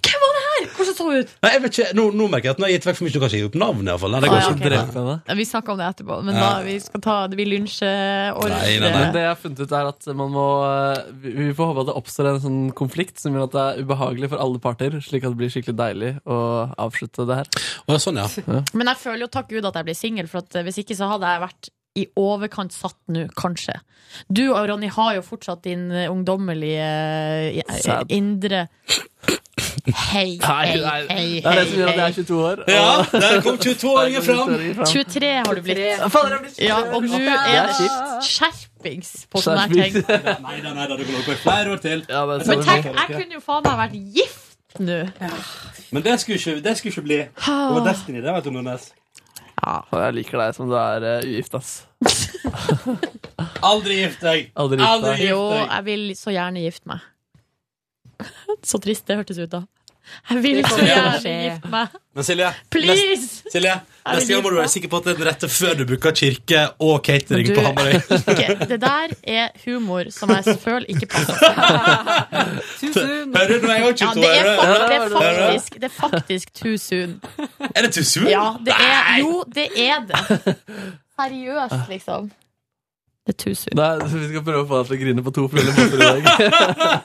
Speaker 2: Hvem var det her? Hvordan så hun ut?
Speaker 1: Nei, jeg vet ikke, nå, nå merker jeg at nå har jeg gitt vekk for mye, du kan ikke gi opp navnet i hvert fall. Nei, det går
Speaker 2: Ah, ja,
Speaker 1: ikke.
Speaker 2: ok. Ja, Vi snakker om det etterpå, men
Speaker 1: Ja.
Speaker 2: da vi skal ta vi lynsjer
Speaker 1: Nei,
Speaker 9: Men det jeg har funnet ut er at man må eh, Vi vi får håpe at det oppstår en sånn konflikt som gjør at det er ubehagelig for alle parter, slik at det blir skikkelig deilig å avslutte det her.
Speaker 1: sånn, ja.
Speaker 2: Men jeg føler jo takk Gud at jeg ble singel, for at eh, hvis ikke så hadde jeg vært i overkant satt nå, kanskje. Du og Ronny har jo fortsatt din eh, ungdommelige eh, i-
Speaker 9: Sad.
Speaker 2: indre Hei,
Speaker 9: Nei,
Speaker 2: hei,
Speaker 9: nei.
Speaker 2: hei,
Speaker 9: Det er det som gjør at jeg er 22 år. Ja,
Speaker 1: der kom 22-åringen fram.
Speaker 2: 23 har du blitt.
Speaker 9: Ja, faen, jeg har
Speaker 2: Ja,
Speaker 9: blitt 23.
Speaker 2: og nå er
Speaker 9: Det er
Speaker 2: det skjerpings på sånne her ting.
Speaker 1: Nei da, nei da, det kan holde på i flere år til.
Speaker 2: Men tenk, jeg kunne jo faen meg vært gift nå.
Speaker 1: Men det skulle ikke, det skulle ikke bli. Det var Destiny, det, vet du, Nordnes.
Speaker 9: Faen, Jeg liker deg som du er eh, ugift, ass.
Speaker 1: Aldri gift deg!
Speaker 9: Aldri gift deg.
Speaker 2: Jo, jeg vil så gjerne gifte meg. Så trist det hørtes ut da. Jeg vil
Speaker 1: Det
Speaker 2: så
Speaker 1: kommer til å
Speaker 2: gjerne
Speaker 1: skje.
Speaker 2: gifte meg.
Speaker 1: Men Silje,
Speaker 2: Please!
Speaker 1: nest- Silje,
Speaker 2: vil
Speaker 1: neste gang må du være sikker på at det er den rette før du bruker kirke og catering
Speaker 2: Du-
Speaker 1: på Hamarøy.
Speaker 2: Ikke. Det der er humor som jeg føler ikke passer.
Speaker 1: Hører du nå, jeg er også 22
Speaker 2: Ja, det er,
Speaker 1: år.
Speaker 2: fak- det er
Speaker 1: Hører du?
Speaker 2: faktisk Det er faktisk too soon.
Speaker 1: Er det too soon?
Speaker 2: Ja, det er,
Speaker 1: Nei!
Speaker 2: jo, det er det. Seriøst, liksom. Det er tusen.
Speaker 9: Nei, vi skal prøve å få deg til å grine på to fulle måter i dag.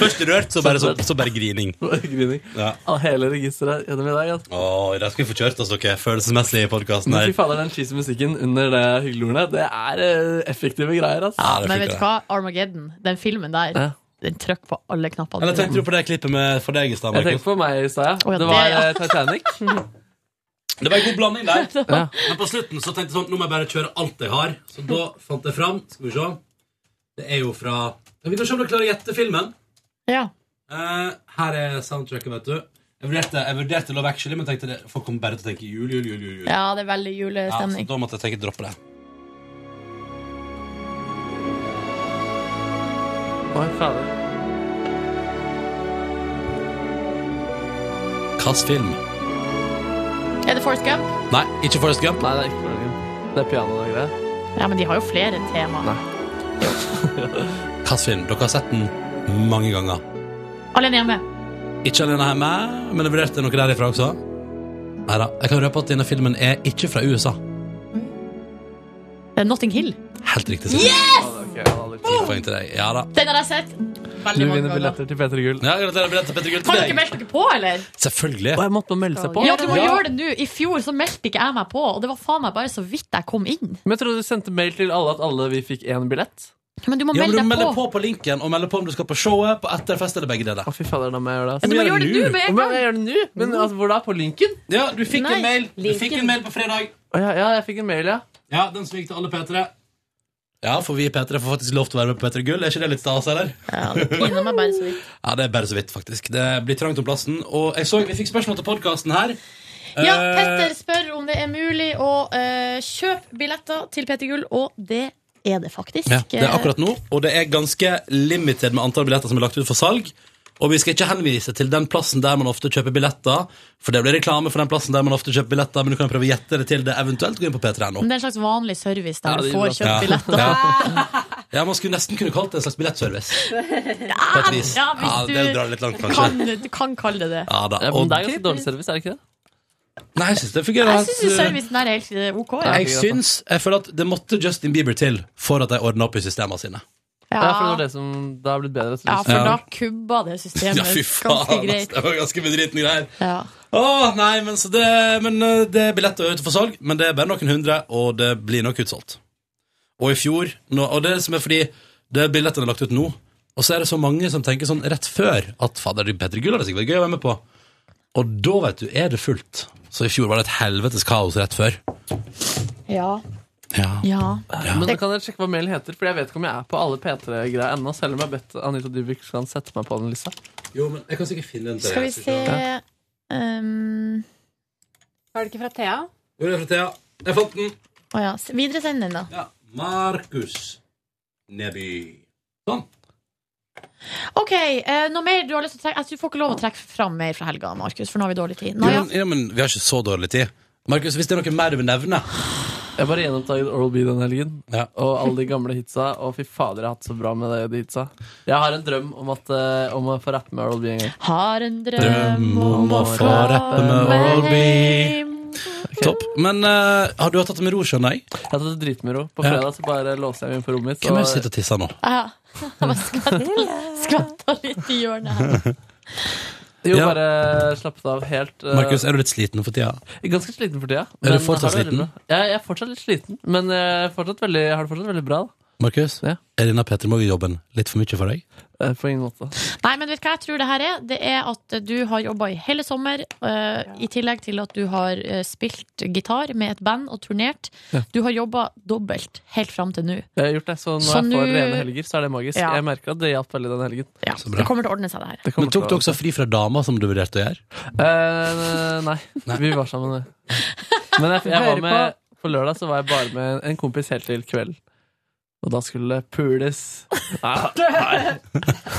Speaker 1: Først rørt, så bare, så, så bare grining.
Speaker 9: grining.
Speaker 1: Ja.
Speaker 9: Av hele registeret gjennom i dag. ass.
Speaker 1: Åh, I dag skal vi få kjørt oss, dere. Følelsesmessig i podkasten
Speaker 9: Men
Speaker 1: her.
Speaker 9: fy fader, den cheesy musikken under det hyggelige det er eh, effektive greier, ass.
Speaker 2: Men vet du hva? Armageddon, den filmen
Speaker 9: Ja.
Speaker 2: der, den trykk på alle knappene.
Speaker 1: Eller tenkte du på det klippet med for deg i stad,
Speaker 9: Jeg
Speaker 1: Markus?
Speaker 9: tenkte på meg i
Speaker 2: Å, ja,
Speaker 9: stad, ja. Det
Speaker 2: det,
Speaker 9: var
Speaker 2: ja. Mhm.
Speaker 9: eh, Titanic.
Speaker 1: Det var en god blanding der.
Speaker 9: Ja.
Speaker 1: Men på slutten så tenkte jeg sånn Nå må jeg bare kjøre alt jeg har. Så da fant jeg fram. Skal vi se. Det er jo fra Vi kan se om du klarer å gjette filmen.
Speaker 2: Ja.
Speaker 1: Eh, her er soundtracket, vet du. Jeg vurderte, jeg vurderte Love Actually, men tenkte det, folk kommer bare til å tenke jul, jul, jul. jul, jul.
Speaker 2: Ja, det er veldig
Speaker 1: Ja, så
Speaker 2: julestemning.
Speaker 1: da måtte jeg tenke droppe det.
Speaker 9: Oi, fader.
Speaker 1: Hvilken film?
Speaker 2: Er det Forrest Gump?
Speaker 1: Nei, ikke Forrest Gump.
Speaker 9: Nei, det er ikke Forrest Gump. Det er piano og greier.
Speaker 2: Ja, men de har jo flere tema.
Speaker 1: Hvilken film? Dere har sett den mange ganger.
Speaker 2: Alene hjemme.
Speaker 1: Ikke alene hjemme, men jeg vurderte noe derifra også. Nei da. Jeg kan røpe at denne filmen er ikke fra USA.
Speaker 2: Det er Notting Hill.
Speaker 1: Helt riktig. Silje.
Speaker 2: Yes!
Speaker 1: Ti poeng til deg. Ja da.
Speaker 2: Den har jeg sett
Speaker 9: Du
Speaker 2: veldig mange
Speaker 9: vinner
Speaker 2: ganger.
Speaker 9: billetter til Peter Gull.
Speaker 1: Ja, gratulerer med dette, Petter Gull.
Speaker 2: Har
Speaker 1: Til
Speaker 2: du ikke
Speaker 1: deg.
Speaker 2: meldt dere på, eller?
Speaker 1: Selvfølgelig.
Speaker 9: Og jeg måtte melde seg på.
Speaker 2: Ja, du må gjøre det nå. I fjor så meldte ikke jeg meg på, og det var faen meg bare så vidt jeg kom inn.
Speaker 9: Men jeg trodde du sendte mail til alle at alle vi fikk én billett.
Speaker 2: Men du må
Speaker 1: Ja, men
Speaker 2: melde
Speaker 1: du
Speaker 2: deg
Speaker 1: melder
Speaker 2: på.
Speaker 1: på på linken, og melder på om du skal på showet, på etterfest eller begge deler.
Speaker 9: Å, fy fader, da må jeg gjøre det.
Speaker 1: Ja, du må gjøre det nå,
Speaker 2: med en
Speaker 9: Men jeg gjør det nå. Men altså, hvor da? På linken?
Speaker 1: Ja, du fikk
Speaker 2: Nei,
Speaker 1: en mail Du fikk en mail på fredag.
Speaker 9: Å, ja, ja, jeg fikk en mail, ja.
Speaker 1: Ja, den som gikk til alle P3. Ja, for vi i P3 får faktisk lov til å være med på P3 Gull. Er ikke det litt stas, eller?
Speaker 2: Ja, det piner meg bare så vidt.
Speaker 1: Ja, det er bare så vidt, faktisk. Det blir trangt om plassen. Og jeg så vi fikk spørsmål til podkasten her.
Speaker 2: Ja,
Speaker 1: Eh,
Speaker 2: Petter spør om det er mulig å eh, kjøpe billetter til Petter Gull, og det er det faktisk. Eh,
Speaker 1: Ja, det er akkurat nå, og det er ganske limited med antall billetter som er lagt ut for salg. Og vi skal ikke henvise til den plassen der man ofte kjøper billetter, for det blir reklame for den plassen der man ofte kjøper billetter, men du kan prøve å gjette det til det eventuelt går inn på P3.no.
Speaker 2: Men det er en slags vanlig service
Speaker 9: Ja,
Speaker 2: der Mm,
Speaker 9: det
Speaker 2: du
Speaker 9: er
Speaker 2: får
Speaker 9: bra.
Speaker 2: kjøpt billetter.
Speaker 1: Ja. ja, man skulle nesten kunne kalt det en slags billettservice. På et vis.
Speaker 2: Ja,
Speaker 1: Ja,
Speaker 2: hvis
Speaker 1: det
Speaker 2: du
Speaker 1: drar det litt langt, kanskje.
Speaker 2: kan, du kan kalle det det.
Speaker 1: Ja, da.
Speaker 9: Ja, men
Speaker 1: Og,
Speaker 9: det er ganske dårlig service, er det ikke det?
Speaker 1: nei, jeg syns det fungerer.
Speaker 2: Jeg syns
Speaker 1: helt,
Speaker 2: servicen der er helt eh, OK.
Speaker 1: uh,
Speaker 2: Ja.
Speaker 9: altså.
Speaker 1: Jeg syns, jeg føler at det måtte Justin Bieber til for at de ordna opp i systemene sine.
Speaker 9: Ja, for det var
Speaker 2: Ja.
Speaker 9: det som da har blitt bedre.
Speaker 2: ja,
Speaker 9: service.
Speaker 2: for da
Speaker 1: Ja.
Speaker 2: kubba det systemet
Speaker 1: Ja, fy
Speaker 2: ganske
Speaker 1: faen. ass.
Speaker 2: greit.
Speaker 1: Det var ganske bedritne greier.
Speaker 2: Ja.
Speaker 1: Åh, nei, men, så det, men eh, det er billetter ute for salg, men det er bare noen hundre, og det blir nok utsolgt. Og i fjor, nå, og det som er fordi det er billettene lagt ut nå, og så er det så mange som tenker sånn rett før at fader, det er bedre gull, det er sikkert gøy å være med på. Og da, vet du, er det fullt. Så i fjor var det et helvetes kaos rett før.
Speaker 2: Ja.
Speaker 1: Ja.
Speaker 2: ja.
Speaker 9: Men da kan dere sjekke hva mailen heter, for jeg vet ikke om jeg er på alle P3-greier ennå, selv om jeg har bedt Anita Dybvik skal sette meg på den lista.
Speaker 1: Jo, men jeg kan sikkert finne en
Speaker 2: Skal vi se um,
Speaker 11: Var det ikke fra Thea?
Speaker 1: Jo, det er fra Thea. Jeg fant den.
Speaker 2: Å ja. s- Videresend den, da.
Speaker 1: Ja. Markus Neby. Sånn.
Speaker 2: OK, eh, noe mer du har lyst til å trekke? Jeg tror Du får ikke lov å trekke fram mer fra helga, Markus, for nå har vi dårlig tid. Naja.
Speaker 1: Ja, men- ja, men vi har ikke så dårlig tid. Markus, hvis det er noe mer du vil nevne
Speaker 9: Jeg bare gjenoppdaget Oral B den helgen,
Speaker 1: Ja.
Speaker 9: og alle de gamle hitsa. Og fy fader, jeg har hatt så bra med det- de hitsa. Jeg har en drøm om, at, eh, om å få rappe med Oral B en gang.
Speaker 2: Har en drøm
Speaker 1: Drøm om å få rappe med Orbi. Topp. Men eh, har du hatt det med ro, skjønner jeg?
Speaker 9: Jeg hadde det dritmoro. På
Speaker 1: Ja.
Speaker 9: fredag så bare låste jeg meg inn på rommet mitt.
Speaker 1: Hvem er det som sitter
Speaker 9: og-
Speaker 1: og tisser nå?
Speaker 2: Ja. Jeg bare skvatta, skvatta litt i hjørnet her.
Speaker 9: Jo,
Speaker 1: Ja.
Speaker 9: bare slappet av helt. eh,
Speaker 1: Markus, er du litt sliten for tida?
Speaker 9: Jeg er ganske sliten for tida.
Speaker 1: Er du
Speaker 9: men
Speaker 1: fortsatt
Speaker 9: har det veldig
Speaker 1: sliten?
Speaker 9: eh, bra. Jeg, jeg er fortsatt litt sliten, men jeg, er fortsatt veldig, jeg har det fortsatt veldig bra. Da.
Speaker 1: Markus, er denne Petter Morgen-jobben litt for mye for deg?
Speaker 9: Eh, På ingen måte.
Speaker 2: Nei, men vet du hva jeg tror det her er? Det er at du har jobba i hele sommer, eh, i tillegg til at du har eh, spilt gitar med et band og turnert.
Speaker 9: Ja.
Speaker 2: Du har jobba dobbelt helt fram til nå.
Speaker 9: Jeg har gjort det, så når
Speaker 2: Så
Speaker 9: jeg får
Speaker 2: nå-
Speaker 9: rene helger, så er det magisk.
Speaker 2: Ja.
Speaker 9: Jeg merker at det hjalp veldig den helgen.
Speaker 2: Det kommer til å ordne seg, det her.
Speaker 9: kommer
Speaker 1: Men tok du
Speaker 9: til å-
Speaker 1: også fri fra dama, som du vurderte å gjøre?
Speaker 9: Eh, nei. vi var sammen. ja. Men jeg, jeg
Speaker 1: Hører
Speaker 9: var med På lørdag så var jeg bare med en kompis helt til kvelden. Og da skulle det pules. Nei, nei,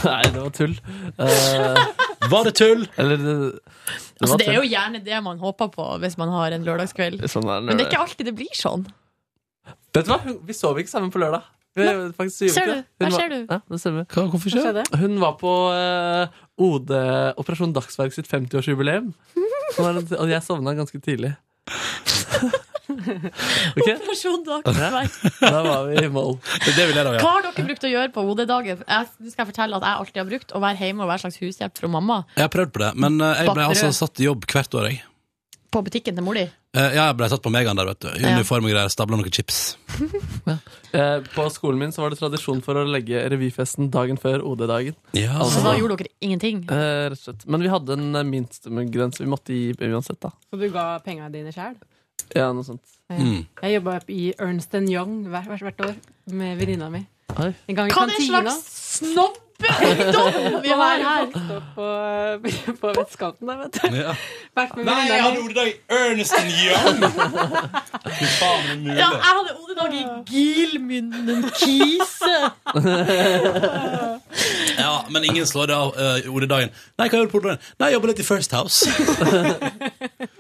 Speaker 9: nei, det var tull. Eh,
Speaker 1: var det tull?
Speaker 9: Eller det, det
Speaker 2: Altså,
Speaker 9: var
Speaker 2: det er jo
Speaker 9: tull.
Speaker 2: gjerne det man håper på hvis man har en lørdagskveld.
Speaker 9: Sånn er det.
Speaker 2: Men det er ikke alltid det blir sånn.
Speaker 9: Vet du hva? Hun- Vi sov ikke sammen på lørdag. Vi, faktisk, gjorde
Speaker 2: Ser du?
Speaker 9: ikke det.
Speaker 2: Der
Speaker 9: Hun var-
Speaker 2: ser du.
Speaker 9: Ja, det stemmer.
Speaker 1: hvorfor
Speaker 2: Hva skjer? skjedde?
Speaker 9: Hun var på eh, OD Operasjon Dagsverk sitt 50-årsjubileum. Som var en- Og jeg sovna ganske tidlig. Ok?
Speaker 2: Operasjon
Speaker 9: Ja,
Speaker 2: Dagsverk.
Speaker 9: da var vi i mål.
Speaker 1: Det vil jeg da,
Speaker 2: Hva har dere brukt å gjøre på OD-dagen? Jeg- Nå skal jeg fortelle at jeg alltid har brukt å være hjemme og være slags hushjelp fra mamma
Speaker 1: Jeg har prøvd på det, men eh, jeg ble
Speaker 2: Batterød.
Speaker 1: altså satt i jobb hvert år, jeg.
Speaker 2: på butikken til mor di.
Speaker 1: Eh, Ja, jeg ble satt på Megan der, vet du. I
Speaker 2: Ja.
Speaker 1: Uniform og greier, stabla noen chips.
Speaker 9: Eh, På skolen min så var det tradisjon for å legge revyfesten dagen før OD-dagen.
Speaker 1: Ja.
Speaker 2: Så da gjorde dere ingenting.
Speaker 9: Eh, rett og slett. Men vi hadde en eh, minstegrense vi måtte gi uansett, da.
Speaker 11: Så du ga penga dine sjæl?
Speaker 9: Ja, noe sånt.
Speaker 1: Mm.
Speaker 11: Jeg jobba i Ernst Young hvert, hvert, hvert år med venninna mi.
Speaker 9: Oi.
Speaker 11: En gang i
Speaker 2: Hva er det
Speaker 11: kantina.
Speaker 2: slags snobbedom vi har her?
Speaker 11: Vokst opp på, på vestkanten der, vet du.
Speaker 1: Ja.
Speaker 11: Vært med
Speaker 1: Nei, jeg
Speaker 11: venninna mi.
Speaker 1: hadde ordet i Ernest Young! Fy faen, det er mulig.
Speaker 2: Ja, jeg hadde OD-dag i Gilmynden Kise.
Speaker 1: Ja, men ingen slår det av eh, ordedagen. Nei, hva gjør du på ordedagen? Nei, jeg jobber litt i First House.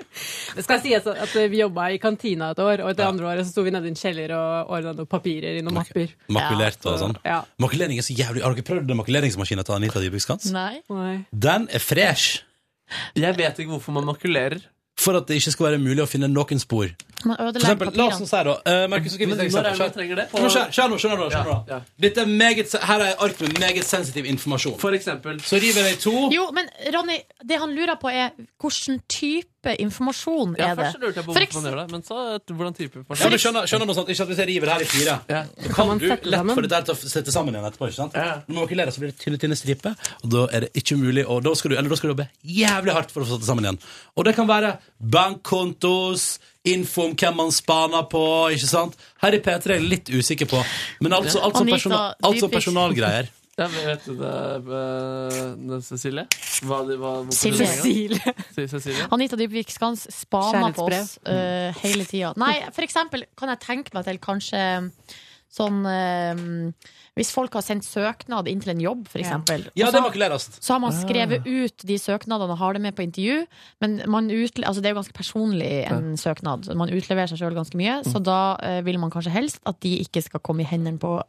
Speaker 11: Det skal sies at- at vi jobba i kantina et år, og det andre året så sto vi nede i en kjeller og ordna noen papirer i noen mapper.
Speaker 1: Makulert og sånn.
Speaker 11: Ja.
Speaker 1: Makulering er så jævlig Har dere prøvd den makuleringsmaskinen til Anita Dybvik Skans?
Speaker 2: Nei.
Speaker 1: Den er fresh!
Speaker 9: Jeg vet ikke hvorfor man makulerer.
Speaker 1: For at det ikke skal være mulig å finne noen spor.
Speaker 2: Man
Speaker 1: For
Speaker 2: ødelegger
Speaker 1: eksempel, la oss nå
Speaker 2: papirene.
Speaker 1: si da eh, Markus, skal vi
Speaker 9: Men
Speaker 1: ta et
Speaker 9: når er det
Speaker 1: eksempel?
Speaker 9: man trenger det?
Speaker 1: Skjønner- Men Skjønner skjønner nå, skjønner nå, skjønner nå. Dette er meget, se- her er et ark med meget sensitiv informasjon.
Speaker 9: For eksempel.
Speaker 1: Så river jeg i to.
Speaker 2: Jo, men Ronny, det han lurer på, er hvilken type informasjon
Speaker 9: Ja,
Speaker 2: er det?
Speaker 9: først så lurte jeg på
Speaker 2: For
Speaker 9: hvorfor man gjør det, men så eh, hvordan type
Speaker 1: Ja, men skjønner, skjønner noe sånt, ikke at Hvis jeg river det her i fire, så kan du lett få det der til å sette sammen igjen etterpå. ikke sant? Når man makulerer, så blir det tynne, tynne striper, og da er det ikke mulig. Og da skal du, eller da skal du jobbe jævlig hardt for å få satt det sammen igjen. Og det kan være bankkontos, info om hvem man spaner på, ikke sant. Her i P3 er jeg litt usikker på, men altså, alt som,
Speaker 9: Anita,
Speaker 1: personal, alt som
Speaker 9: dypfisk.
Speaker 1: personalgreier
Speaker 9: Ja, men vet du det, eh, det Cecilie? Hva, de- hva, hvorfor
Speaker 2: Silje.
Speaker 9: du ringer? Si- Cecilie?
Speaker 2: Anita Dybvik Skans spaner på
Speaker 9: Kjærlighetsbrev.
Speaker 2: oss eh, hele tida. Nei, for eksempel kan jeg tenke meg til kanskje sånn eh, Hvis folk har sendt søknad inn til en jobb, for eksempel.
Speaker 1: Ja,
Speaker 2: og
Speaker 1: det
Speaker 2: så-
Speaker 1: makuleres.
Speaker 2: så har man
Speaker 9: Ah.
Speaker 2: skrevet ut de søknadene og har det med på intervju. Men man utle altså det er jo ganske personlig en søknad. Man utleverer seg sjøl ganske mye.
Speaker 9: Mm.
Speaker 2: Så da eh, vil man kanskje helst at de ikke skal komme i hendene på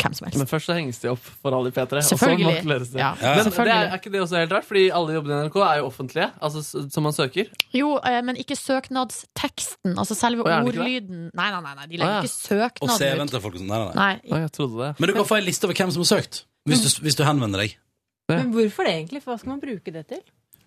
Speaker 2: hvem som helst.
Speaker 9: Men først så henges de opp for alle i P3.
Speaker 2: Selvfølgelig.
Speaker 9: Og så makuleres det.
Speaker 2: Ja,
Speaker 9: Men det er,
Speaker 2: selvfølgelig.
Speaker 9: er ikke det også helt rart? Fordi alle jobbene i NRK er jo offentlige, altså, s- som man søker.
Speaker 2: Jo, eh, men ikke søknadsteksten. Altså selve
Speaker 9: Å, er det ikke det?
Speaker 2: ordlyden. Nei, nei, nei, nei, de
Speaker 1: Å, ja.
Speaker 2: legger ikke
Speaker 1: og CV-en
Speaker 2: søknaden ut.
Speaker 1: til folk og sånn. Nei, nei, nei.
Speaker 2: Nei.
Speaker 9: jeg trodde det. Mm,
Speaker 1: Men du kan få ei liste over hvem som har søkt, hvis du, hvis du henvender deg.
Speaker 11: Men hvorfor det egentlig? For hva skal man bruke det til?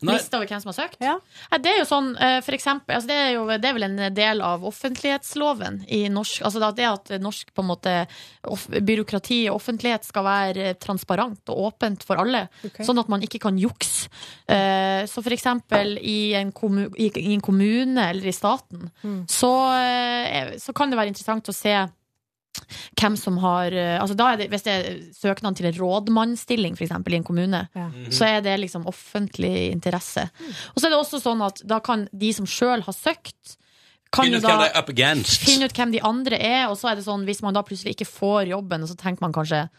Speaker 1: Nei.
Speaker 2: Liste over hvem som har søkt? Nei, det er jo sånn, eh, for eksempel, altså det, er jo, det er vel en del av offentlighetsloven i norsk. Altså da det at norsk på en måte, off, byråkrati og offentlighet skal være eh, transparent og åpent for alle.
Speaker 13: Ok.
Speaker 2: Sånn at man ikke kan jukse. Eh, så for eksempel i en, kommu, i, i en kommune eller i staten, så, eh, så kan det være interessant å se hvem som har eh, altså da er det, Hvis det er søknad til en rådmannsstilling for eksempel, i en kommune,
Speaker 1: Mhm.
Speaker 2: så er det liksom offentlig interesse. Og så er det også sånn at da kan de som sjøl har søkt, kan
Speaker 1: Finn
Speaker 2: jo
Speaker 1: ut hvem
Speaker 2: da
Speaker 1: de er up against.
Speaker 2: finne ut hvem de andre er, og så er det sånn hvis man da plutselig ikke får jobben, og så tenker man kanskje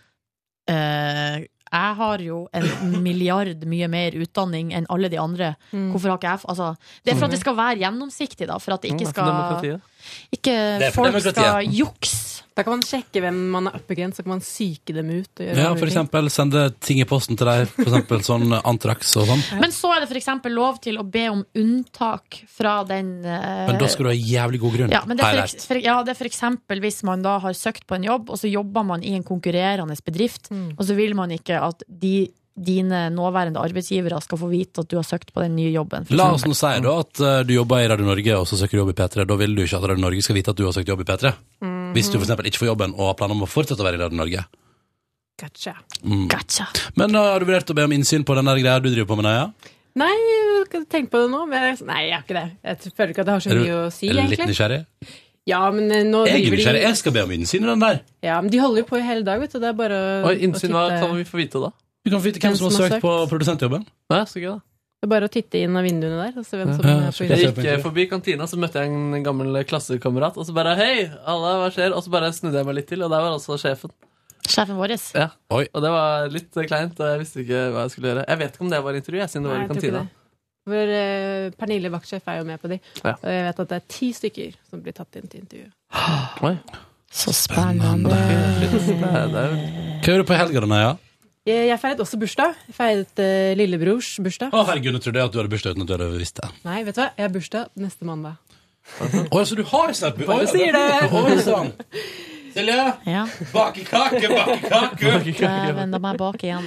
Speaker 2: eh, jeg har jo en milliard mye mer utdanning enn alle de andre.
Speaker 11: Mm.
Speaker 2: Hvorfor har ikke jeg f- altså, Det er for at det
Speaker 1: Mm.
Speaker 2: skal være gjennomsiktig, da. For at det
Speaker 11: Mm, det
Speaker 2: ikke
Speaker 11: er for
Speaker 2: skal
Speaker 11: demokratiet.
Speaker 2: Ikke folk skal jukse.
Speaker 11: Da kan man sjekke hvem man er up against, så kan man psyke dem ut. Og gjøre
Speaker 1: Ja,
Speaker 11: andre
Speaker 1: for
Speaker 11: ting.
Speaker 1: eksempel sende ting i posten til deg, for eksempel sånn antrax og sånn.
Speaker 2: Men så er det f.eks. lov til å be om unntak fra den eh,
Speaker 1: Men da skal du ha jævlig god grunn.
Speaker 2: Ja, men det
Speaker 1: har
Speaker 2: er
Speaker 1: jeg lært.
Speaker 2: for, eks- for, ja, det er for eksempel hvis man
Speaker 9: Mm.
Speaker 2: da har søkt på en jobb, og så jobber man i en konkurrerende bedrift, og så vil man ikke at de dine nåværende arbeidsgivere skal få vite at du har søkt på den nye jobben. for
Speaker 1: La oss nå
Speaker 2: eksempel.
Speaker 1: si da at eh, du jobber i Radio Norge og så søker du jobb i P3. Da vil du ikke at Radio Norge skal vite at du har søkt jobb i P3.
Speaker 9: Mhm.
Speaker 1: Hvis du for eksempel ikke får jobben og har planer om å fortsette å være i Radio Norge.
Speaker 9: Gotcha.
Speaker 1: Mm. Men eh, har du vurdert å be om innsyn på den der greia du driver på med, Naja?
Speaker 9: Nei, tenk på det nå. Men jeg, nei, jeg har ikke det. Jeg føler ikke at det har så
Speaker 1: Er du-
Speaker 9: mye å si,
Speaker 1: er du litt
Speaker 9: egentlig.
Speaker 1: nysgjerrig?
Speaker 9: Ja, men eh, nå
Speaker 1: Jeg er
Speaker 9: driver
Speaker 1: nysgjerrig.
Speaker 9: de
Speaker 1: Jeg skal be om innsyn i den der.
Speaker 9: Ja, men de holder jo på i hele dag, vet du. Det er bare å-
Speaker 14: Oi, innsyn,
Speaker 9: å
Speaker 14: hva
Speaker 9: titte-
Speaker 14: kan vi få vite da?
Speaker 1: Du kan få vite hvem som har søkt på produsentjobben.
Speaker 14: Nei, så gøy da.
Speaker 9: Det er bare å titte inn av vinduene der. Og se hvem som er på
Speaker 14: Jeg gikk
Speaker 9: jobb.
Speaker 14: eh, forbi kantina, så møtte jeg en gammel klassekamerat. Og så bare 'hei, alle, hva skjer?' Og så bare snudde jeg meg litt til, og der var altså sjefen.
Speaker 2: Sjefen vår.
Speaker 14: Ja. Og det var litt eh, kleint, og jeg visste ikke hva jeg skulle gjøre. Jeg vet ikke om det var intervju, jeg, siden det
Speaker 9: Nei,
Speaker 14: var i
Speaker 9: jeg tror ikke
Speaker 14: kantina.
Speaker 9: det. For eh, Pernille vaktsjef er jo med på de.
Speaker 14: Ja.
Speaker 9: Og jeg vet at det er ti stykker som blir tatt inn til intervju.
Speaker 14: Oi.
Speaker 2: Så spennende.
Speaker 1: Hva gjør du på helga, da, Naja?
Speaker 9: Jeg, jeg feiret også bursdag. Jeg feiret eh, lillebrors bursdag.
Speaker 1: Å, herregud, nå trodde jeg at du hadde bursdag uten at du hadde visst det.
Speaker 9: Nei, vet du hva? Jeg har bursdag neste mandag.
Speaker 1: Å, så du har snart bu-
Speaker 9: Bare
Speaker 1: Oi,
Speaker 9: sier det.
Speaker 1: Oi sann! sånn. Silje, bake kake, bake kake!
Speaker 2: Dæven, da må jeg bake igjen.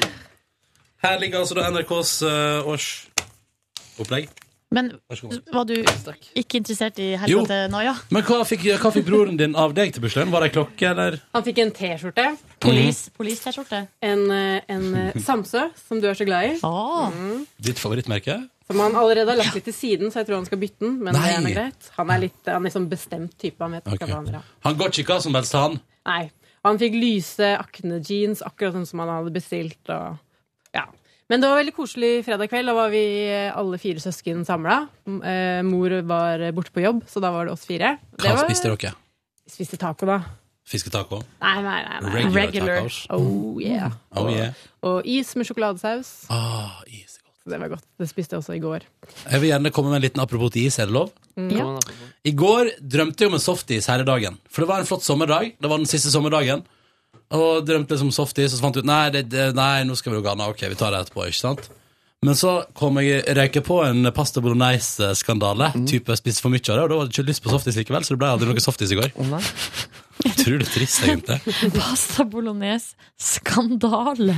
Speaker 1: Her ligger altså da NRKs uh, årsopplegg.
Speaker 2: Men
Speaker 1: Vær så god.
Speaker 2: var du ikke interessert i helga
Speaker 1: Jo.
Speaker 2: til Noia?
Speaker 1: Men hva fikk, hva fikk broren din av deg til bursdagen? Var det ei klokke, eller?
Speaker 9: Han fikk en T-skjorte.
Speaker 1: Police-
Speaker 9: Police-T-skjorte. En, eh, en eh, Samsø, som du er så glad i.
Speaker 2: Ah.
Speaker 9: Mm.
Speaker 1: Ditt favorittmerke?
Speaker 9: Som han allerede har lagt litt til siden, så jeg tror han skal bytte den. Men det er
Speaker 1: Nei.
Speaker 9: noe greit. Han er litt han er liksom bestemt type. Han vet ikke hva han vil ha.
Speaker 1: Han går ikke hva som helst, han.
Speaker 9: Nei. Han fikk lyse akne-jeans, akkurat sånn som han hadde bestilt. Og, ja. Men det var veldig koselig fredag kveld. Da var vi eh, alle fire søsken samla. Eh, Mor var eh, borte på jobb, så da var det oss fire. Det
Speaker 1: Hva
Speaker 9: var,
Speaker 1: spiste dere?
Speaker 9: Spiste taco, da.
Speaker 1: Fisketaco?
Speaker 9: Nei, nei, nei. nei.
Speaker 1: Regular tacos.
Speaker 9: Oh yeah.
Speaker 1: Oh, yeah.
Speaker 9: Og is med sjokoladesaus.
Speaker 1: Ah, is
Speaker 9: er godt. Det var godt. Det spiste jeg også i går.
Speaker 1: Jeg vil gjerne komme med en liten apropos til is, er det lov?
Speaker 9: Mm. Ja.
Speaker 1: I går drømte jeg om en softis hele dagen. For det var en flott sommerdag. Det var den siste sommerdagen. Og drømte liksom softis, og så fant jeg ut Nei, det, det, nei nå skal vi jo gane. Ok, vi tar det etterpå, ikke sant? Men så kom jeg røyke på en pasta bolognese-skandale. Type jeg spiste for mye av det, og da hadde jeg ikke lyst på softis likevel, så det ble aldri noe softis i går. Utrolig trist, egentlig.
Speaker 2: Pasta bolognese. Skandale!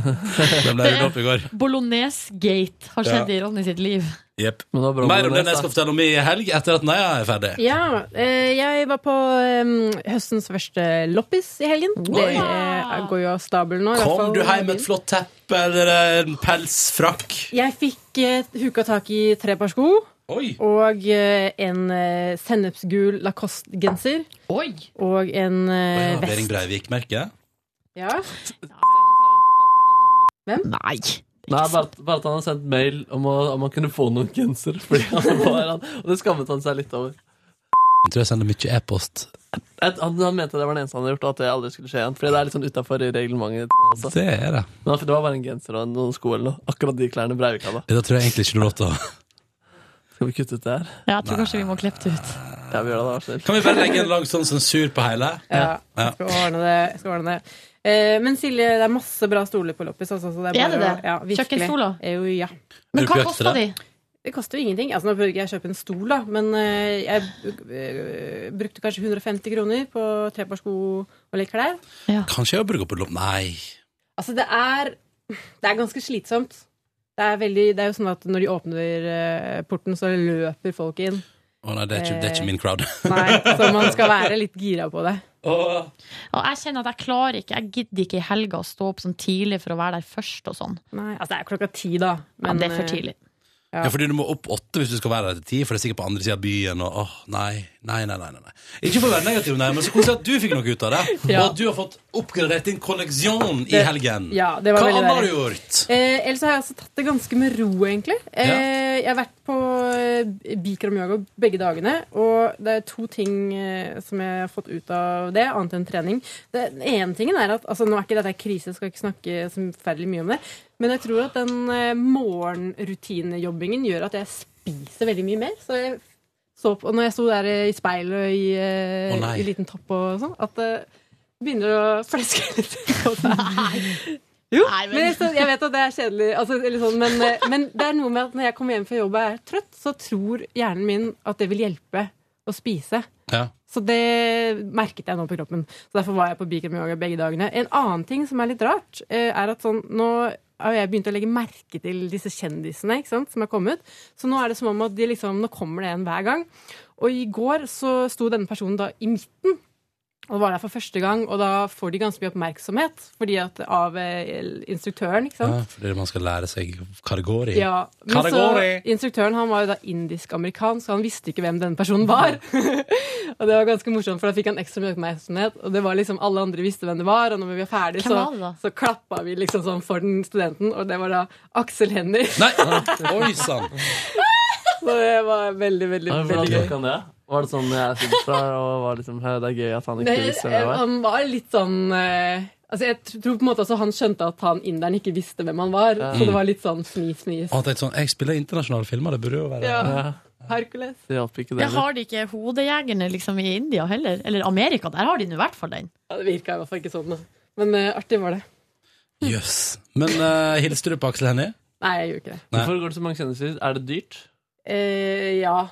Speaker 1: Det ble ryddet opp i går.
Speaker 2: Bolognese-gate har skjedd
Speaker 1: Ja.
Speaker 2: i Ronny sitt liv.
Speaker 1: Jepp.
Speaker 14: bra
Speaker 1: Mer om
Speaker 14: bolognese,
Speaker 1: den jeg skal fortelle om i helg, etter at Naja er ferdig.
Speaker 9: Ja, eh, jeg var på eh, høstens første loppis i helgen. Det
Speaker 1: Oi.
Speaker 9: eh, går jo av stabelen nå. i hvert
Speaker 1: Kom
Speaker 9: fall
Speaker 1: du hjem
Speaker 9: min.
Speaker 1: med et flott teppe eller en pelsfrakk?
Speaker 9: Jeg fikk eh, huka tak i tre par sko. Og eh, en eh, sennepsgul Lacoste-genser. Og en eh,
Speaker 1: Ja, Behring
Speaker 9: vest.
Speaker 1: Breivik-merke.
Speaker 9: Ja. Hvem?
Speaker 2: Nei.
Speaker 14: Nei, bare, at- bare at han har sendt mail om, å, om han kunne få noen genser. Fordi han var han, Og det skammet han seg litt over.
Speaker 1: Jeg tror jeg sender mye e-post.
Speaker 14: Et, han, han mente det var det eneste han hadde gjort, og at det aldri skulle skje igjen. Fordi det er litt sånn utenfor reglementet. Også.
Speaker 1: Det er det.
Speaker 14: Men han- det var bare en genser og noen sko eller noe. Akkurat de klærne Breivik hadde.
Speaker 1: Det tror jeg egentlig ikke du lov til å
Speaker 14: Skal vi kutte ut det her?
Speaker 2: Ja, jeg tror kanskje vi må klippe det ut.
Speaker 14: Ja, vi gjør det, da. Vær så snill.
Speaker 1: Kan vi bare legge en lang sånn sensur på hele?
Speaker 9: Ja. Jeg skal ordne det. Jeg skal ordne det. Eh, men Silje, det er masse bra stoler på loppis. Altså, så det er,
Speaker 2: Er
Speaker 9: bare
Speaker 2: det det?
Speaker 9: å- Ja, virkelig.
Speaker 2: Kjøkkenstoler?
Speaker 9: Eh, Jo, ja.
Speaker 1: Men Er du hva på jakt etter koster det?
Speaker 9: Det koster jo ingenting. Altså, nå prøvde ikke jeg å kjøpe en stol, da, men eh, jeg eh, brukte kanskje 150 kroner på tre par sko og litt klær.
Speaker 1: Kanskje jeg bruker opp et lopp Nei.
Speaker 9: Altså, det er, det er ganske slitsomt. Det er, veldig, det er jo sånn at når de åpner eh, porten, så løper folk inn.
Speaker 1: Å nei, det er, ikke, det er
Speaker 9: Eh.
Speaker 1: ikke min crowd.
Speaker 9: Nei, så man skal være litt gira på det.
Speaker 2: Og jeg kjenner at jeg klarer ikke. Jeg gidder ikke i helga å stå opp sånn tidlig for å være der først og sånn.
Speaker 9: Nei, altså det er klokka ti, da. eh,
Speaker 2: Men, eh, ja, det er for tidlig.
Speaker 1: Ja. fordi du må opp åtte hvis du skal være der til ti, for det er sikkert på andre siden av byen. Og, åh, nei, nei, nei, nei, nei, nei. Ikke for å være negativ, nei, men så koselig at du fikk noe ut av det. Og
Speaker 9: Ja.
Speaker 1: at du har fått oppgradert din kolleksjon i
Speaker 9: Det-
Speaker 1: helgen.
Speaker 9: Ja, det var
Speaker 1: Hva
Speaker 9: veldig
Speaker 1: annet har du
Speaker 9: deilig.
Speaker 1: gjort?
Speaker 9: Eh, ellers har jeg altså tatt det ganske med ro, egentlig. Eh, Jeg har vært på eh, Bikram yoga begge dagene, og det er to ting eh, som jeg har fått ut av det, annet enn trening. Det, den ene tingen er at, altså Nå er ikke dette en krise, jeg skal ikke snakke så forferdelig mye om det, men jeg tror at den eh, morgenrutinejobbingen gjør at jeg spiser veldig mye mer. Så jeg så på, og når jeg sto der eh, i speilet og i, eh,
Speaker 1: Å, nei.
Speaker 9: i liten topp og sånn, at det begynner å fleske litt. Jo,
Speaker 2: men-
Speaker 9: men jeg, så- jeg vet at det er kjedelig, altså, eller sånn, men, eh, men det er noe med at når jeg kommer hjem fra jobb og er trøtt, så tror hjernen min at det vil hjelpe å spise.
Speaker 1: Ja.
Speaker 9: Så det merket jeg nå på kroppen. Så Derfor var jeg på Bikram yoga begge dagene. En annen ting som er litt rart, eh, er at sånn, nå
Speaker 11: og jeg begynte å legge merke til disse kjendisene ikke sant, som er kommet. Så nå er det som om at de liksom, nå kommer det en hver gang. Og i går så sto denne personen da i midten og var der for første gang, og da får de ganske mye oppmerksomhet fordi at av eh, instruktøren. ikke sant?
Speaker 1: Ja, fordi man skal lære seg kategori.
Speaker 11: Ja, men så, instruktøren han var jo da indisk-amerikansk, så han visste ikke hvem denne personen var. og det var ganske morsomt, for da fikk han ekstra mye oppmerksomhet. Og det var liksom alle andre visste hvem det var, og når vi var ferdig,
Speaker 2: Hvem
Speaker 11: så,
Speaker 2: var det da?
Speaker 11: så klappa vi liksom sånn for den studenten, og det var da Aksel Hennie.
Speaker 1: Nei, oi sann!
Speaker 11: så det var veldig, veldig, veldig gøy.
Speaker 9: Hvordan gikk han det? Var det sånn jeg sitter fra og var liksom «Hø, Det er gøy at han ikke
Speaker 11: Nei,
Speaker 9: visste hvem jeg var?
Speaker 11: Han var litt sånn eh, Altså, jeg tr- tror på en måte også han skjønte at han inderen ikke visste hvem han var,
Speaker 1: Ja.
Speaker 11: så det var litt sånn fnis, fnis.
Speaker 1: Og han tenkte sånn, jeg spiller internasjonale filmer, det burde jo være
Speaker 11: Ja. Hercules.
Speaker 9: Det hjalp ikke,
Speaker 2: Ja, har de ikke hodejegerne liksom i India heller? Eller Amerika, der har de nå i hvert fall den.
Speaker 11: Ja, det virka i hvert fall ikke sånn. da. Men eh, artig var det.
Speaker 1: Jøss. Men eh, hilste du på Aksel Hennie?
Speaker 11: Nei, jeg gjorde ikke det.
Speaker 9: Hvorfor går det så mange kjendiser? Er det dyrt?
Speaker 11: Eh, ja,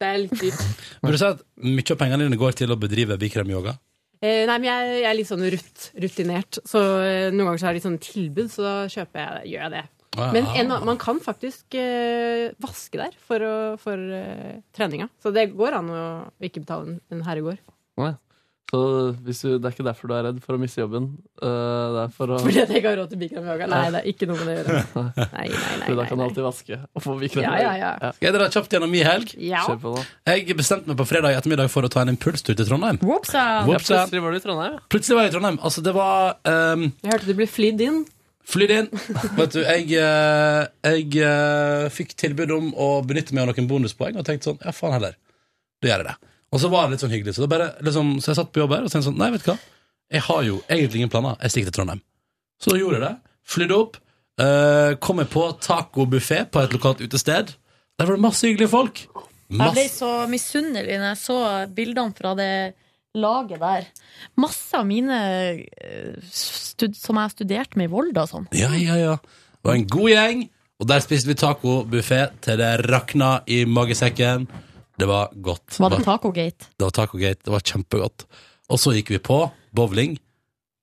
Speaker 11: det er litt dyrt.
Speaker 1: Vil du si at mye av pengene dine går til å bedrive bikram-yoga?
Speaker 11: Eh, nei, men jeg, jeg er litt sånn rut, rutinert, så eh, noen ganger så er det litt sånn tilbud, så da kjøper jeg, gjør jeg det.
Speaker 1: Ah.
Speaker 11: Men en, annen- man kan faktisk eh, vaske der for, å, for eh, treninga, så det går an å ikke betale en, en herregård.
Speaker 9: Nei. Så hvis du, det er ikke derfor du er redd for å miste jobben? eh, det er for å
Speaker 11: Fordi at jeg ikke har råd til bikram yoga. Nei, det er ikke noe med det å gjøre. Nei, nei,
Speaker 9: For da kan du alltid vaske og få vikram.
Speaker 11: Ja, ja, ja.
Speaker 1: Skal jeg dra kjapt gjennom min helg?
Speaker 11: Ja.
Speaker 9: Kjør på da.
Speaker 1: Jeg bestemte meg på fredag ettermiddag for å ta en impulstur til Trondheim.
Speaker 2: Whoopsa.
Speaker 1: Whoopsa.
Speaker 9: Ja, plutselig var du i Trondheim.
Speaker 1: Plutselig var jeg i Trondheim. Altså, det var ehm,
Speaker 11: Jeg hørte du ble flydd inn.
Speaker 1: Flydd inn. Vet du, jeg, eh, jeg eh, fikk tilbud om å benytte meg av noen bonuspoeng, og tenkte sånn, ja faen heller, da gjør jeg det. Og så var det litt sånn hyggelig, så, da bare, liksom, så jeg satt på jobb her og tenkte sånn, nei, vet du hva, jeg har jo egentlig ingen planer, jeg stikker til Trondheim. Så da gjorde jeg det, flydde opp, eh, kom jeg på tacobuffé på et lokalt utested, der var det masse hyggelige folk.
Speaker 2: Jeg ble
Speaker 1: Masse.
Speaker 2: så misunnelig når jeg så bildene fra det laget der. Masse av mine eh, stud som jeg studerte med i Volda og sånn.
Speaker 1: Ja, ja, ja. Det var en god gjeng, og der spiste vi tacobuffé til det rakna i magesekken. Det var godt.
Speaker 2: Var det
Speaker 1: Bare-
Speaker 2: Tacogate?
Speaker 1: Det var tacogate, det var kjempegodt. Og så gikk vi på bowling.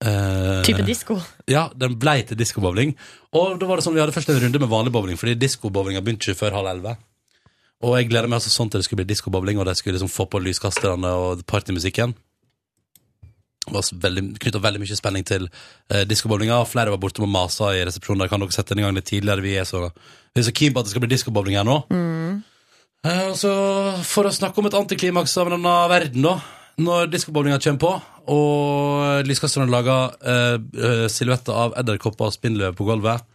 Speaker 1: Eh,
Speaker 2: Type disko?
Speaker 1: Ja, den blei til diskobowling. Og da var det sånn, vi hadde først en runde med vanlig bowling, fordi diskobowlinga begynte ikke før halv elleve. Og jeg gleda meg altså sånn til det skulle bli diskobowling, og de skulle liksom få på lyskasterne og partymusikken. Det var altså veldig, knytta veldig mye spenning til eh, diskobowlinga, og flere var borte med masa i resepsjonen. Der kan dere sette den i gang litt tidligere, vi er så, vi er så keen på at det skal bli diskobowling her nå. Eh, og så for å snakke om et antiklimaks av en annen verden, da. Når diskobowlinga kommer på, og lyskasterne lager eh, eh, silhuetter av edderkopper og spindelvev på gulvet,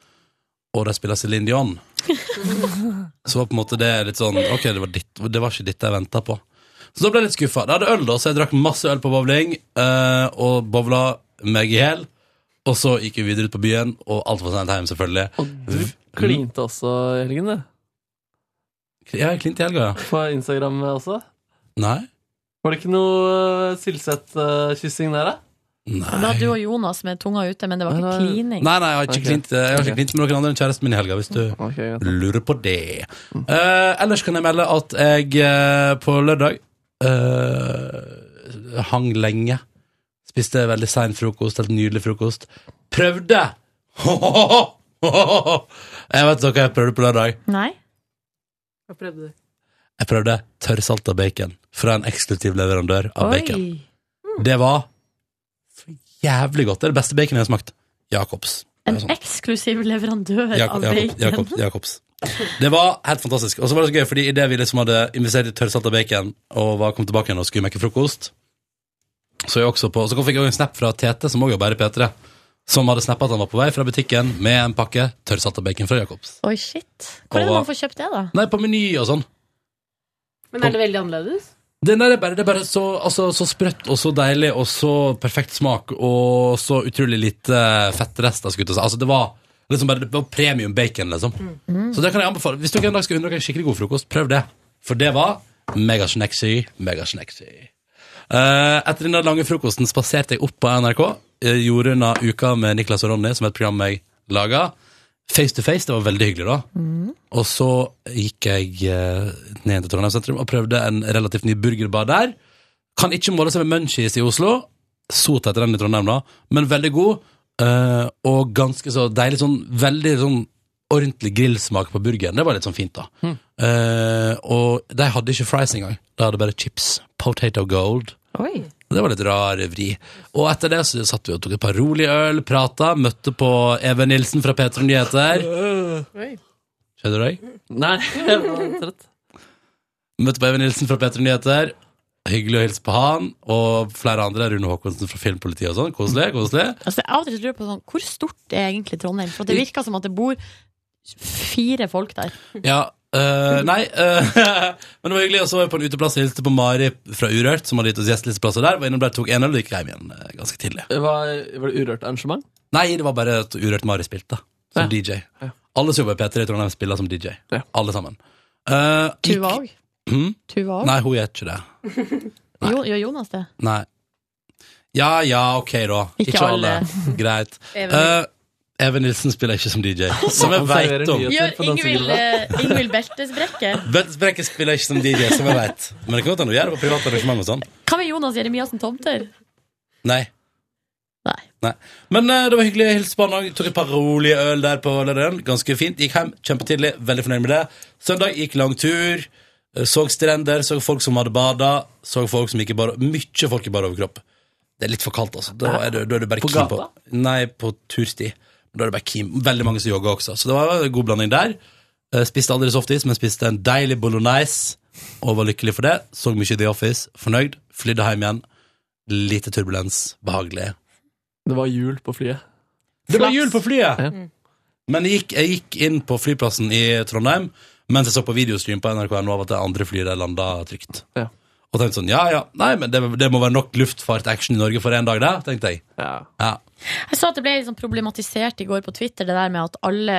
Speaker 1: og de spiller Céline Dion, så var på en måte det litt sånn Ok, det var, ditt, det var ikke dette jeg venta på. Så da ble jeg litt skuffa. Jeg hadde øl, da, så jeg drakk masse øl på bowling, eh, og bowla meg i hjel. Og så gikk vi videre ut på byen, og alt var sendt hjem, selvfølgelig.
Speaker 9: Klinte også i helgen, du.
Speaker 1: Ja, jeg klinte i helga, ja.
Speaker 9: På Instagram også.
Speaker 1: Nei.
Speaker 9: Var det ikke noe eh, Silseth-kyssing der, da?
Speaker 2: Det var du og Jonas med tunga ute, men det var ikke klining.
Speaker 1: Nei, nei, jeg har ikke
Speaker 9: Ok.
Speaker 1: klint Jeg har
Speaker 9: Ok.
Speaker 1: ikke klint med noen andre enn kjæresten min i helga, hvis du lurer på det. Eh, ellers kan jeg melde at jeg eh, på lørdag eh, hang lenge. Spiste veldig sein frokost, helt nydelig frokost. Prøvde! jeg vet dere hva jeg prøvde på lørdag.
Speaker 2: Nei?
Speaker 11: Hva prøvde du?
Speaker 1: Jeg prøvde tørrsalta bacon fra en eksklusiv leverandør av bacon. Det var for jævlig godt. Det er det beste baconet jeg har smakt. Jacobs. sånn.
Speaker 2: En eksklusiv leverandør
Speaker 1: Jakob,
Speaker 2: av
Speaker 1: Jakob,
Speaker 2: bacon.
Speaker 1: Jakob, Jakobs. Det var helt fantastisk. Og så var det så gøy, fordi idet vi liksom hadde investert i tørrsalta bacon og var kom tilbake igjen og skulle mekke frokost, så, jeg også på, så fikk jeg også en snap fra Tete, som også jobber her i P3, som hadde snappa at han var på vei fra butikken med en pakke tørrsalta bacon fra Jacobs.
Speaker 2: Oi, shit. Hvor er det
Speaker 1: Og-
Speaker 2: man får kjøpt det, da?
Speaker 1: Nei, på Meny og sånn.
Speaker 11: Men er det veldig annerledes?
Speaker 1: Det, nei, det, er bare, det er bare så, altså, så sprøtt og så deilig og så perfekt smak og så utrolig lite fettrester. skulle jeg til å si. Altså, det var liksom bare det var premium bacon, liksom.
Speaker 11: Mm.
Speaker 1: Så det kan jeg anbefale. Hvis dere en dag skal unne dere en skikkelig god frokost, prøv det. For det var megasnexy, megasnexy. Eh, etter den der lange frokosten spaserte jeg opp på NRK. Jeg gjorde unna uka med Niklas og Ronny, som er et program jeg laga. Face to face, det var veldig hyggelig, da. Og så gikk jeg eh, ned til Trondheim sentrum og prøvde en relativt ny burgerbar der. Kan ikke måle seg med Munchies i Oslo. Sot etter den i Trondheim, da, men veldig god. eh, og ganske så deilig sånn Veldig sånn ordentlig grillsmak på burgeren. Det var litt sånn fint, da.
Speaker 9: Mm.
Speaker 1: Eh, og de hadde ikke fries engang. De hadde bare chips. Potato gold.
Speaker 2: Oi.
Speaker 1: Det var litt rar vri. Og etter det så satt vi og tok et par rolig øl, prata, møtte på Even Nilsen fra P3 Nyheter.
Speaker 11: Oi.
Speaker 1: Skjønner du deg?
Speaker 9: Nei, jeg var trøtt.
Speaker 1: Møtte på Even Nilsen fra P3 Nyheter. Hyggelig å hilse på han, og flere andre. Rune Håkonsen fra Filmpolitiet og sånn. Koselig. koselig
Speaker 2: Altså, jeg av og til lurer på sånn, hvor stort er egentlig Trondheim? For det virker som at det bor fire folk der.
Speaker 1: Ja, øh, nei øh, Men det var hyggelig, og så var vi på en uteplass og hilste på Mari fra Urørt, som hadde gitt oss gjestelisteplass der. Var innom der, tok en øl og gikk hjem igjen øh, ganske tidlig.
Speaker 9: Var, var det urørt arrangement?
Speaker 1: Nei, det var bare at Urørt Mari spilte, som DJ. Alle som jobber i P3 i Trondheim, spiller som DJ. Alle sammen. Eh,
Speaker 2: Tuva òg.
Speaker 1: hm?
Speaker 2: Tuva òg.
Speaker 1: Nei, hun gjør ikke det.
Speaker 2: Jo, gjør Jonas det?
Speaker 1: Nei. Ja ja, ok, da.
Speaker 2: Ikke alle.
Speaker 1: Greit.
Speaker 2: Even.
Speaker 1: Eh, Even Nilsen spiller ikke som DJ, som jeg
Speaker 9: Han serverer
Speaker 1: veit om.
Speaker 9: nyheter
Speaker 2: Gjør Ingvild eh, Ingvild Beltesbrekke?
Speaker 1: Bøttesprekker spiller ikke som DJ, som jeg veit. Men det kan godt hende hun gjør det på private arrangement og sånn.
Speaker 2: Hva med Jonas Jeremiassen Tomter?
Speaker 1: Nei. Nei. Men eh, det var hyggelig å hilse på han òg. Tok et par rolige øl der på lørdagen. Ganske fint. Gikk hjem kjempetidlig. Veldig fornøyd med det. Søndag gikk lang tur. eh, Så strender, så folk som hadde bada. Så folk som gikk i bar Mye folk i bar overkropp. Det er litt for kaldt, altså. Da er du, da er du bare
Speaker 9: På
Speaker 1: keen på
Speaker 9: gata?
Speaker 1: Nei, på tursti. Da er du bare keen. Veldig mange som jogger også. Så det var en god blanding der. Eh, Spiste aldri softis, men spiste en deilig bolognese og var lykkelig for det. Så mye The Office. Fornøyd. Flydde hjem igjen. Lite turbulens. Behagelig.
Speaker 9: Det var jul på flyet.
Speaker 1: Det var jul på flyet!
Speaker 2: Mm.
Speaker 1: Men jeg gikk, jeg gikk inn på flyplassen i Trondheim mens jeg så på videostream på NRK nå av at det andre flyet der landa trygt. Og tenkte sånn, ja ja, nei, men det, det må være nok luftfart-action i Norge for en dag, det, tenkte jeg. Ja.
Speaker 2: Jeg så at det ble liksom problematisert i går på Twitter, det der med at alle,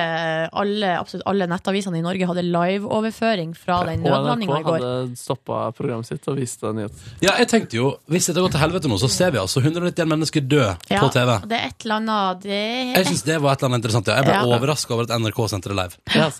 Speaker 2: alle, absolutt alle nettavisene i Norge hadde liveoverføring fra den
Speaker 9: Og NRK
Speaker 2: nødlandinga i går.
Speaker 9: hadde stoppa programmet sitt og viste en nyhet.
Speaker 1: Ja, jeg tenkte jo, hvis dette går til helvete nå, så ser vi altså 191 mennesker dø
Speaker 2: Ja,
Speaker 1: på TV.
Speaker 2: og Det er et eller annet det er-
Speaker 1: Jeg syns det var et eller annet interessant. Ja. Jeg ble
Speaker 2: Ja.
Speaker 1: overrasket overraska over at NRK sendte det live.
Speaker 9: altså.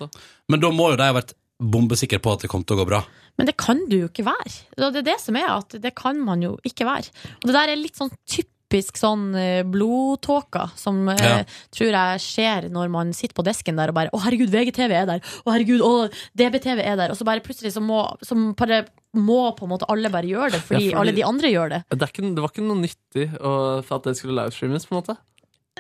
Speaker 1: Men da må jo de ha vært bombesikre på at det kom til å gå bra.
Speaker 2: Men det kan du jo ikke være. Og Det er det som er at det kan man jo ikke være. Og det der er litt sånn typisk sånn eh, blodtåka som eh,
Speaker 13: Ja.
Speaker 2: tror jeg skjer når man sitter på desken der og bare 'Å, herregud, VGTV er der'. 'Å, herregud, å, DBTV er der'. Og så bare plutselig så må, så bare, må på en måte alle bare gjøre det, fordi
Speaker 9: Ja, fordi-
Speaker 2: alle de andre gjør det.
Speaker 9: Det, er ikke, det var ikke noe nyttig å, for at det skulle livestreames, på en måte?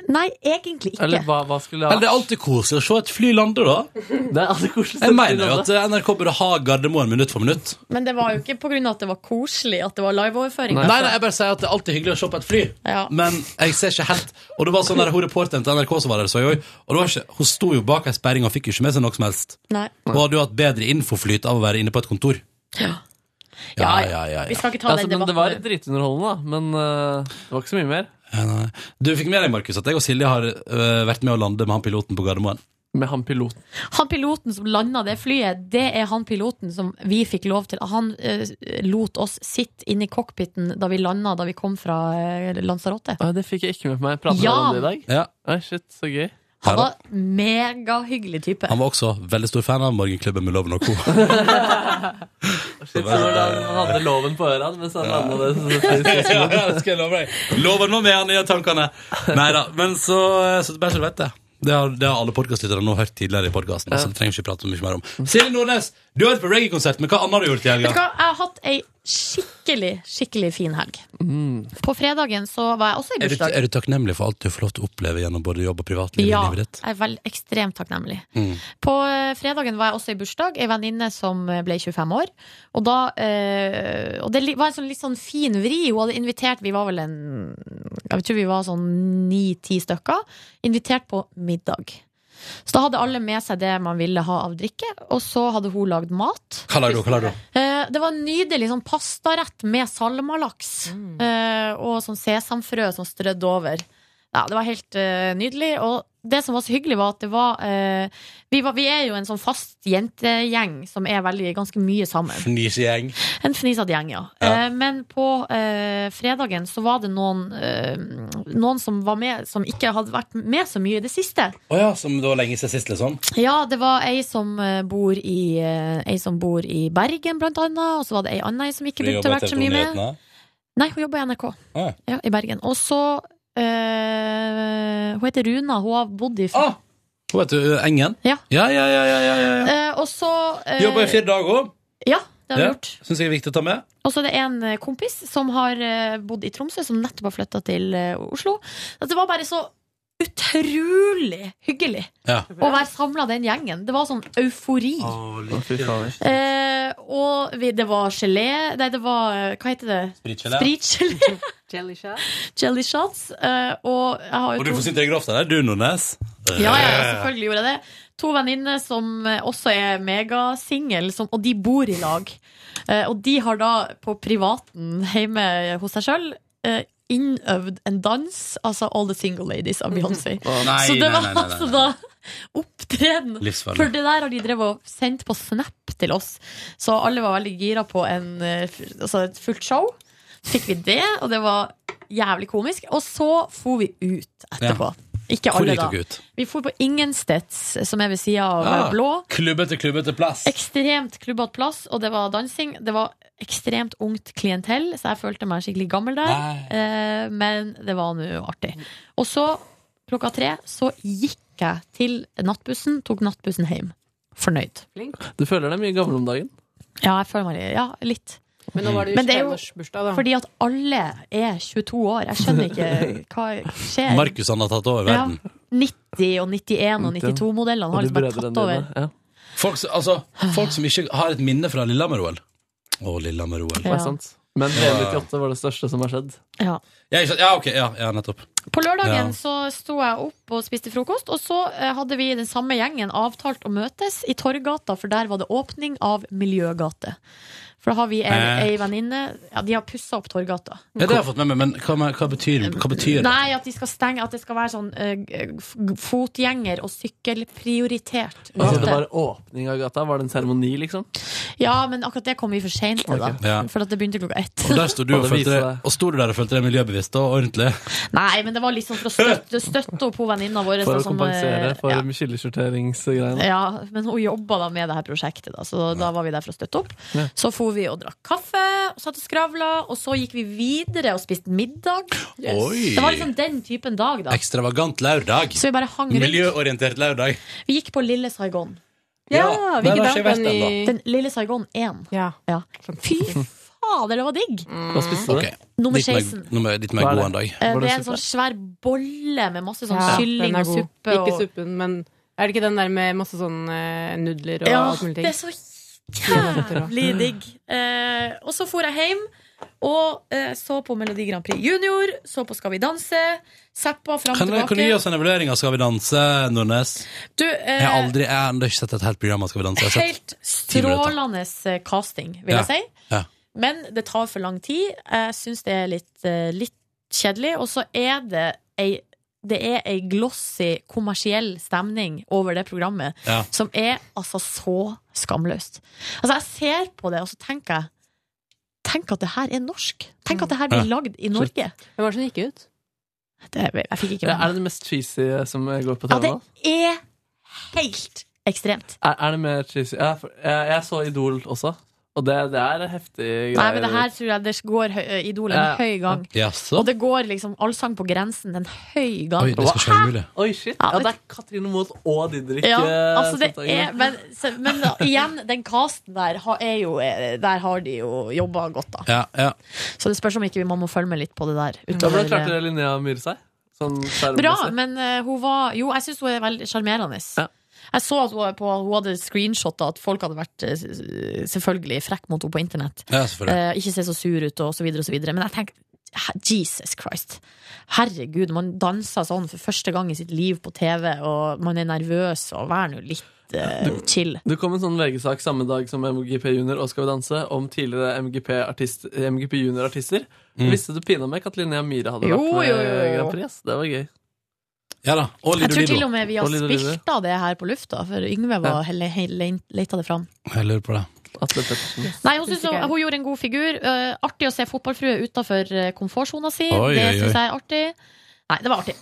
Speaker 2: Nei, egentlig ikke.
Speaker 9: Eller hva, hva skulle
Speaker 1: Eller det er alltid koselig å se et fly lande, da.
Speaker 9: Det er alltid koselig å se
Speaker 1: Jeg
Speaker 9: et fly
Speaker 1: mener jo at
Speaker 9: lande.
Speaker 1: eh, NRK burde ha Gardermoen minutt for minutt.
Speaker 2: Men det var jo ikke pga. at det var koselig at det var liveoverføring.
Speaker 1: Nei,
Speaker 2: altså.
Speaker 1: nei, jeg bare sier at det er alltid hyggelig å se på et fly,
Speaker 2: Ja.
Speaker 1: men jeg ser ikke helt Og det var sånn der hun reporteren til NRK som var der, så jeg, også, og det var ikke, hun sto jo bak ei sperring og fikk jo ikke med seg noe som helst.
Speaker 2: Nei.
Speaker 1: Hun hadde jo hatt bedre infoflyt av å være inne på et kontor.
Speaker 2: Ja,
Speaker 1: ja, ja. ja. altså,
Speaker 2: Vi skal ikke ta den
Speaker 9: altså, men Det var
Speaker 2: debatten.
Speaker 9: dritunderholdende, da. Men eh, det var ikke så mye mer.
Speaker 1: Ja, nei. Du fikk med deg, Markus, at jeg og Silje har øh, vært med å lande med han piloten på Gardermoen.
Speaker 9: Med han piloten?
Speaker 2: Han piloten som landa det flyet, det er han piloten som vi fikk lov til. Han eh, lot oss sitte inne i cockpiten da vi landa, da vi kom fra eh, Lanzarote.
Speaker 9: Å, det fikk jeg ikke med meg. Prater dere
Speaker 2: Ja.
Speaker 9: om det i dag? Oi, shit, så gøy.
Speaker 2: Han var megahyggelig type.
Speaker 1: Han var også veldig stor fan av Morgenklubben med Loven og Co.
Speaker 9: Shit, så hvordan han hadde loven på øra mens han landa det.
Speaker 1: Ja, det skal jeg love deg. Loven var med han i tankene. Nei da, men så, eh, så bare så du vet det. Det har, det har alle podkastlytterne nå hørt tidligere i podkasten. Så det trenger vi ikke prate så mye mer om. Silje Nordnes, du har vært på reggae-konsert, men hva annet har du gjort i
Speaker 2: Vet du
Speaker 1: helga?
Speaker 2: hva, jeg har hatt ei skikkelig, skikkelig fin helg. På fredagen så var jeg også i
Speaker 1: Mm. Er du,
Speaker 2: bursdag.
Speaker 1: er du takknemlig for alt du får lov til å oppleve gjennom både jobb og privatliv
Speaker 2: Ja,
Speaker 1: i livet ditt?
Speaker 2: jeg er vel ekstremt takknemlig.
Speaker 1: Mm.
Speaker 2: På eh, fredagen var jeg også i bursdag, ei venninne som eh, ble 25 år. Og, da, eh, og det li- var en sånn, litt sånn fin vri. Hun hadde invitert, vi var vel en Jeg tror vi var sånn ni-ti stykker. Invitert på middag. Så da hadde alle med seg det man ville ha av drikke, og så hadde hun lagd mat.
Speaker 1: Hva lager du? Hva lager du?
Speaker 2: Eh, Det var en nydelig sånn pastarett med salmalaks eh, og sånn sesamfrø som strødde over. Ja, det var helt eh, nydelig. Og det som var så hyggelig, var at det var, eh, vi, var Vi er jo en sånn fast jentegjeng som er veldig, ganske mye sammen.
Speaker 1: Fnisegjeng.
Speaker 2: En fnisete gjeng, ja. Eh, men på eh, fredagen så var det noen, eh, noen som var med, som ikke hadde vært med så mye i det siste.
Speaker 1: Å ja, som det var lenge siden sist, liksom?
Speaker 2: Ja, det var ei som eh, bor i, eh, ei som bor i Bergen, blant annet. Og så var det ei anna ei som ikke
Speaker 1: Du
Speaker 2: begynte å
Speaker 1: jobber i
Speaker 2: vært så
Speaker 1: TV2
Speaker 2: mye med.
Speaker 1: Nyhetene.
Speaker 2: Nei, hun jobber i NRK.
Speaker 1: Å, ja.
Speaker 2: Ja, I Bergen. Og så eh, Hun heter Runa. Hun har bodd i
Speaker 1: Ah!
Speaker 13: Hun heter
Speaker 1: eh,
Speaker 13: uh, Engen?
Speaker 2: Ja.
Speaker 13: Ja, ja, ja, ja, ja, ja.
Speaker 2: Eh, og så eh,
Speaker 13: Jobba i fire dager òg.
Speaker 2: Ja, det har vi gjort.
Speaker 13: Syns jeg er viktig å ta med.
Speaker 2: Og så er det en eh, kompis som har eh, bodd i Tromsø, som nettopp har flytta til eh, Oslo. At det var bare så utrolig hyggelig
Speaker 13: Ja.
Speaker 2: å være samla den gjengen. Det var sånn eufori. Eh, og vi, det var gelé Nei, det var eh, Hva heter det?
Speaker 13: Spritgelé.
Speaker 2: Spritgelé.
Speaker 11: Jelly shot.
Speaker 2: Jelly shots. Eh, og jeg har jo
Speaker 13: Og du
Speaker 2: to-
Speaker 13: får sitte deg grovt der, du, Nordnes. Eh,
Speaker 2: ja, ja, selvfølgelig gjorde jeg det. To venninner som eh, også er megasingel, som- og de bor i lag. Eh, og de har da på privaten hjemme hos seg sjøl eh, innøvd en dans, altså All the Single Ladies av Beyoncé.
Speaker 13: Å, nei,
Speaker 2: Så det
Speaker 13: nei,
Speaker 2: var
Speaker 13: nei, nei, nei, nei.
Speaker 2: altså da opptreden.
Speaker 13: Livsfarlig.
Speaker 2: For det der har de drevet og sendt på Snap til oss, så alle var veldig gira på en, eh, f- altså et fullt show. Så fikk vi det, og det var jævlig komisk. Og så for vi ut etterpå. Ikke
Speaker 13: Hvor
Speaker 2: alle,
Speaker 13: gikk
Speaker 2: da.
Speaker 13: dere ut?
Speaker 2: Vi for på Ingensteds, som er ved sida av eh, Blå.
Speaker 13: Klubbete, klubbete plass.
Speaker 2: Ekstremt klubbete plass, og det var dansing. Det var ekstremt ungt klientell, så jeg følte meg skikkelig gammel der. Eh, men det var nå artig. Og så, klokka tre, så gikk jeg til nattbussen, tok nattbussen hjem. Fornøyd.
Speaker 9: Du føler deg mye gammel om dagen.
Speaker 2: Ja, jeg føler meg litt- ja, litt.
Speaker 11: Men nå var det jo 21-årsbursdag, da.
Speaker 2: fordi at alle er 22 år. Jeg skjønner ikke hva skjer.
Speaker 1: Markus han har tatt over verden.
Speaker 2: Ja. 90 og 91 og 92-modellene har liksom bare tatt over.
Speaker 13: Folk, som- altså, folk som ikke har et minne fra Lillehammer-OL. Å, Lillehammer-OL.
Speaker 2: Ja. Det er sant.
Speaker 9: Men
Speaker 13: Ja.
Speaker 9: 98 var det største som har skjedd.
Speaker 2: Ja.
Speaker 13: Ja, ikke sant? ja, ok, ja, ja nettopp.
Speaker 2: På lørdagen
Speaker 13: Ja.
Speaker 2: så sto jeg opp og spiste frokost, og så eh, hadde vi den samme gjengen avtalt å møtes i Torggata, for der var det åpning av Miljøgate. For da har vi ei,
Speaker 13: Eh.
Speaker 2: ei venninne Ja, de har pussa opp Torggata.
Speaker 13: Ja, det har jeg fått med meg, men hva, med- hva betyr, hva betyr det?
Speaker 2: Nei, at, de skal stenge, at det skal være sånn eh, f- fotgjenger- og sykkelprioritert
Speaker 9: Altså, det
Speaker 2: gate.
Speaker 9: var åpning av gata. Var det en seremoni, liksom?
Speaker 2: Ja, men akkurat det kom vi for seint til, da.
Speaker 13: Ok. Ja.
Speaker 2: For at det begynte klokka ett.
Speaker 13: Og der sto du
Speaker 9: Og
Speaker 13: og
Speaker 9: det
Speaker 13: følte
Speaker 9: viser
Speaker 13: deg, og sto du der og følte deg miljøbevisst og ordentlig?
Speaker 2: Nei, men det var liksom for å støtte, støtte opp hun venninna vår.
Speaker 9: For
Speaker 2: da,
Speaker 9: å
Speaker 2: som,
Speaker 9: kompensere
Speaker 2: eh,
Speaker 9: for kildeskjorteringsgreiene.
Speaker 2: Ja, men hun jobba da med det her prosjektet, da, så da var vi der for å støtte opp.
Speaker 9: Ja.
Speaker 2: Så for vi og drakk kaffe, og satt og skravla, og så gikk vi videre og spiste middag.
Speaker 13: Oi.
Speaker 2: Det var liksom den typen dag, da.
Speaker 13: Ekstravagant lørdag.
Speaker 2: Så vi bare hang rundt.
Speaker 13: Miljøorientert lørdag.
Speaker 2: Vi gikk på Lille Saigon.
Speaker 13: Ja, vi der gikk har ikke den vært i- ennå.
Speaker 2: Den Lille Saigon 1. Ja. Fy fader, det var digg!
Speaker 9: Mm.
Speaker 13: Hva spiste du? Okay.
Speaker 2: Nummer
Speaker 13: Litt mer-
Speaker 2: 16.
Speaker 13: nummer- Litt mer
Speaker 9: Hva er
Speaker 13: god
Speaker 9: det?
Speaker 13: en dag.
Speaker 2: Eh, Det er en sånn svær bolle med masse sånn
Speaker 11: Ja, den
Speaker 2: kylling
Speaker 11: er
Speaker 2: og
Speaker 11: god.
Speaker 2: suppe.
Speaker 11: Ikke
Speaker 2: og-
Speaker 11: suppen, men er det ikke den der med masse sånn eh, nudler og
Speaker 2: Ja,
Speaker 11: alt mulig ting?
Speaker 2: det er så jævlig digg. Eh, og så for jeg hjem og eh, så på Melodi Grand Prix Junior, så på Skal vi danse, zappa fram
Speaker 13: Kan,
Speaker 2: tilbake.
Speaker 13: kan du gi oss en evaluering av Skal vi danse, Nordnes?
Speaker 2: Du,
Speaker 13: Jeg har
Speaker 2: eh,
Speaker 13: aldri, jeg har enda ikke sett et helt program av Skal vi danse. Jeg har sett
Speaker 2: helt
Speaker 13: ti minutter.
Speaker 2: strålende eh, casting, vil
Speaker 13: Ja.
Speaker 2: jeg si.
Speaker 13: Ja.
Speaker 2: Men det tar for lang tid. Jeg syns det er litt, eh, litt kjedelig. Og så er det ei det er ei glossy, kommersiell stemning over det programmet
Speaker 13: Ja.
Speaker 2: som er altså så skamløst. Altså, jeg ser på det, og så tenker jeg Tenk at det her er norsk! Tenk at det her blir
Speaker 9: Ja.
Speaker 2: lagd i Norge!
Speaker 11: Hvem var det som gikk ut?
Speaker 2: Det, jeg fikk ikke
Speaker 9: Ja,
Speaker 2: med
Speaker 9: Er
Speaker 2: meg.
Speaker 9: det det mest cheesy eh, som går på
Speaker 2: Ja,
Speaker 9: TV
Speaker 2: det
Speaker 9: nå?
Speaker 2: er helt ekstremt.
Speaker 9: Er, er det mer cheesy? Ja, for, jeg, jeg så Idol også, og det, det er heftig greier.
Speaker 2: Nei, men det her tror jeg det går hø- Idol en
Speaker 9: Ja.
Speaker 2: høy gang.
Speaker 13: Jaså?
Speaker 2: Og det går liksom allsang på grensen en høy gang.
Speaker 13: Oi, det skal ikke være mulig.
Speaker 9: Hæ? Oi, shit.
Speaker 2: Ja,
Speaker 9: Ja, det er Katrine Moot og Didrik.
Speaker 2: Ja,
Speaker 9: eh,
Speaker 2: altså det
Speaker 9: Sandhagen.
Speaker 2: er, men, se- men da, igjen, den casten der har, er jo, eh, der har de jo jobba godt, da.
Speaker 13: Ja, ja.
Speaker 2: Så det spørs om ikke man må følge med litt på det der.
Speaker 9: Ja, hvordan
Speaker 2: utover,
Speaker 9: klarte Linnea Myhre seg? Sånn
Speaker 2: eh,
Speaker 9: skjermmessig.
Speaker 2: Bra, men eh, hun var Jo, jeg syns hun er veldig sjarmerende. Jeg så at hun, var på, hun hadde screenshotta at folk hadde vært eh, s- selvfølgelig frekk mot henne på internett.
Speaker 13: Ja, selvfølgelig.
Speaker 2: Eh, ikke se så sur ut, og så videre og så videre. Men jeg tenkte he- Jesus Christ. Herregud, man danser sånn for første gang i sitt liv på TV, og man er nervøs, og vær nå litt eh, chill.
Speaker 9: Det kom en sånn VG-sak samme dag som MGP Junior og Skal vi danse om tidligere MGP, -artist- MGP Junior-artister.
Speaker 13: Mm.
Speaker 9: Visste du pina meg at Linnea Myhre hadde
Speaker 2: Jo,
Speaker 9: vært med
Speaker 2: jo, jo,
Speaker 9: i
Speaker 2: jo.
Speaker 9: Grand Prix? ass? Det var gøy.
Speaker 13: Ja da. Og
Speaker 2: Jeg
Speaker 13: Lido
Speaker 2: tror
Speaker 13: Lido.
Speaker 2: til og med vi har
Speaker 13: Og Lido Lido.
Speaker 2: spilt av det her på lufta, for Yngve var hele, hele, leita det fram.
Speaker 13: Jeg lurer på det.
Speaker 2: Nei, hun, synes, hun, hun gjorde en god figur. Eh, artig å se fotballfrue utafor eh, komfortsona si.
Speaker 13: Oi,
Speaker 2: det
Speaker 13: oi, oi.
Speaker 2: syns jeg er artig. Nei, det var artig.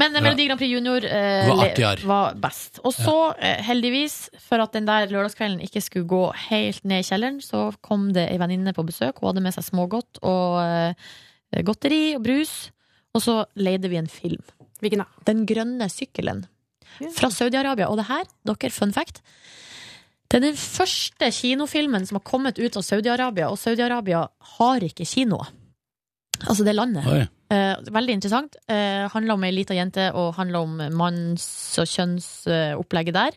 Speaker 2: Men eh,
Speaker 13: Ja.
Speaker 2: Melodi Grand Prix Junior eh,
Speaker 13: Var
Speaker 2: le-
Speaker 13: artigere.
Speaker 2: var best. Og så, eh, heldigvis, for at den der lørdagskvelden ikke skulle gå helt ned i kjelleren, så kom det ei venninne på besøk. Hun hadde med seg smågodt og eh, godteri og brus. Og så leide vi en film.
Speaker 15: Hvilken da?
Speaker 2: Den grønne sykkelen. Fra Saudi-Arabia. Og det her, dere, fun fact. Det er den første kinofilmen som har kommet ut av Saudi-Arabia, og Saudi-Arabia har ikke kino. Altså det landet.
Speaker 1: Oi.
Speaker 2: Eh, veldig interessant. Eh, handler om ei lita jente, og handler om manns- og kjønnsopplegget der.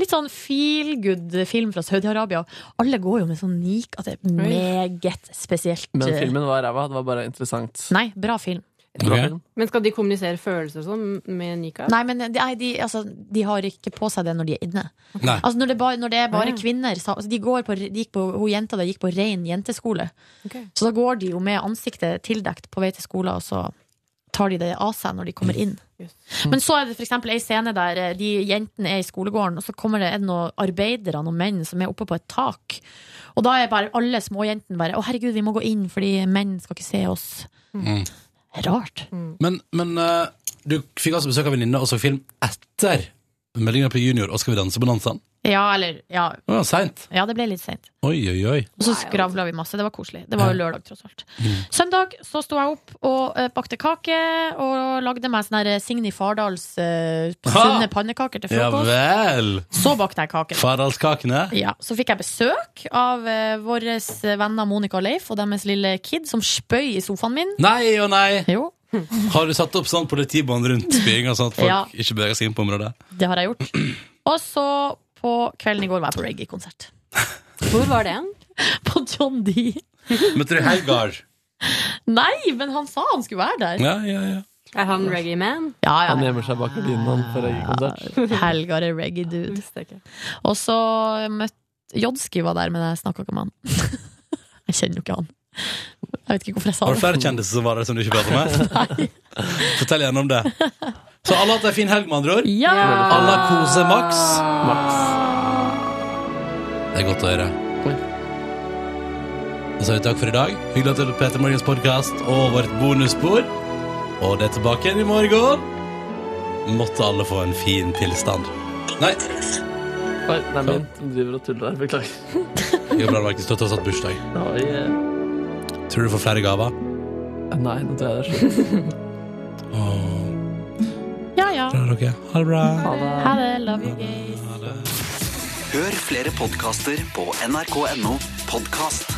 Speaker 2: Litt sånn feel good film fra Saudi-Arabia. Alle går jo med sånn nik at det er meget spesielt.
Speaker 9: Men
Speaker 2: eh,
Speaker 9: filmen var ræva. Det var bare interessant.
Speaker 2: Nei, bra film.
Speaker 9: Bra film.
Speaker 15: Men skal de kommunisere følelser og sånn med nikab?
Speaker 2: Nei, men de, nei, de, altså, de har ikke på seg det når de er inne.
Speaker 15: Nei.
Speaker 2: Altså, når, det bare, når det er
Speaker 15: Ah,
Speaker 2: bare
Speaker 15: ja.
Speaker 2: kvinner så, altså, de går på, de gikk på, Hun jenta der gikk på ren jenteskole. Så da går de jo med ansiktet tildekt på vei til skolen, og så tar de det av seg når de kommer inn. Men så er det f.eks. ei scene der eh, de jentene er i skolegården, og så kommer det er det noen arbeidere, noen menn, som er oppe på et tak. Og da er bare alle småjentene bare 'Å, herregud, vi må gå inn, fordi menn skal ikke se oss'.
Speaker 1: Mm.
Speaker 2: Rart.
Speaker 15: Mm.
Speaker 1: Men, men eh, du fikk altså besøk av venninne og så film etter meldinga på Junior og Skal vi danse på dansen?
Speaker 2: Ja, eller Ja,
Speaker 1: Det var seint.
Speaker 2: ja det ble litt seint.
Speaker 1: Oi, oi, oi.
Speaker 2: Og så skravla vi masse. Det var koselig. Det var jo lørdag, tross alt. Søndag så sto jeg opp og eh, bakte kake og lagde meg sånn her Signy Fardals eh, sunne pannekaker til
Speaker 1: Ja
Speaker 2: frokost.
Speaker 1: vel.
Speaker 2: Så bakte jeg kake.
Speaker 1: Faralskakene.
Speaker 2: Ja, Så fikk jeg besøk av eh, våre venner Monica og Leif og deres lille kid som spøy i sofaen min.
Speaker 1: Nei og nei.
Speaker 2: Har
Speaker 1: Har du satt opp sånn politibånd rundt spyinga, sånn at folk
Speaker 2: Ja.
Speaker 1: ikke beveger seg inn på området?
Speaker 2: Det har jeg gjort. Og så på kvelden i går var jeg på reggae-konsert.
Speaker 15: Hvor var det hen?
Speaker 2: På John D.
Speaker 1: Møtte du Helgar?
Speaker 2: Nei, men han sa han skulle være der.
Speaker 1: Ja, ja, ja.
Speaker 15: Er han reggae man?
Speaker 2: Ja, ja,
Speaker 9: Han gjemmer seg bak gardinene for reggaekonsert.
Speaker 2: Helgar er reggae dude. Og så møtte Jodski var der, men jeg snakka ikke med han. Jeg kjenner jo ikke han. Jeg vet ikke hvorfor jeg sa
Speaker 1: Har du flere
Speaker 2: det.
Speaker 1: kjendiser som var der som du ikke prater med? Fortell gjerne om det. Så alle har hatt ei en fin helg, med andre ord?
Speaker 2: Ja!
Speaker 1: Alle har koset Max. Det er godt å høre. Da sier vi takk for i dag. Hyggelig at du hørte på Peter Morgens podkast og vårt bonusbord. Og det er tilbake igjen i morgen. Måtte alle få en fin tilstand. Nei.
Speaker 9: Oi, nei, men de driver og tuller her. Beklager.
Speaker 1: Jo, bra, Markus. Du har tross alt bursdag.
Speaker 9: Oi, eh,
Speaker 1: Tror du du får flere gaver?
Speaker 9: Nei, nå tror jeg det er slutt.
Speaker 2: Ja, ja.
Speaker 1: Bra, dere. Ha det bra.
Speaker 2: Ha det. Love you, gays.
Speaker 6: Hør flere podkaster på nrk.no podkast.